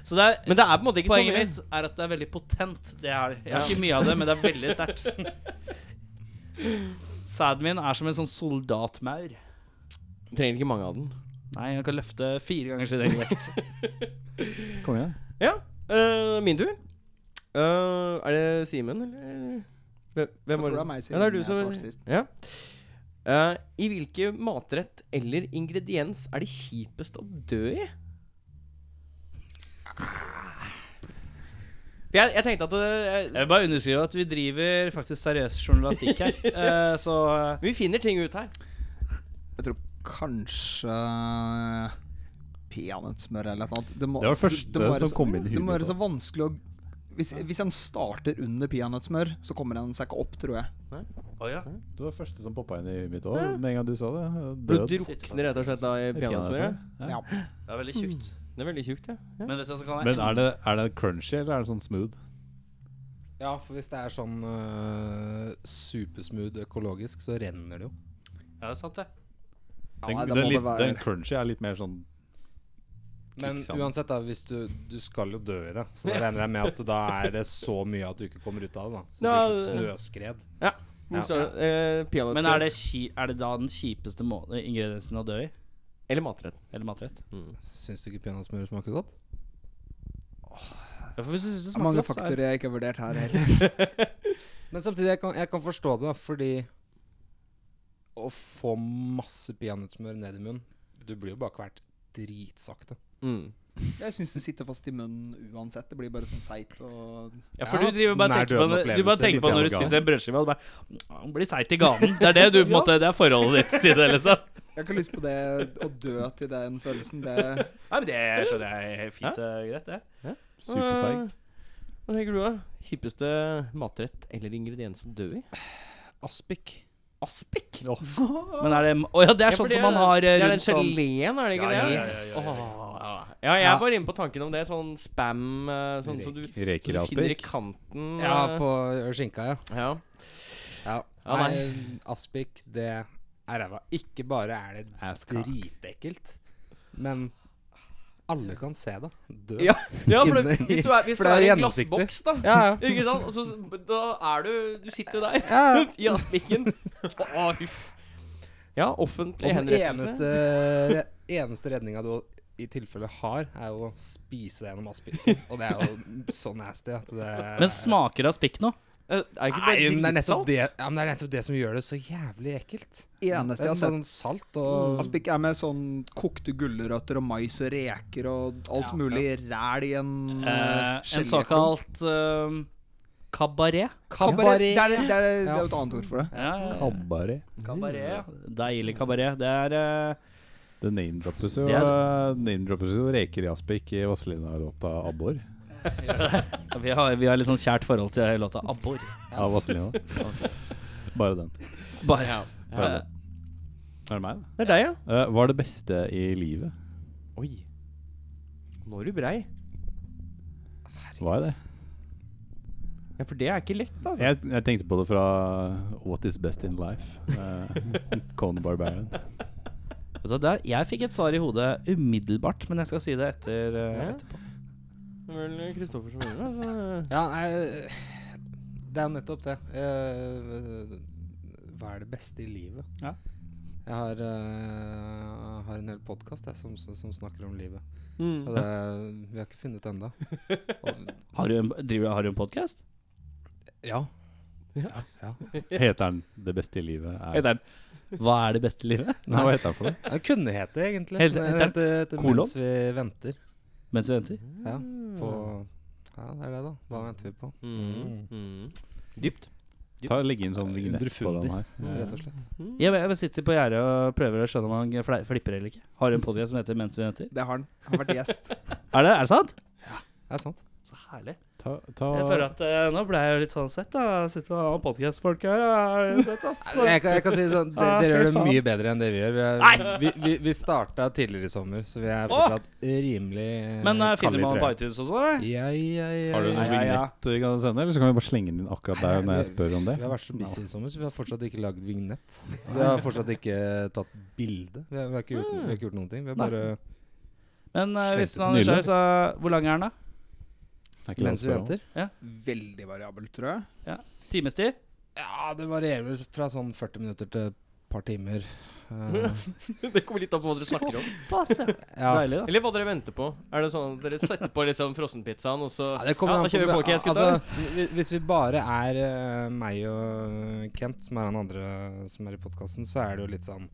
B: Så det er
A: Men det er på en måte ikke
B: Poenget
A: så mye.
B: mitt er at det er veldig potent. Det er det. Jeg har
A: Ja.
B: ikke mye av det, men det er veldig sterkt. Sæden min er som en sånn soldatmaur.
A: Trenger ikke mange av den.
B: Nei, jeg kan løfte fire ganger sin egen vekt.
F: Kom igjen.
A: Eh, min tur. Eh, er det Simen, eller? Hvem, hvem
E: Jeg
A: var
E: tror det
A: det?
E: er meg
A: Ja, det er
E: siden
A: du
E: jeg
A: som
E: svarte sist.
A: ja. Eh, I hvilke matrett eller ingrediens er det kjipest å dø i?
E: Ah.
A: For Jeg, jeg tenkte at det,
B: Jeg vil bare underskrive at vi driver faktisk seriøs journalistikk her. Eh, så eh,
A: Vi finner ting ut her.
E: Jeg tror kanskje eh, peanøttsmør eller noe annet. Det, må,
F: Det var det første
E: må være
F: som kom inn i
E: Det må være
F: huet.
E: så vanskelig å hvis, hvis en starter under peanøttsmør, så kommer en seg ikke opp, tror jeg.
B: Å ja.
F: Det var det første som poppa inn i huet mitt òg, med en gang du sa det.
A: Du
F: Død.
A: drukner rett og slett da i peanøttsmøret?
E: Ja.
B: Det er veldig tjukt.
A: Det er veldig tjukt, ja.
B: Men vet du hva som kan
F: Men
B: være
F: er det, er det crunchy, eller er det sånn smooth?
D: Ja, for hvis det er sånn øh, supersmooth økologisk, så renner det jo.
B: Ja, det er sant, det.
E: Ja,
F: Den,
E: nei, det
F: den,
E: må det
F: litt,
E: være.
F: den crunchy er litt mer sånn
D: Men
F: Ikke sant.
D: uansett, da, hvis du, du skal jo dø i det, så da regner jeg med at da er det så mye at du ikke kommer ut av det. da Så det blir
A: Ja,
D: som et snøskred.
A: Bokstavelig. Eh, peanøttsmør.
B: Men er det, ki er det da den kjipeste må ingrediensen å dø i?
A: Eller matrett.
B: Eller matrett?
D: Syns du ikke peanøttsmør smaker godt?
B: Ja, for hvis du synes det
E: Det er mange
B: smaker godt, så er
E: faktorer jeg ikke har vurdert her heller.
D: Men samtidig, jeg kan, jeg kan forstå det, da, fordi å få masse peanøttsmør ned i munnen Du blir jo bare kvert dritsakte.
A: Mm.
E: Jeg syns det sitter fast i munnen uansett. Det blir bare sånn seigt og
B: ja, for
D: Ja,
B: du driver bare
D: nær
B: og tenker på,
D: døden
B: det- du bare
D: opplevelse,
B: tenker på
F: sitter
B: når du
F: jeg og
B: spiser en brødskive, og du bare «Å, Blir seigt i ganen. Det er det du på en måte Det er forholdet ditt til det, liksom.
E: Jeg har ikke lyst på det å dø til den følelsen. Det
B: Nei, men det skjønner jeg helt fint. eh, greit, det.
F: superseig.
A: Hva tenker du, da? Kjipeste matrett eller ingrediens å dø i?
D: Aspik.
A: Aspik?
B: Men er det Å ja, det er sånn
A: for
B: som man har
A: Det
B: eh,
A: er den
B: rundt sånn
A: geleen, er det
B: Ja,
A: ikke
B: ja,
A: det?
B: ja, ja, ja,
A: Åh, ja, jeg
E: Ja.
A: var inne på tanken om det. Sånn spam eh, Sånn som du, som
F: Reker i
A: du finner i
F: aspik.
A: kanten.
D: Ja,
A: eh,
D: på skinka, ja.
A: ja.
D: ja.
A: Ja, nei.
D: Nei, aspik, det er ræva. Ikke bare er det dritekkelt, men alle kan se det. Dø.
A: Ja. ja, for det,
D: (laughs) Inne i-
A: hvis du er, hvis
D: for
A: du
D: det er
A: er i en
D: gjennomsiktig.
A: glassboks, da.
D: Ja, ja.
A: Ikke sant? Og så, da er du Du sitter jo der,
D: Ja.
A: (laughs) i aspikken. Å, huff. Ja, offentlig
D: Og den
A: henrettelse.
D: eneste, re, eneste redninga du i tilfelle har, er jo å spise deg gjennom aspikken. Og det er jo så nasty at det
B: Men smaker av spikk nå?
A: Eh, Er ikke
D: Nei, men det er
A: bare dritsalt?
D: nettopp det, ja, men det er nettopp det som gjør det så jævlig ekkelt. Det
E: eneste
D: er
E: jeg har sett
D: sånn salt og
E: Aspik er med sånn kokte gulrøtter og mais og reker og alt mulig ræl i en
B: Eh, en
E: gelé.
B: såkalt eh, kabaret.
E: Kabaret.
D: Kabaret.
E: Det er, det, er, det er
D: Ja.
E: jo et annet ord for det.
B: Ja, ja, ja.
F: Kabaret.
B: Kabaret. Deilig kabaret. Det er eh,
F: Det name-droppes jo,
B: Det
F: name jo reker i aspik i Vazelina-låta 'Abbor'.
B: vi, har, vi har litt sånn kjært forhold til låta Abbor.
F: Av
A: (laughs)
F: Vazelina. Bare den.
B: Bare ja.
F: Bare den. Er det meg, da?
A: Det er deg, ja.
F: Eh, hva er det beste i livet?
A: Oi. Nå er du brei.
F: Hva er det?
A: Ja, for det er ikke lett, altså.
F: Jeg, jeg tenkte på det fra 'What is best in life'. Uh, (laughs) Conan Barbarian.
B: Vet du hva, der, jeg fikk et svar i hodet umiddelbart, men jeg skal si det etter. eh,
A: Ja.
B: etterpå.
A: Det er vel Kristoffer som gjør det, altså.
D: Ja, nei, det er jo nettopp det. Eh, hva er det beste i livet?
B: Ja.
D: Jeg har, eh, har en hel podkast som, som snakker om livet.
A: Mm.
D: Og det, vi har ikke funnet ut ennå.
B: Har du en, driver, har du en podkast?
D: Ja.
F: Heter den 'Det beste i livet'? Er
B: Hva er det beste i livet?
F: Nei, hva heter den for noe?
D: Det kunne hete egentlig.
B: Helt-
D: Men
B: heter
D: det heter
B: kolon?
D: Mens vi venter
B: Mens vi venter.
D: ja, på Ja, det er det, da. Hva venter vi på?
A: Mm. Mm. (laughs) Dypt.
F: Ta, legg inn sånn vignett på den her.
D: Rett og slett.
B: Jeg, jeg sitter på gjerdet og prøver å skjønne om han fle- flipper eller ikke. Har du en podkast som heter 'Mens vi venter'?
E: Det har han. Han har vært gjest.
B: Er det, er det sant?
D: Det er sant.
B: Så herlig.
F: Ta, ta,
B: Jeg føler at eh, nå ble jeg jo litt sånn sett, da. Sitter og har podkastfolk her. jeg er sett,
F: (laughs)
B: ass.
D: Jeg kan, jeg kan si det sånn, dere,
B: Ah,
D: dere gjør
B: fy
D: det
B: faen.
D: mye bedre enn det vi gjør. Vi, er, vi, vi, vi starta tidligere i sommer, så vi er fortsatt rimelig eh,
B: Men eh,
D: kalde
B: finner
D: i
B: man på
D: trøya.
B: iTunes også, eller?
D: Ja, ja, ja.
F: Har du noen
B: Ja, ja, ja.
F: vignett vi kan sende, eller så kan vi bare slenge den inn akkurat
D: Nei,
F: der
D: nei,
F: når jeg
D: vi-
F: spør om det?
D: Vi har vært så busy i sommer, så vi har fortsatt ikke lagd vignett. Vi har fortsatt ikke tatt bilde. Vi, har- vi, har ikke gjort- vi har ikke gjort noen ting. Vi har
B: Mm. Nei.
D: bare
B: Men eh, hvis
F: Slengte
B: man
F: den nylig.
B: er nysgjerrig, så Hvor lang er den, da?
F: Det er ikke lov å
D: Mens vi
F: spørre om.
D: venter.
E: Veldig variabel, tror jeg.
B: Timestid?
D: Ja, det varierer vel fra sånn 40 minutter til et par timer.
B: (laughs)
D: Eh,
A: Det kommer litt an på hva dere snakker om.
B: Pass, ja.
D: ja.
B: Deilig, da.
A: Eller hva dere venter på. Er det sånn at dere setter på liksom frossenpizzaen, og så
D: Ja, det kommer
A: Ja,
D: an
A: da kjører vi
D: på
A: podcast,
D: altså, hvi- Hvis vi bare er eh, meg og Kent, som er han andre som er i podkasten, så er det jo litt sånn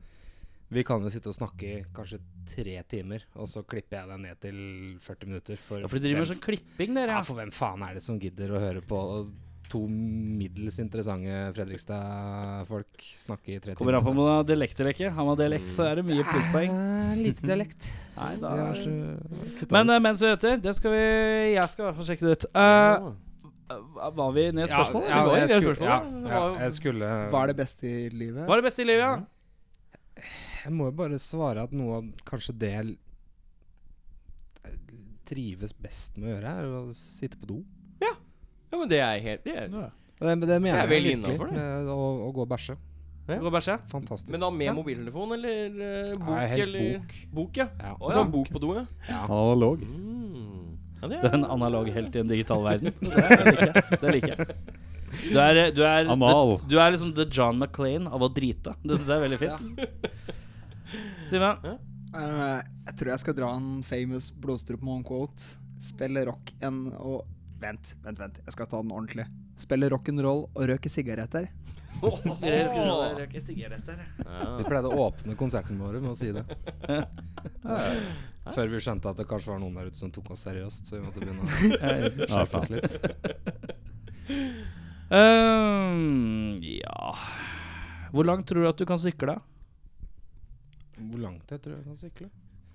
D: Vi kan jo sitte og snakke i kanskje tre timer, og så klipper jeg deg ned til 40 minutter. For,
B: Ja, for de driver med
D: hvem-
B: sånn klipping, dere.
D: ja,
B: Ja.
D: for hvem faen er det som gidder å høre på og to middels interessante Fredrikstad-folk snakke i tre
B: Kommer an på om
D: timer.
B: man har dialekt eller ikke. Har man dialekt, så er det mye plusspoeng.
D: Eh, Lite dialekt.
B: Nei, da
D: Det er
B: er
D: så- kutta
B: Men
D: ut.
B: eh, mens vi venter, det skal vi Jeg skal i hvert fall sjekke det ut. Eh, var vi ned et spørsmål?
D: Ja,
B: vi går
D: ja,
B: i
D: jeg
B: et
D: skulle,
B: spørsmål.
D: ja,
B: da. Det
D: ja,
B: var jo-
D: jeg skulle
E: Hva er det beste i livet?
B: Hva er det beste i livet? Ja?
D: Jeg må jo bare svare at noe av kanskje det jeg trives best med å gjøre, er å sitte på do.
A: Ja, men det er helt det er,
D: Det, det mener
A: Jeg er
D: jeg,
A: vel
D: virkelig.
A: innenfor det.
D: med Å, å gå og bæsje.
B: Gå og bæsje?
D: Fantastisk.
A: Men da med mobiltelefon eller eh, bok?
D: Nei, helst
A: eller,
D: bok.
A: Bok, ja.
D: Ja.
A: Og sånn bok på do, ja.
F: Analog.
A: Mm. ja
B: (laughs)
A: det
B: Du er en analog helt i en digital verden. (laughs) Det liker jeg. Det liker jeg. Du er, du, er,
F: Anal.
B: du er liksom the John McClain av å drite. Det syns jeg er veldig fint. Simen,
E: Eh, jeg tror jeg skal dra en famous blodstrupmonk-quote. Spille rock en og Vent, vent, vent. Jeg skal ta den ordentlig. Spille rock'n'roll og røke sigaretter.
B: inspirerer kroner og røker sigaretter.
D: Vi pleide å åpne konserten vår med å si det. Før vi skjønte at det kanskje var noen der ute som tok oss seriøst. Så vi måtte begynne å skjerpe oss litt.
B: Ehm, ja Hvor langt tror du at du kan sykle?
D: Hvor langt jeg tror jeg kan sykle?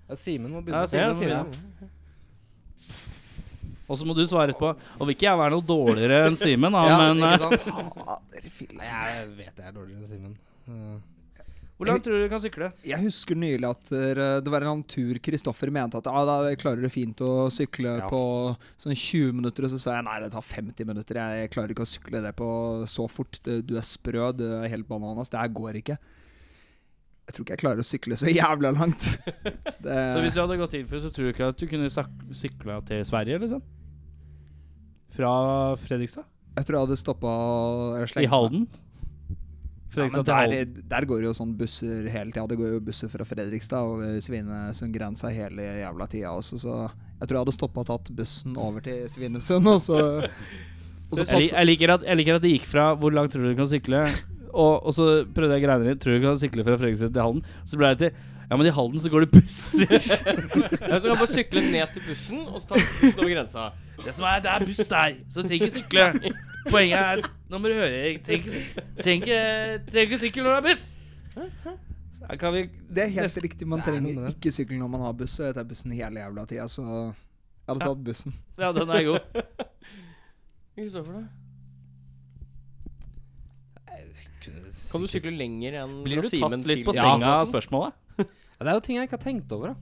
D: Ja, Simen må
B: Ja,
D: begynne.
B: Simen må begynne. Og så må du svare etterpå. Og vil ikke jeg være noe dårligere enn Simen, da,
D: Ja,
B: men
D: ikke
B: eh,
D: sant?
E: Fader, fille.
D: Nei, Jeg vet jeg er dårligere enn Simen. Eh,
B: hvor langt tror du du kan sykle?
E: Jeg husker nylig at eh, det var en eller annen tur Kristoffer mente at ah, da klarer du fint å sykle
D: Ja.
E: på sånn 20 minutter, og så sa jeg nei, det tar 50 minutter. Jeg, jeg klarer ikke å sykle det på så fort. Det- Du er sprø, du er helt bananas. Det her går ikke. Jeg tror ikke jeg klarer å sykle så jævla langt.
B: (laughs)
E: Det,
B: Så hvis du hadde gått inn for det, så tror du ikke at du kunne sak- sykla til Sverige, liksom? Fra Fredrikstad?
E: jeg tror jeg hadde stoppa
B: I Halden?
E: Ja, men
B: Fredrikstad til
E: der,
B: Halden.
E: der går jo sånn busser hele tida. Det går jo busser fra Fredrikstad over Svinesundgrensa hele jævla tida også, så jeg tror jeg hadde stoppa og tatt bussen over til Svinesund, og så (laughs) og
B: Jeg, lik-
E: så pass-
B: jeg, liker at, jeg liker at det gikk fra 'hvor langt tror du du kan sykle', og, og så prøvde jeg greiene dine 'tror du du kan sykle fra Fredrikstad til Halden', så ble det til 'ja, men i Halden så går det (laughs) busser'.
A: Ja, så kan du bare sykle ned til bussen, og så ta bussen over grensa.
B: det som er, det er buss der, så du trenger ikke sykle. Poenget er Nå må du høre. Trenger ikke sy- trenger ikke- trenger ikke sykle når det er buss. Da Kan vi
E: Det er helt riktig, man
D: Det er noe
E: trenger
D: med det.
E: ikke sykkel når man har buss. og Jeg tar bussen hele jævla tida, så jeg hadde tatt bussen.
B: Ja, den er god.
A: Kristoffer, da?
D: kunne
A: Kan du sykle lenger enn
B: Blir du
A: fra Simen
B: tatt litt på
A: til-
B: senga sånn?
A: Ja,
B: av spørsmålet?
D: Ja, det er jo ting jeg ikke har tenkt over, da.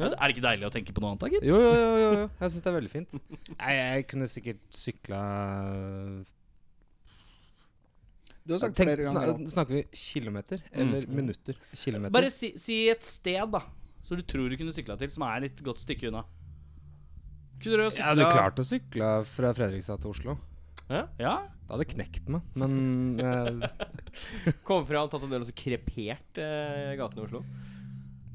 B: Ja, Er det ikke deilig å tenke på noe annet, da, gitt?
D: Jo, jo, jo. jo, jo. Jeg syns det er veldig fint. Nei, jeg kunne sikkert sykla
E: Du har sagt
D: Tenk,
E: flere
D: sna
E: ganger Mm. at
D: Snakker vi kilometer eller minutter? Kilometer.
B: Bare si, si et sted, da, som du tror du kunne sykla til, som er et godt stykke unna. Kunne du
D: Jeg hadde klart å sykle fra Fredrikstad til Oslo.
B: Ja?
D: Det hadde knekt meg, men eh,
A: Kom fra og tatt en øl og så krepert eh, gaten i Oslo.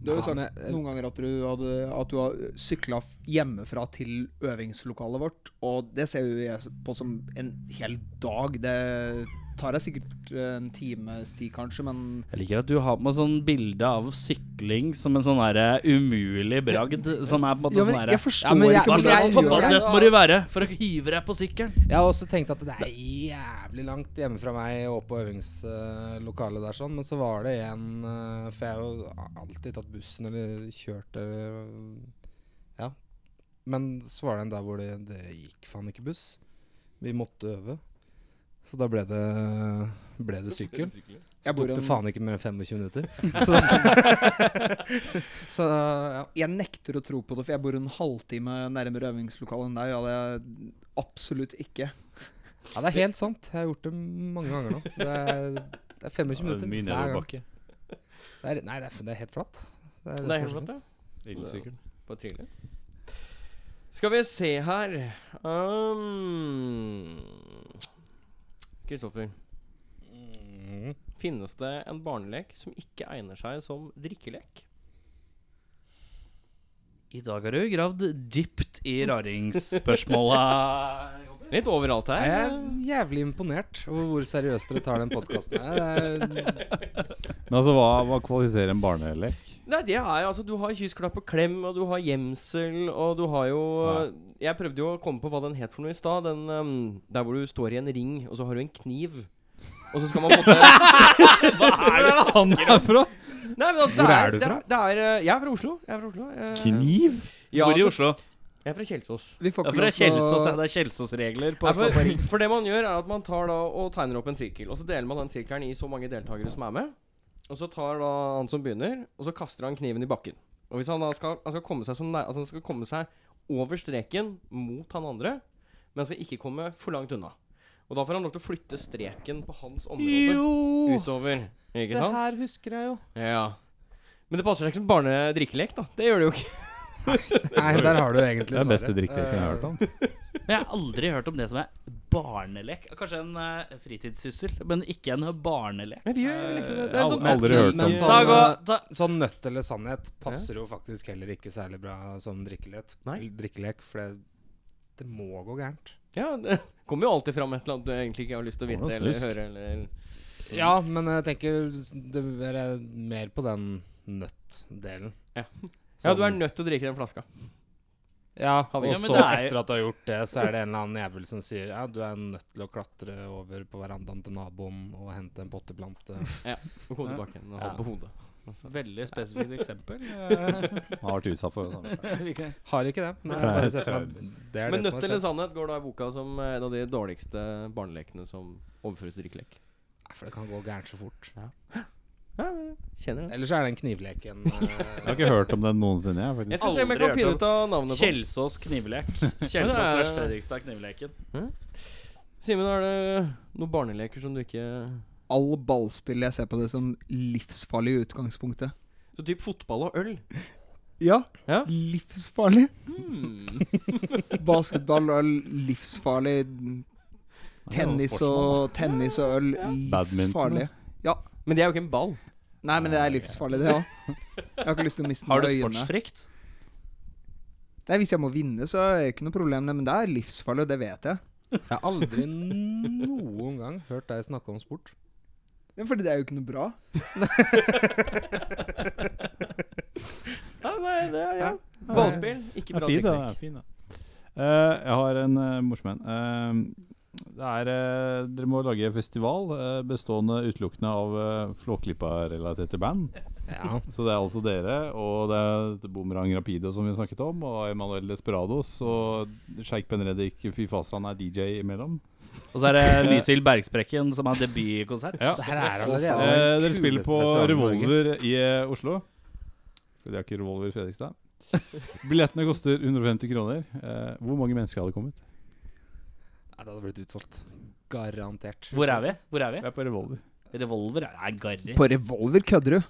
E: Du
D: Ja,
E: har jo sagt
D: men jeg-
E: noen ganger at du, hadde, at du har sykla hjemmefra til øvingslokalet vårt, og det ser jo jeg på som en hel dag. Det tar deg sikkert eh, en times tid, kanskje, men
B: Jeg liker at du har med sånn bilde av sykling som en sånn derre umulig bragd, som er på en måte sånn derre
E: forstår
D: Ja, men jeg-
B: Hva
D: hvordan
B: slags
D: jeg gjør
E: (laughs)
B: toppatlet må du være for å hive deg på sykkelen?
D: Jeg har også tenkt at det er jævlig langt hjemme fra meg og opp på øvingslokalet der, sånn. Men så var det en eh, For jeg har jo alltid tatt bussen eller kjørt eller eh, Ja. Men så var det en der hvor det, det gikk faen ikke buss. Vi måtte øve. Så da ble det, ble det sykkel. Så
E: Jeg bor
D: tok
E: i
D: det
E: en-
D: faen ikke mer enn 25 minutter. Så, så ja.
E: Jeg nekter å tro på det, for jeg bor en halvtime nærmere øvingslokalet enn deg. og det er absolutt ikke.
D: ja, det er helt sant. Jeg har gjort det mange ganger nå. Det er, det er 25 minutter
F: Mye
D: hver gang.
F: nedoverbakke.
D: Det er, nei, det er, f- det er helt flatt. Det er,
A: Det er helt
D: som
A: flott,
D: så
A: det.
F: Elsykkel.
A: Bare trivelig. Skal vi se her um, Kristoffer.
D: Mm.
A: Finnes det en barnelek som ikke egner seg som drikkelek?
B: I dag har du gravd dypt i (laughs) raringsspørsmåla.
A: Litt overalt
D: fint.
A: her.
D: Jeg er jævlig imponert over hvor seriøst dere tar den podkasten her. Det er
C: Men altså, hva, hva kvalifiserer en
D: (laughs)
C: barnelek?
A: Nei, det er jo altså Du har kyssklapp og klem, og du har gjemsel, og du har jo Jeg prøvde jo å komme på hva den het for noe i stad. Den ehm, der hvor du står i en ring, og så har du en kniv. Og så skal man måtte
D: (laughs)
C: Han er fra
A: Nei, men altså,
D: Hvor
A: det
D: er du
A: det
D: fra?
A: Det er, eh, jeg er fra Oslo. Jeg er fra Oslo. eh,
C: Kniv?
A: Ja,
B: Hvor i
A: altså,
B: Oslo?
A: jeg er fra Kjelsås.
E: Vi får
B: Ja,
E: ikke
B: for det er Kjelsås, ja,
E: lov til å
B: det er Kjelsås-regler på
A: Nei,
B: Oslo
A: for, (laughs) for det man gjør, er at man tar da og tegner opp en sirkel. Og så deler man den sirkelen i så mange deltakere som er med. Og så tar da han som begynner, og så kaster han kniven i bakken. Og hvis han da skal, han skal komme seg så nær, altså han skal komme seg over streken mot han andre, men han skal ikke komme for langt unna. Og da får han lov til å flytte streken på hans område
D: Jo!
A: utover. Ikke
D: Det
A: sant?
D: her husker jeg jo.
A: Ja. Men det passer seg ikke som barnedrikkelek, da. Det gjør det jo ikke.
D: Nei, der har du egentlig
C: Det er beste
D: svaret.
C: drikkeleken jeg har hørt om.
D: Eh.
B: Men jeg har aldri hørt om det som er barnelek. Kanskje en eh, fritidssyssel, men ikke en barnelek.
A: Men vi gjør jo liksom det. det er
C: Aldri,
A: sånn,
C: aldri hørt om
D: Men
C: det.
D: sånn,
B: Ta, gå, ta.
D: eh, sånn nøtt eller sannhet passer jo faktisk heller ikke særlig bra som drikkelek,
A: Nei.
D: drikkelek for det, det må gå gærent.
A: ja, det (laughs) kommer jo alltid fram et eller annet du egentlig ikke har lyst til å
C: Kommer
A: vite
C: noe
A: eller
C: snusk.
A: høre. Eller
D: Ja, men jeg tenker s- det er mer på den nøtt-delen.
A: Ja.
D: Sånn-
A: Ja, du er nødt til å drikke den flaska.
D: Ja,
A: Ja,
D: og
A: men
D: så
B: det er jo-
D: etter at du har gjort det, så er det en eller annen jævel som sier ja, du er nødt til å klatre over på verandaen til naboen og hente en potteplante.
A: (laughs) Og komme
B: Ja.
A: tilbake igjen og ha den på hodet. Altså.
B: Veldig spesifikt eksempel. Eh,
C: Han har vært utsatt for det
F: sånn.
C: samme.
B: vi kan-
D: Har ikke det. Nei,
C: Nei.
D: bare se for deg. Det er
A: Men Nødt sånn-
D: det som har
A: eller
D: skjedd.
A: sannhet går da i boka som eh, en av de dårligste barnelekene som overføres til drikkelek.
D: Nei, For det kan gå gærent så fort.
A: Kjenner det.
D: Eller så er det en knivlek. En, eh,
C: Jeg har ikke hørt om den noensinne. Jeg, faktisk.
A: Jeg skal se om jeg
B: Aldri
A: kan finne
B: hørt
A: ut av
B: sånn.
A: navnet på den.
B: Kjelsås knivlek. (laughs)
A: Men
B: Kjelsås
A: det er-
B: slash Fredrikstad knivleken.
A: Simen, er det noen barneleker som du ikke
E: All ballspill jeg ser på det som livsfarlig i utgangspunktet.
A: Så typ fotball og øl?
E: Ja,
A: Ja.
E: livsfarlig.
A: Hmm.
E: Basketball og øl, livsfarlig. Tennis og, tennis og øl, livsfarlig.
A: Men det er jo ikke en ball.
E: Nei, men det er livsfarlig, det òg. Jeg har ikke lyst til å miste
B: Har du
E: noe i øynene.
B: sportsfrykt?
E: Det er Hvis jeg må vinne, så er det ikke noe problem, det, men det er livsfarlig, og det vet jeg.
D: Jeg har aldri noen gang hørt deg snakke om sport.
E: Ja, Fordi det er jo ikke noe bra.
A: Ja, nei, det er, ja. Ballspill, ikke
C: Det
A: bra
C: er fin, da. det
A: teknikk.
C: er fin, da. Eh, jeg har en uh, morsom en. Eh, det er eh, Dere må lage festival eh, bestående utelukkende av uh, Flåklypa-relaterte band.
D: Ja.
C: Så det er altså dere, og det er Bumerang Rapido som vi snakket om, og Emanuel Desperados, og Sheikh Benredik Fy Fasan er DJ imellom.
B: Og så er det Lysild Bergsprekken som har debutkonsert.
C: Ja.
D: Det her er
E: Ja,
D: allerede
C: Eh,
D: den
C: dere spiller
D: kuleste
C: på
D: festivalen i Norge.
C: Revolver i eh, Oslo. De har ikke Revolver i Fredrikstad. Billettene koster 150 kroner. Eh, hvor mange mennesker hadde kommet?
D: Nei, det hadde blitt utsolgt. Garantert.
B: Hvor er vi? Hvor er vi?
C: Vi er på Revolver.
B: Revolver? Nei, Garri.
E: På revolver kødder du.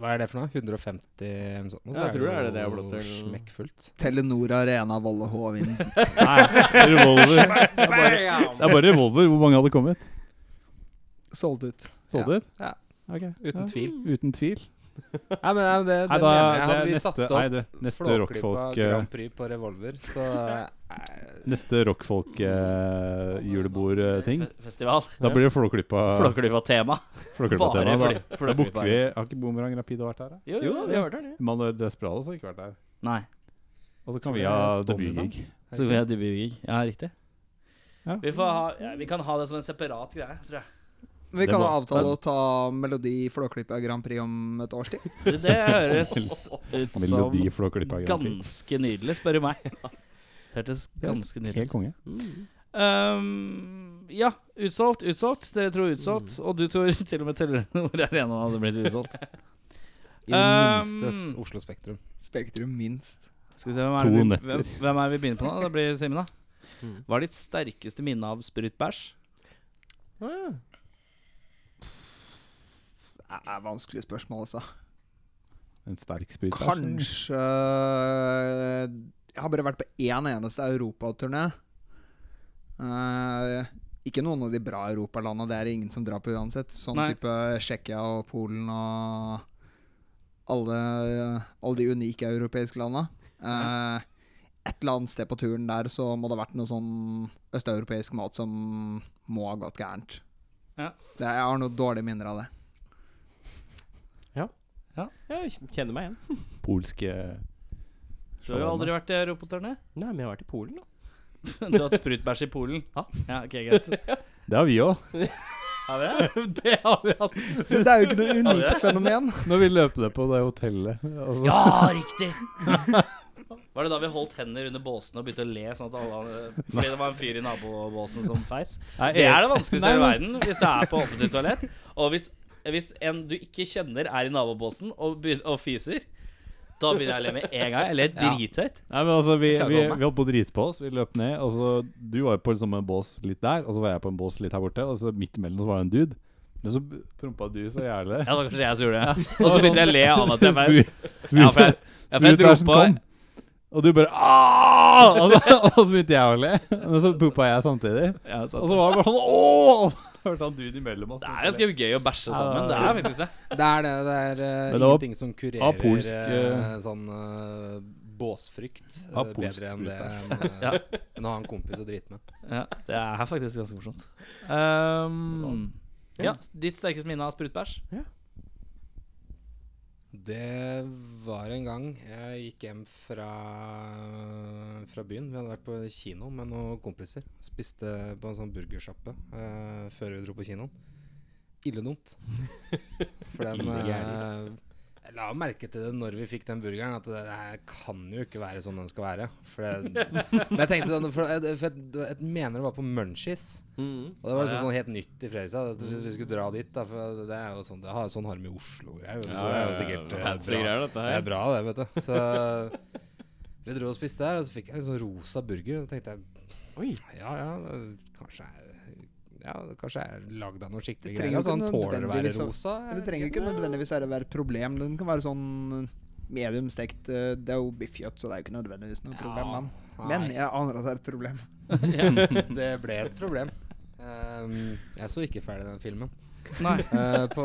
D: Hva er det for noe? 150 eller noe sånt? Og så
A: Ja, jeg tror det er det det er
D: jo
A: plass til.
D: Smekkfullt.
E: Telenor Arena, Valle Hovin.
C: Nei, Revolver. Det er bare, det er bare Revolver. Hvor mange hadde kommet?
E: Solgt ut.
C: Solgt ut?
D: Ja.
C: Ok.
D: Uten
C: Ja.
D: tvil.
C: Uten tvil.
D: Nei, men nei, det, det
C: Nei, da,
D: mener jeg.
C: det
D: Hadde
C: er
D: vi satt
C: neste,
D: opp
C: nei, det, neste
D: Flåklypa
C: rockfolk... eh,
D: Grand Prix på revolver, så eh,
C: Neste rockfolk-julebord-ting.
B: Fe- Festival.
C: da
B: (laughs)
C: blir det Flåklypa.
B: Flåklypa-tema.
C: Flåklypa-tema.
B: Bare
C: Da.
B: fly-
C: da booker vi
B: flåklypa.
C: Har ikke Boomerang Rapido vært her? da?
B: Jo,
A: Jo,
B: jo,
A: det har vært der, det.
C: Manuel Desperados har ikke vært her.
B: Nei.
C: Og så kan
D: Tror
C: vi
D: jeg
C: ha
D: Stoney
C: debutgig.
B: Så vi har debutgig. Ja, riktig.
C: Ja.
B: Vi, får ha, ja, vi kan ha det som en separat greie, tror jeg.
E: Vi
C: Det
E: kan
C: må-
E: avtale å ta melodi i Flåklypa Grand Prix om et års tid.
B: Det, det høres ut som
C: Melodi Flåklypa Grand Prix.
B: ganske nydelig, spør du meg. Hørtes ganske nydelig ut.
C: Helt konge.
B: Ehm, ja, utsolgt, utsolgt. Dere tror utsolgt. Og du tror (laughs) til og med Telenor Arena hadde blitt utsolgt.
D: I det minste s-
B: Um,
D: Oslo Spektrum.
E: Spektrum minst.
B: Skal vi se, hvem
C: To
B: er, det vi,
C: netter.
B: hvem, hvem er det vi begynner på nå? Det blir Simen, da.
A: Mm.
B: Hva er ditt sterkeste minne av sprutbæsj?
A: Å, ja.
E: Det er vanskelig spørsmål, altså.
C: En sterk sprit. der.
E: Kanskje eh, Jeg har bare vært på én eneste europaturné. Eh, ikke noen av de bra europalanda, det er det ingen som drar på uansett. Sånn
B: Nei.
E: type Tsjekkia og Polen og alle, alle de unike europeiske landa. Eh, et eller annet sted på turen der så må det ha vært noe sånn østeuropeisk mat som må ha gått gærent.
B: Ja.
E: Det, jeg har noen dårlige minner av det.
A: Jeg kjenner meg igjen.
F: Polske
B: Du har jo aldri vært i europaturné.
A: Nei, men jeg har vært i Polen, da.
B: (laughs) Du har hatt sprutbæsj i Polen.
A: Ja.
B: Ja, ok, greit.
F: Det har vi òg.
B: Har vi det?
F: det har vi hatt.
E: Så det er jo ikke noe unikt
F: (laughs)
E: fenomen.
F: Når vi løp ned på det hotellet. Altså.
B: Ja, riktig! (laughs) Var det da vi holdt hender under båsene og begynte å le sånn at alle Fordi det var en fyr i nabobåsen som feis?
F: Nei,
B: Det er det
F: Nei,
B: vanskeligste i
F: men-
B: verden hvis du er på offentlig toalett. Og hvis, hvis en du ikke kjenner er i nabobåsen og, begyn- og fiser, da begynner jeg å le med en gang. Jeg ler drithøyt.
F: Nei, men altså, vi,
B: Klager
F: vi,
B: over meg.
F: vi holdt på å drite på oss. Vi løp ned. Og så, du var jo på liksom en bås litt der, og så var jeg på en bås litt her borte. Og så midt imellom så var det en dude. Men så prompa du så jævlig. (laughs)
B: Ja, det var kanskje jeg som gjorde det. Og så begynte jeg å le av at jeg feis.
F: Sprut-
B: Ja, for jeg- ja, for jeg dro
F: sprutbæsjen
B: på-
F: kom, Og du bare «Ah!» og så, (laughs) og så begynte jeg å le. Men så pumpa jeg samtidig.
B: Ja, sant
F: Og så var det bare sånn Åh! Og så (laughs) hørte han dude imellom.
B: Det er ganske gøy å bæsje sammen. Det er faktisk det.
D: Det er det. Det er eh,
F: Men det var-
D: ingenting som kurerer
F: var polsk,
D: eh, sånn eh, båsfrykt eh,
F: var polsk
D: bedre enn det enn
C: (laughs)
B: Ja.
D: eh, enn å ha en kompis å drite med.
B: Ja, det er faktisk ganske morsomt. Ehm, ja, ditt sterkeste minne av sprutbæsj?
D: Det var en gang jeg gikk hjem fra, fra byen. Vi hadde vært på kino med noen kompiser. Spiste på en sånn burgersjappe eh, før vi dro på kinoen. Ille dumt. For den eh, Jeg la merke til det når vi fikk den burgeren, at det, det her kan jo ikke være sånn den skal være. For det, men jeg tenkte sånn For, jeg, for jeg, jeg mener det var på Munchies. Og det var liksom sånn helt nytt i Fredrikstad. At vi, vi skulle dra dit. Da, for det er jo sånn Det har sånn har de i Oslo og greier. Så det er jo sikkert eh, bra. Det er bra, det, vet du. Så (laughs) vi dro og spiste der, og så fikk jeg en sånn rosa burger. Og så tenkte jeg
A: Oi.
D: Ja, ja, det kanskje er ja, det kanskje er lagd av noe skikkelig
E: Det
D: greier.
E: trenger
D: Så han
E: ikke
D: tåler å være
E: nødvendigvis å-
D: rosa.
E: Men Det trenger ikke nødvendigvis være være et problem. Den kan være sånn medium stekt. eh, Det er jo biffkjøtt, så det er jo ikke nødvendigvis noe problem. Men, men jeg aner at det er et problem.
D: Men det ble et problem. Ehm, jeg så ikke ferdig den filmen.
B: Nei.
D: Eh, på,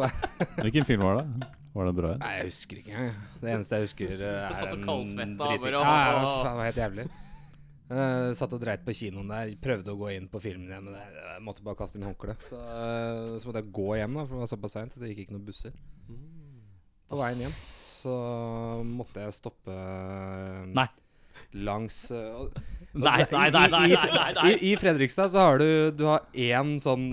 F: Hvilken film var det? Var det bra?
D: nei, jeg husker ikke engang. Det eneste jeg husker, eh, er
G: satt og
D: en
G: kaldsvetta
D: driting.
G: bare,
D: Ja,
G: og-
D: ja, for faen, det var helt jævlig. Eh, satt og dreit på kinoen der. Prøvde å gå inn på filmen igjen, men jeg, jeg måtte bare kaste inn håndkleet. Så, eh, så måtte jeg gå hjem, da, for det var såpass seint at det gikk ikke noen busser.
G: Mm.
D: På veien hjem så måtte jeg stoppe eh,
B: Nei.
D: langs eh, og-
B: Nei, nei, nei, nei, nei, nei, nei.
D: i, I Fredrikstad så har du Du har én sånn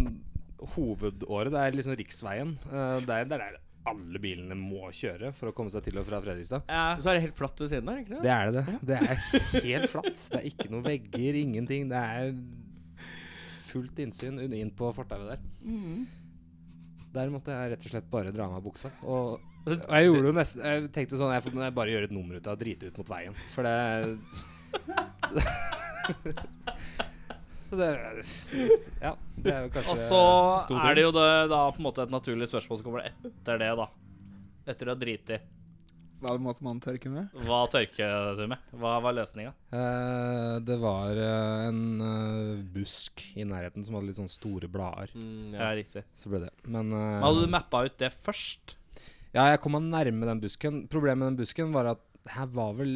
D: hovedåre. Det er liksom riksveien. Eh, Det er det er der alle bilene må kjøre for å komme seg til og fra Fredrikstad.
A: Og så er det helt flatt ved siden her, ikke
D: Det er det, det. Det er helt flatt. Det er ikke noen vegger, ingenting. Det er fullt innsyn un- inn på fortauet der.
B: Mm.
D: Der måtte jeg rett og slett bare dra av meg buksa.
B: (laughs)
D: Og, og jeg gjorde jo nesten Jeg tenkte sånn Jeg får jeg bare gjøre et nummer ut av å drite ut mot veien. For
B: (laughs)
D: det Så det Ja, det er jo kanskje
B: Og så er det jo det, da på en måte et naturlig spørsmål som kommer etter det, da. Etter å ha driti.
E: Hva måtte man tørke med?
B: Hva tørker du med? Hva var løsninga?
D: Eh, Det var eh, en eh, busk i nærheten som hadde litt sånn store blader.
A: Mm,
B: Ja, riktig.
D: Så ble det. Men eh,
B: Men hadde du mappa ut det først?
D: Ja, jeg kom meg nærme den busken. Problemet med den busken var at her var vel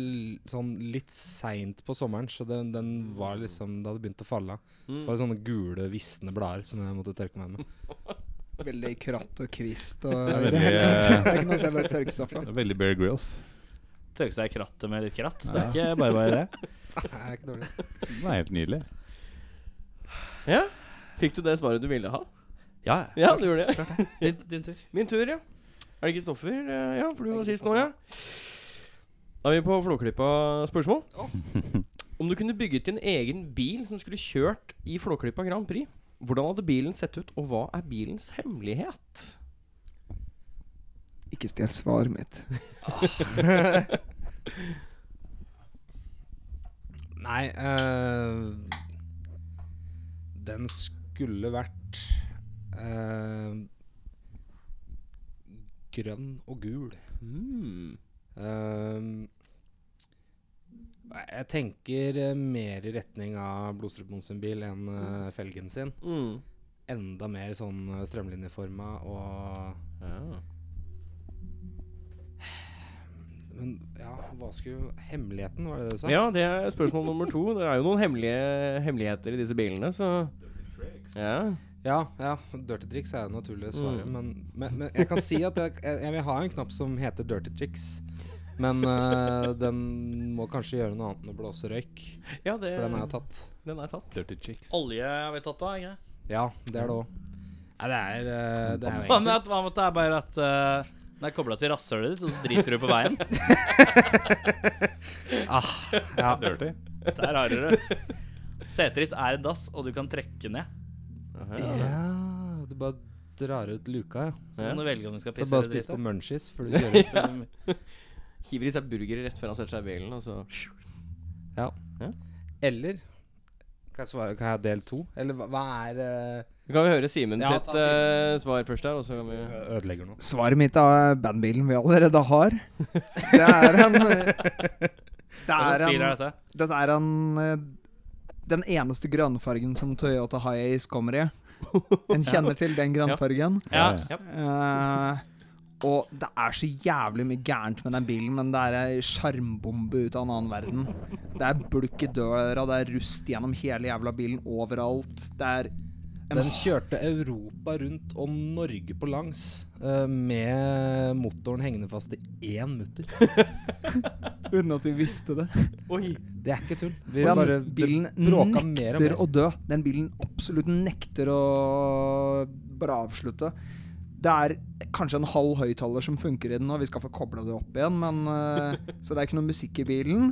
D: sånn litt seint på sommeren, så den, den var liksom Det hadde begynt å falle av. Så var det sånne gule, visne blader som jeg måtte tørke meg med.
E: Veldig kratt og kvist og
F: Det er
E: i det hele
F: veldig,
E: tatt. (laughs) Det er ikke noe selv å tørke seg fra.
F: Det er Veldig Bear Grills.
B: Tørke seg i krattet med litt kratt? Det er ikke bare bare det.
D: (laughs) Det er ikke dårlig.
F: Den er helt nydelig.
A: Ja. Fikk du det svaret du ville ha?
B: Ja,
A: Ja, du gjorde det.
B: Din, din tur.
A: Min tur, ja. Er det Kristoffer? Eh, Ja, for du var sist nå, ja. Da er vi på Flåklypa spørsmål. Om du kunne bygget din egen bil som skulle kjørt i Flåklypa Grand Prix, hvordan hadde bilen sett ut, og hva er bilens hemmelighet?
E: Ikke stjel svaret mitt.
D: (laughs) Nei eh, Den skulle vært eh, grønn og gul.
A: Hmm.
D: Ehm, nei, jeg tenker eh, mer i retning av Blodstrupen sin bil enn eh, felgen sin.
A: Mm.
D: Enda mer sånn eh, strømlinjeforma og Men ja, hva skulle Hemmeligheten, var det det du sa?
A: Ja, det er spørsmål nummer to. Det er jo noen hemmelige hemmeligheter i disse bilene, så ja.
D: Ja, ja. Dirty tricks er jo naturlig svaret.
A: Mm.
D: Men, men, men jeg kan si at jeg, jeg, jeg vil ha en knapp som heter dirty tricks. Men eh, den må kanskje gjøre noe annet enn å blåse røyk,
A: Ja, det,
D: for den er jo tatt.
A: den er tatt.
F: (laughs) Dirty chicks.
B: Olje har vi tatt av, ikke
D: Ja, det er det òg. Nei, det er, eh, det er jo
B: Hva med
D: egentlig-
B: at, hva med at det er bare at eh, den er kobla til rasshølet ditt, og så driter du på veien?
F: Ja. Dirty.
B: Der har du det. Setet ditt er en dass, og du kan trekke ned.
D: Ja, du bare drar ut luka, ja.
B: Så kan du velge om du skal
D: Så
B: pisse
D: bare
B: eller
D: spis
B: (laughs)
D: på
B: drite.
D: munchies før du kjører. (laughs)
A: Hiver i seg burgere rett før han setter seg i bilen, og så
D: Eller kan jeg, svare, kan jeg del to? Eller hva, hva er eh,
A: Da kan vi høre Simen
D: Ja,
A: sitt
D: ta Simen.
A: eh, svar først her, og så kan vi
D: Ødelegger noe.
E: Svaret mitt er bandbilen vi allerede har. Det er en eh, Det
B: Hva
E: er
B: slags bil
E: en,
B: er dette?
E: det er en eh, Den eneste grønnfargen som Toyota Hiace kommer i. En kjenner til den grønnfargen.
B: Ja,
F: Ja,
B: ja.
E: Eh, og det er så jævlig mye gærent med den bilen, men det er ei sjarmbombe ut av en annen verden. Det er bulk i døra, det er rust gjennom hele jævla bilen overalt. Det er
D: Den kjørte Europa rundt og Norge på langs eh, med motoren hengende fast i én mutter.
E: Uten at vi visste det.
A: Oi!
D: Det er ikke
E: (laughs)
D: tull. Vi
E: Den
D: bare- det
E: bilen
D: bråka mer og
E: nekter
D: mer.
E: å dø. Den bilen absolutt nekter å bare avslutte. Det er kanskje en halv høyttaler som funker i den, og vi skal få kobla det opp igjen, men eh, Så det er ikke noe musikk i bilen.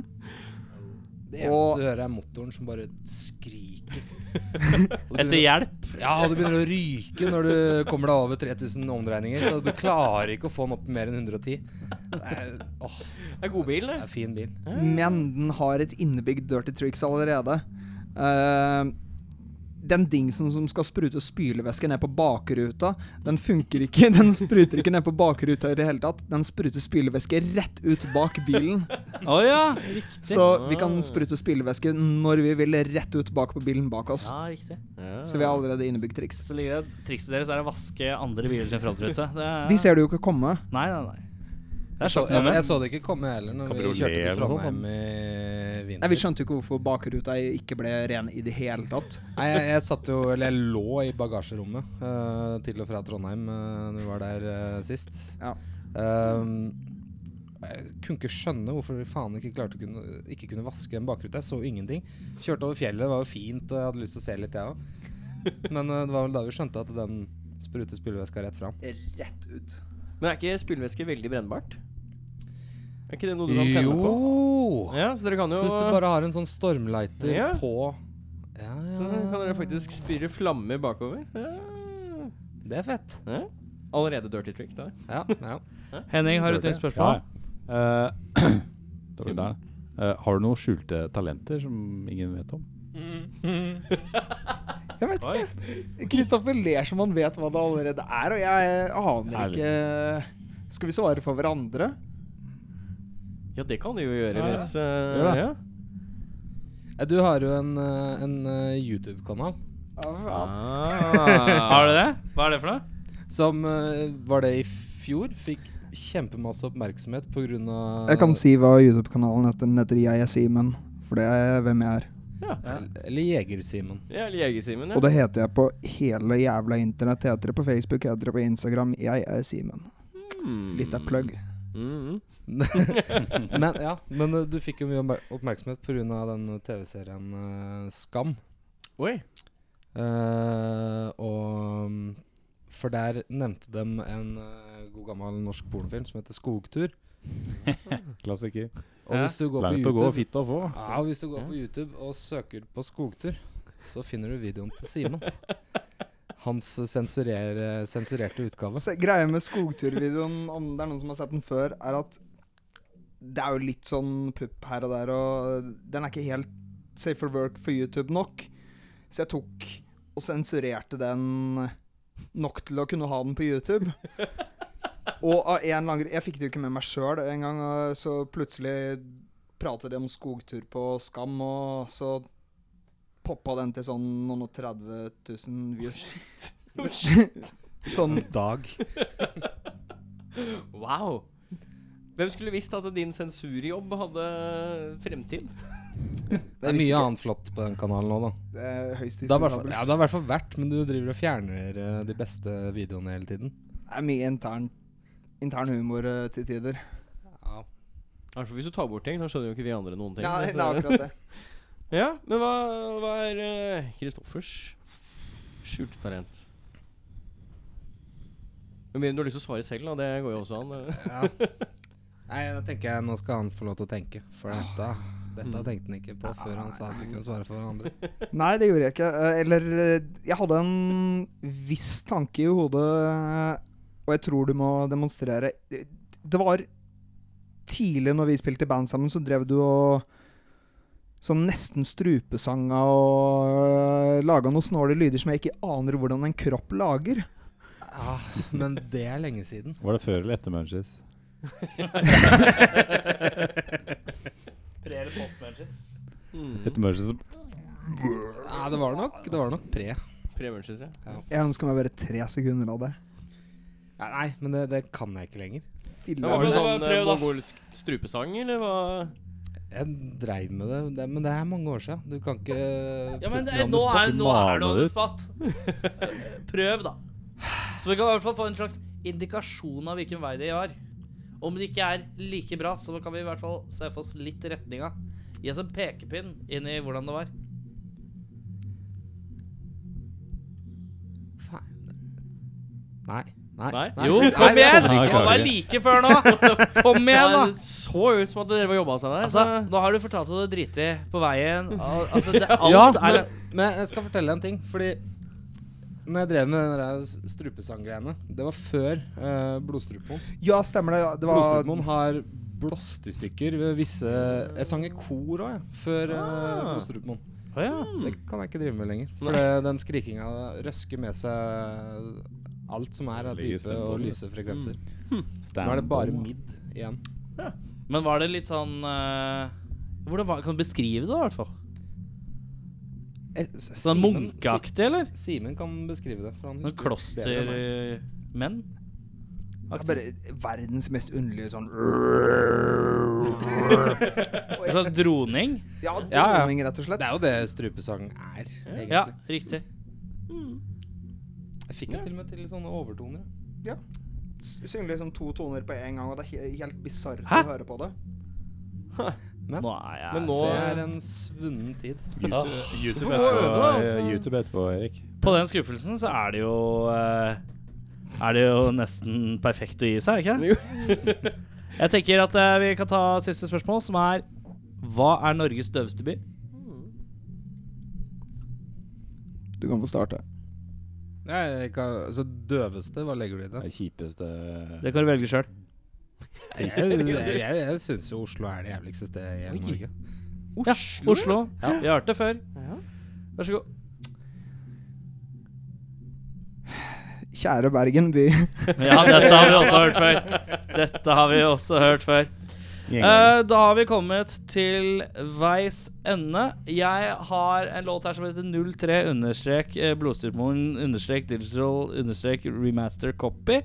D: Det eneste
E: og-
D: du hører, er motoren som bare
E: (laughs)
D: skriker. Og du
B: Etter
D: begynner,
B: hjelp.
D: ja, og du begynner å ryke når du kommer deg over 3000 omdreininger, så du klarer ikke å få den opp mer enn 110. Det er, åh,
A: Det er god bil,
D: det
A: det.
D: er fin bil.
E: Men den har et innebygd dirty tricks allerede. Eh, den dingsen som skal sprute spylevæske ned på bakruta, den funker ikke. (laughs) Den spruter ikke ned på bakruta i det hele tatt. Den spruter spylevæske rett ut bak bilen.
B: Å ja, riktig.
E: Så vi kan sprute spylevæske når vi vil, rett ut bak på bilen bak oss.
B: Ja, riktig.
E: Så vi har allerede innebygd triks.
B: Så ligger det, Trikset deres er å vaske andre biler sin frontrute. Det er-
E: De ser det jo ikke komme.
B: Nei, nei, nei. Det er
D: Så,
B: sjokk
D: jeg,
B: nummer.
D: jeg så det ikke komme heller når vi
F: Kabriolet
D: kjørte til
F: eller noe sånt,
D: Trondheim i vinter.
E: Nei, Vi skjønte jo ikke hvorfor bakruta ikke ble ren i det hele tatt.
D: Nei, jeg, jeg satt jo, eller jeg lå i bagasjerommet eh, til og fra Trondheim eh, når vi var der eh, sist.
E: Ja.
D: Ehm, jeg kunne ikke skjønne hvorfor vi faen ikke klarte å kunne, ikke kunne vaske en bakrute. Jeg så ingenting. Kjørte over fjellet, det var jo fint, og jeg hadde lyst til å se litt, jeg òg. Men eh, det var vel da vi skjønte at den spruter spylevæska rett fram.
E: Rett ut.
A: Men er ikke spylevæske veldig brennbart? Er ikke det noe du kan tenne på?
D: Jo!
A: Ja, så dere kan jo
D: Så hvis du bare har en sånn stormlighter
A: Ja.
D: på ja,
A: Så kan
D: ja,
A: dere faktisk spyre flammer bakover. Ja.
D: Det er fett.
A: Ja. Allerede dirty trick der.
D: Ja, ja.
B: Henning, har du et nytt spørsmål?
F: Ja, ja. Eh,
B: (clears throat)
F: det var det der. Eh, har du noen skjulte talenter som ingen vet om?
E: Jeg vet ikke. Kristoffer ler som han vet hva det allerede er, og jeg aner
F: Ærlig.
E: ikke Skal vi svare for hverandre?
A: Ja, det kan du jo gjøre
F: Ja, ja.
A: hvis
F: Gjør
A: eh,
F: det.
A: ja.
D: Eh, Du har jo en, eh, en eh, YouTube-kanal.
A: Ah.
B: Har du det? Hva er det for noe?
D: Som eh, var det i fjor Fikk kjempemasse oppmerksomhet på grunn av
E: Jeg kan si hva YouTube-kanalen heter. Den heter Jeg er Simen, for det er hvem jeg er.
D: Eller
E: (laughs)
D: Jeger-Simen
A: Ja, eller Jegersimen,
E: Og
A: ja.
E: det heter jeg på hele jævla internett. Jeg heter det på Facebook, jeg heter det på Instagram. Jeg er Simen. Litt av plugg.
A: Hmm. Mm.
D: Men, ja, men eh, du fikk jo mye oppmer- oppmerksomhet på grunn av den tv-serien eh, Skam
A: Oi.
D: Eh, Og mm, For der nevnte dem en eh, god gammel norsk pornofilm Som heter Skogtur
F: Klassiker.
D: Og
B: Ja.
D: hvis du går
F: Langt å
D: på
F: gå,
D: YouTube
F: fitt å få.
D: ja, og hvis du går på YouTube og søker på skogtur Så finner du videoen til Simon Hans sensurer, sensurerte utgave
E: Se, greia med skogturvideoen, om det er noen som har sett den før, er at det er jo litt sånn pupp her og der, og den er ikke helt safe for work for YouTube nok. Så jeg tok og sensurerte den nok til å kunne ha den på YouTube. Og av en lang Jeg fikk det jo ikke med meg sjøl en gang, og så plutselig pratet de om skogtur på Skam, og så poppa den til sånn noen og 30 000 views. (laughs) sånn
D: Dag
A: Wow. Hvem skulle visst at din sensurjobb hadde fremtid?
D: Det er mye annet flott på den kanalen òg, da.
E: Det er høyst
D: Det har, i hvert fall,
E: diskutabelt.
D: ja, det har i hvert fall vært, men du driver og fjerner eh, de beste videoene hele tiden.
E: Det er mye intern, intern humor eh, til tider.
A: Altså, hvis du tar bort ting, da skjønner jo ikke vi andre noen ting.
E: Ja,
A: så-
E: det er akkurat det.
A: (laughs) Ja, men hva, hva er eh, Kristoffers skjulte talent? Men mindre du har lyst til å svare selv, da. Det går jo også an. eh.
D: (laughs) Nei, da tenker jeg nå skal han få lov til å tenke, for dette, dette tenkte han ikke på før han sa at vi kunne svare for hverandre.
E: Nei, det gjorde jeg ikke. Eh, Eller eh, Jeg hadde en viss tanke i hodet, eh, og jeg tror du må demonstrere. Det det var tidlig når vi spilte i band sammen, så drev du og Sånn nesten strupesanga og eh, laga noen snåle lyder som jeg ikke aner hvordan en kropp lager.
D: (laughs) Ja, men det er lenge siden.
F: Var det før eller etter Munchies?
B: Pre- eller post-matches? Mm.
A: (laughs)
F: Etter Munchies
D: Nei, det var nok, det var nok pre.
A: Preben, synes jeg.
E: Jeg ønsker meg bare tre sekunder av det.
D: Nei, Nei, men det, det kan jeg ikke lenger.
E: Fille.
A: Var det
B: men
A: sånn
B: bare
A: eh,
B: prøv, da.
A: mongolsk strupesang, eller hva?
D: Jeg dreiv med det, det, men det er mange år siden. Du kan ikke
B: Ja, men
D: putte
B: det,
D: meg on the
B: nå,
D: spot.
B: er, nå er det on
F: Maler.
B: the spot. Prøv, da. Så vi kan i hvert fall få en slags indikasjon av hvilken vei det går. Om det ikke er like bra, så kan vi i hvert fall se for oss litt retninga. Gi oss en pekepinn inn i hvordan det var.
D: Nei. Nei.
A: Nei?
D: Nei.
B: Jo,
D: Nei,
B: kom
D: det
B: igjen!
F: Nei,
D: kommer
B: Det
F: jeg
B: må
F: klarer
B: være like før nå. (laughs) Kom igjen, da.
A: Ja, det så ut som at dere var jobba seg der.
B: Altså,
A: så-
B: nå har du fortalt hva du driter i på veien. Al altså, det, alt
D: ja,
B: er
D: men, men jeg skal fortelle deg en ting. Fordi når jeg drev med den der s- strupesanggreiene Det var før uh, blodstrupemoen.
A: sånn-
E: Ja, stemmer det. ja. Det var
D: Blodstrupemoen har blåst i stykker ved visse Jeg sang i kor òg, jeg, før uh,
A: Ah.
D: blodstrupemoen.
A: Å ja.
B: Hmm.
D: Det kan jeg ikke drive med lenger. For det- den skrikinga røsker med seg alt som er av
F: Ligger
D: dype og
F: stemmebåndet.
D: lyse frekvenser.
B: Hmm.
D: Nå er det bare midd igjen.
B: Men var det litt sånn eh, Hvordan var, Kan du beskrive det, da, i hvert fall?
D: Eh, s-
B: Sånn
D: Simen-
B: munkeaktig, eller? Sånn
D: Si- Simen kan beskrive det. For han
B: Noen
D: husker det bedre enn
B: klostermenn?
D: meg.
E: det er bare verdens mest underlige (laughs) sånn
B: En slags droning?
E: Ja,
D: ja.
E: dronning, rett og slett.
D: Det er jo det strupesang er, egentlig.
B: Ja, riktig.
D: Jeg fikk jo til og med til sånne overtoner.
E: S- synger liksom to toner på en gang, og det er he helt bisart å
B: Hæ?
E: høre på det.
B: Nå er jeg
A: Men nå
D: Det
B: så-
D: er en svunnen tid.
F: YouTube, YouTube,
A: må
F: etterpå,
A: øve, altså.
F: eh, YouTube etterpå, Erik.
B: På den skuffelsen så er det jo eh, Er det jo nesten perfekt å gi seg, er det ikke? (laughs) Jeg tenker at eh, vi kan ta siste spørsmål, som er Hva er Norges døveste by?
E: Du kan få starte.
D: Nei, jeg kan, altså døveste, hva legger du i det?
F: Det kjipeste
B: Det kan du velge sjøl.
D: Jeg, jeg, jeg, jeg syns jo Oslo er det jævligste stedet i hele
A: Oi.
D: Norge.
B: Ja, Oslo. Vi har hørt det før. Vær så god.
E: Kjære Bergen (laughs) by.
B: Ja, dette har vi også hørt før. Dette har vi også hørt før. Eh, da har vi kommet til veis ende. Jeg har en låt her som heter 03 understrek eh, blodstyrmoren understrek digital understrek remaster copy.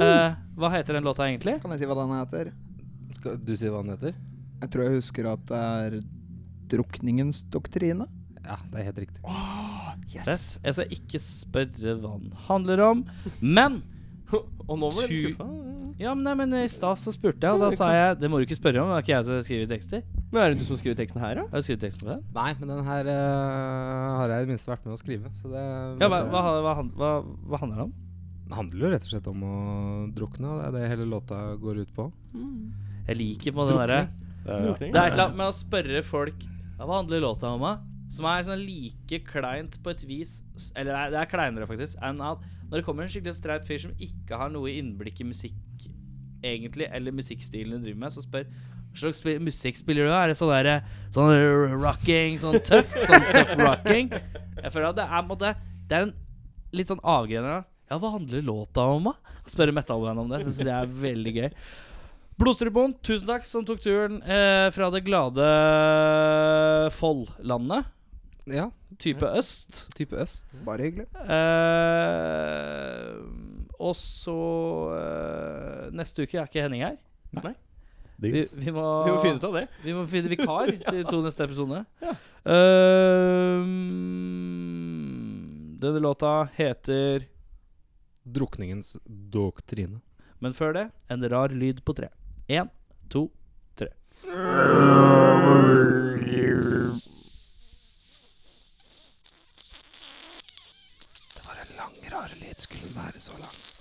B: Eh, hva heter den låta egentlig?
E: Kan jeg si hva den heter?
D: Skal du si hva den heter?
E: Jeg tror jeg husker at det er Drukningens doktrine.
D: Ja, det er helt riktig.
E: Yes!
B: Jeg skal ikke spørre hva den handler om, men
A: (laughs) Og nå ble du
B: Tu-
A: skuffa?
B: Ja, men, nei, men i stad så spurte jeg, og da sa jeg Det må du ikke spørre om, det er ikke jeg som skriver tekster.
A: Men er det du som skriver teksten her, da?
B: Har du skrevet teksten på den?
D: Nei, men den her eh, har jeg i det minste vært med å skrive. Så det
B: Ja, hva, hva, hva, han- hva, hva handler det om?
D: Det handler jo rett og slett om å drukne, og det er det hele låta går ut på.
B: Jeg liker på den derre
A: Drukning?
B: Det er et eller annet med å spørre folk ja, Hva handler låta om, da? Som er sånn like kleint på et vis s- Eller det er, det er kleinere, faktisk, enn at når det kommer en skikkelig streit fyr som ikke har noe innblikk i musikk, egentlig, eller musikkstilen du driver med, så spør hva slags spi- musikk spiller du? da? Er det sånn derre Sånn r- rocking, sånn tøff, sånn tøff rocking? Jeg føler at det er på en måte Det er en litt sånn avgrener av Ja, hva handler låta om, da? Spørre metalband om det. Det syns jeg er veldig gøy. Blodstrupoen, tusen takk som tok turen eh, fra det glade Foll-landet,
D: Ja,
B: type øst.
D: type øst.
E: Bare hyggelig.
B: Eh, og så eh, Neste uke er ikke Henning her. Vi,
C: Diggs.
B: vi, må,
A: Vi må finne ut av det.
B: vi må finne
A: (laughs)
B: vikar til de to neste episodene. Ehm, denne låta heter
D: Drukningens doktrine.
B: Men før det, en rar lyd på tre. Én, to, tre.
D: Det var en lang, rar lyd. Skulle den være så lang?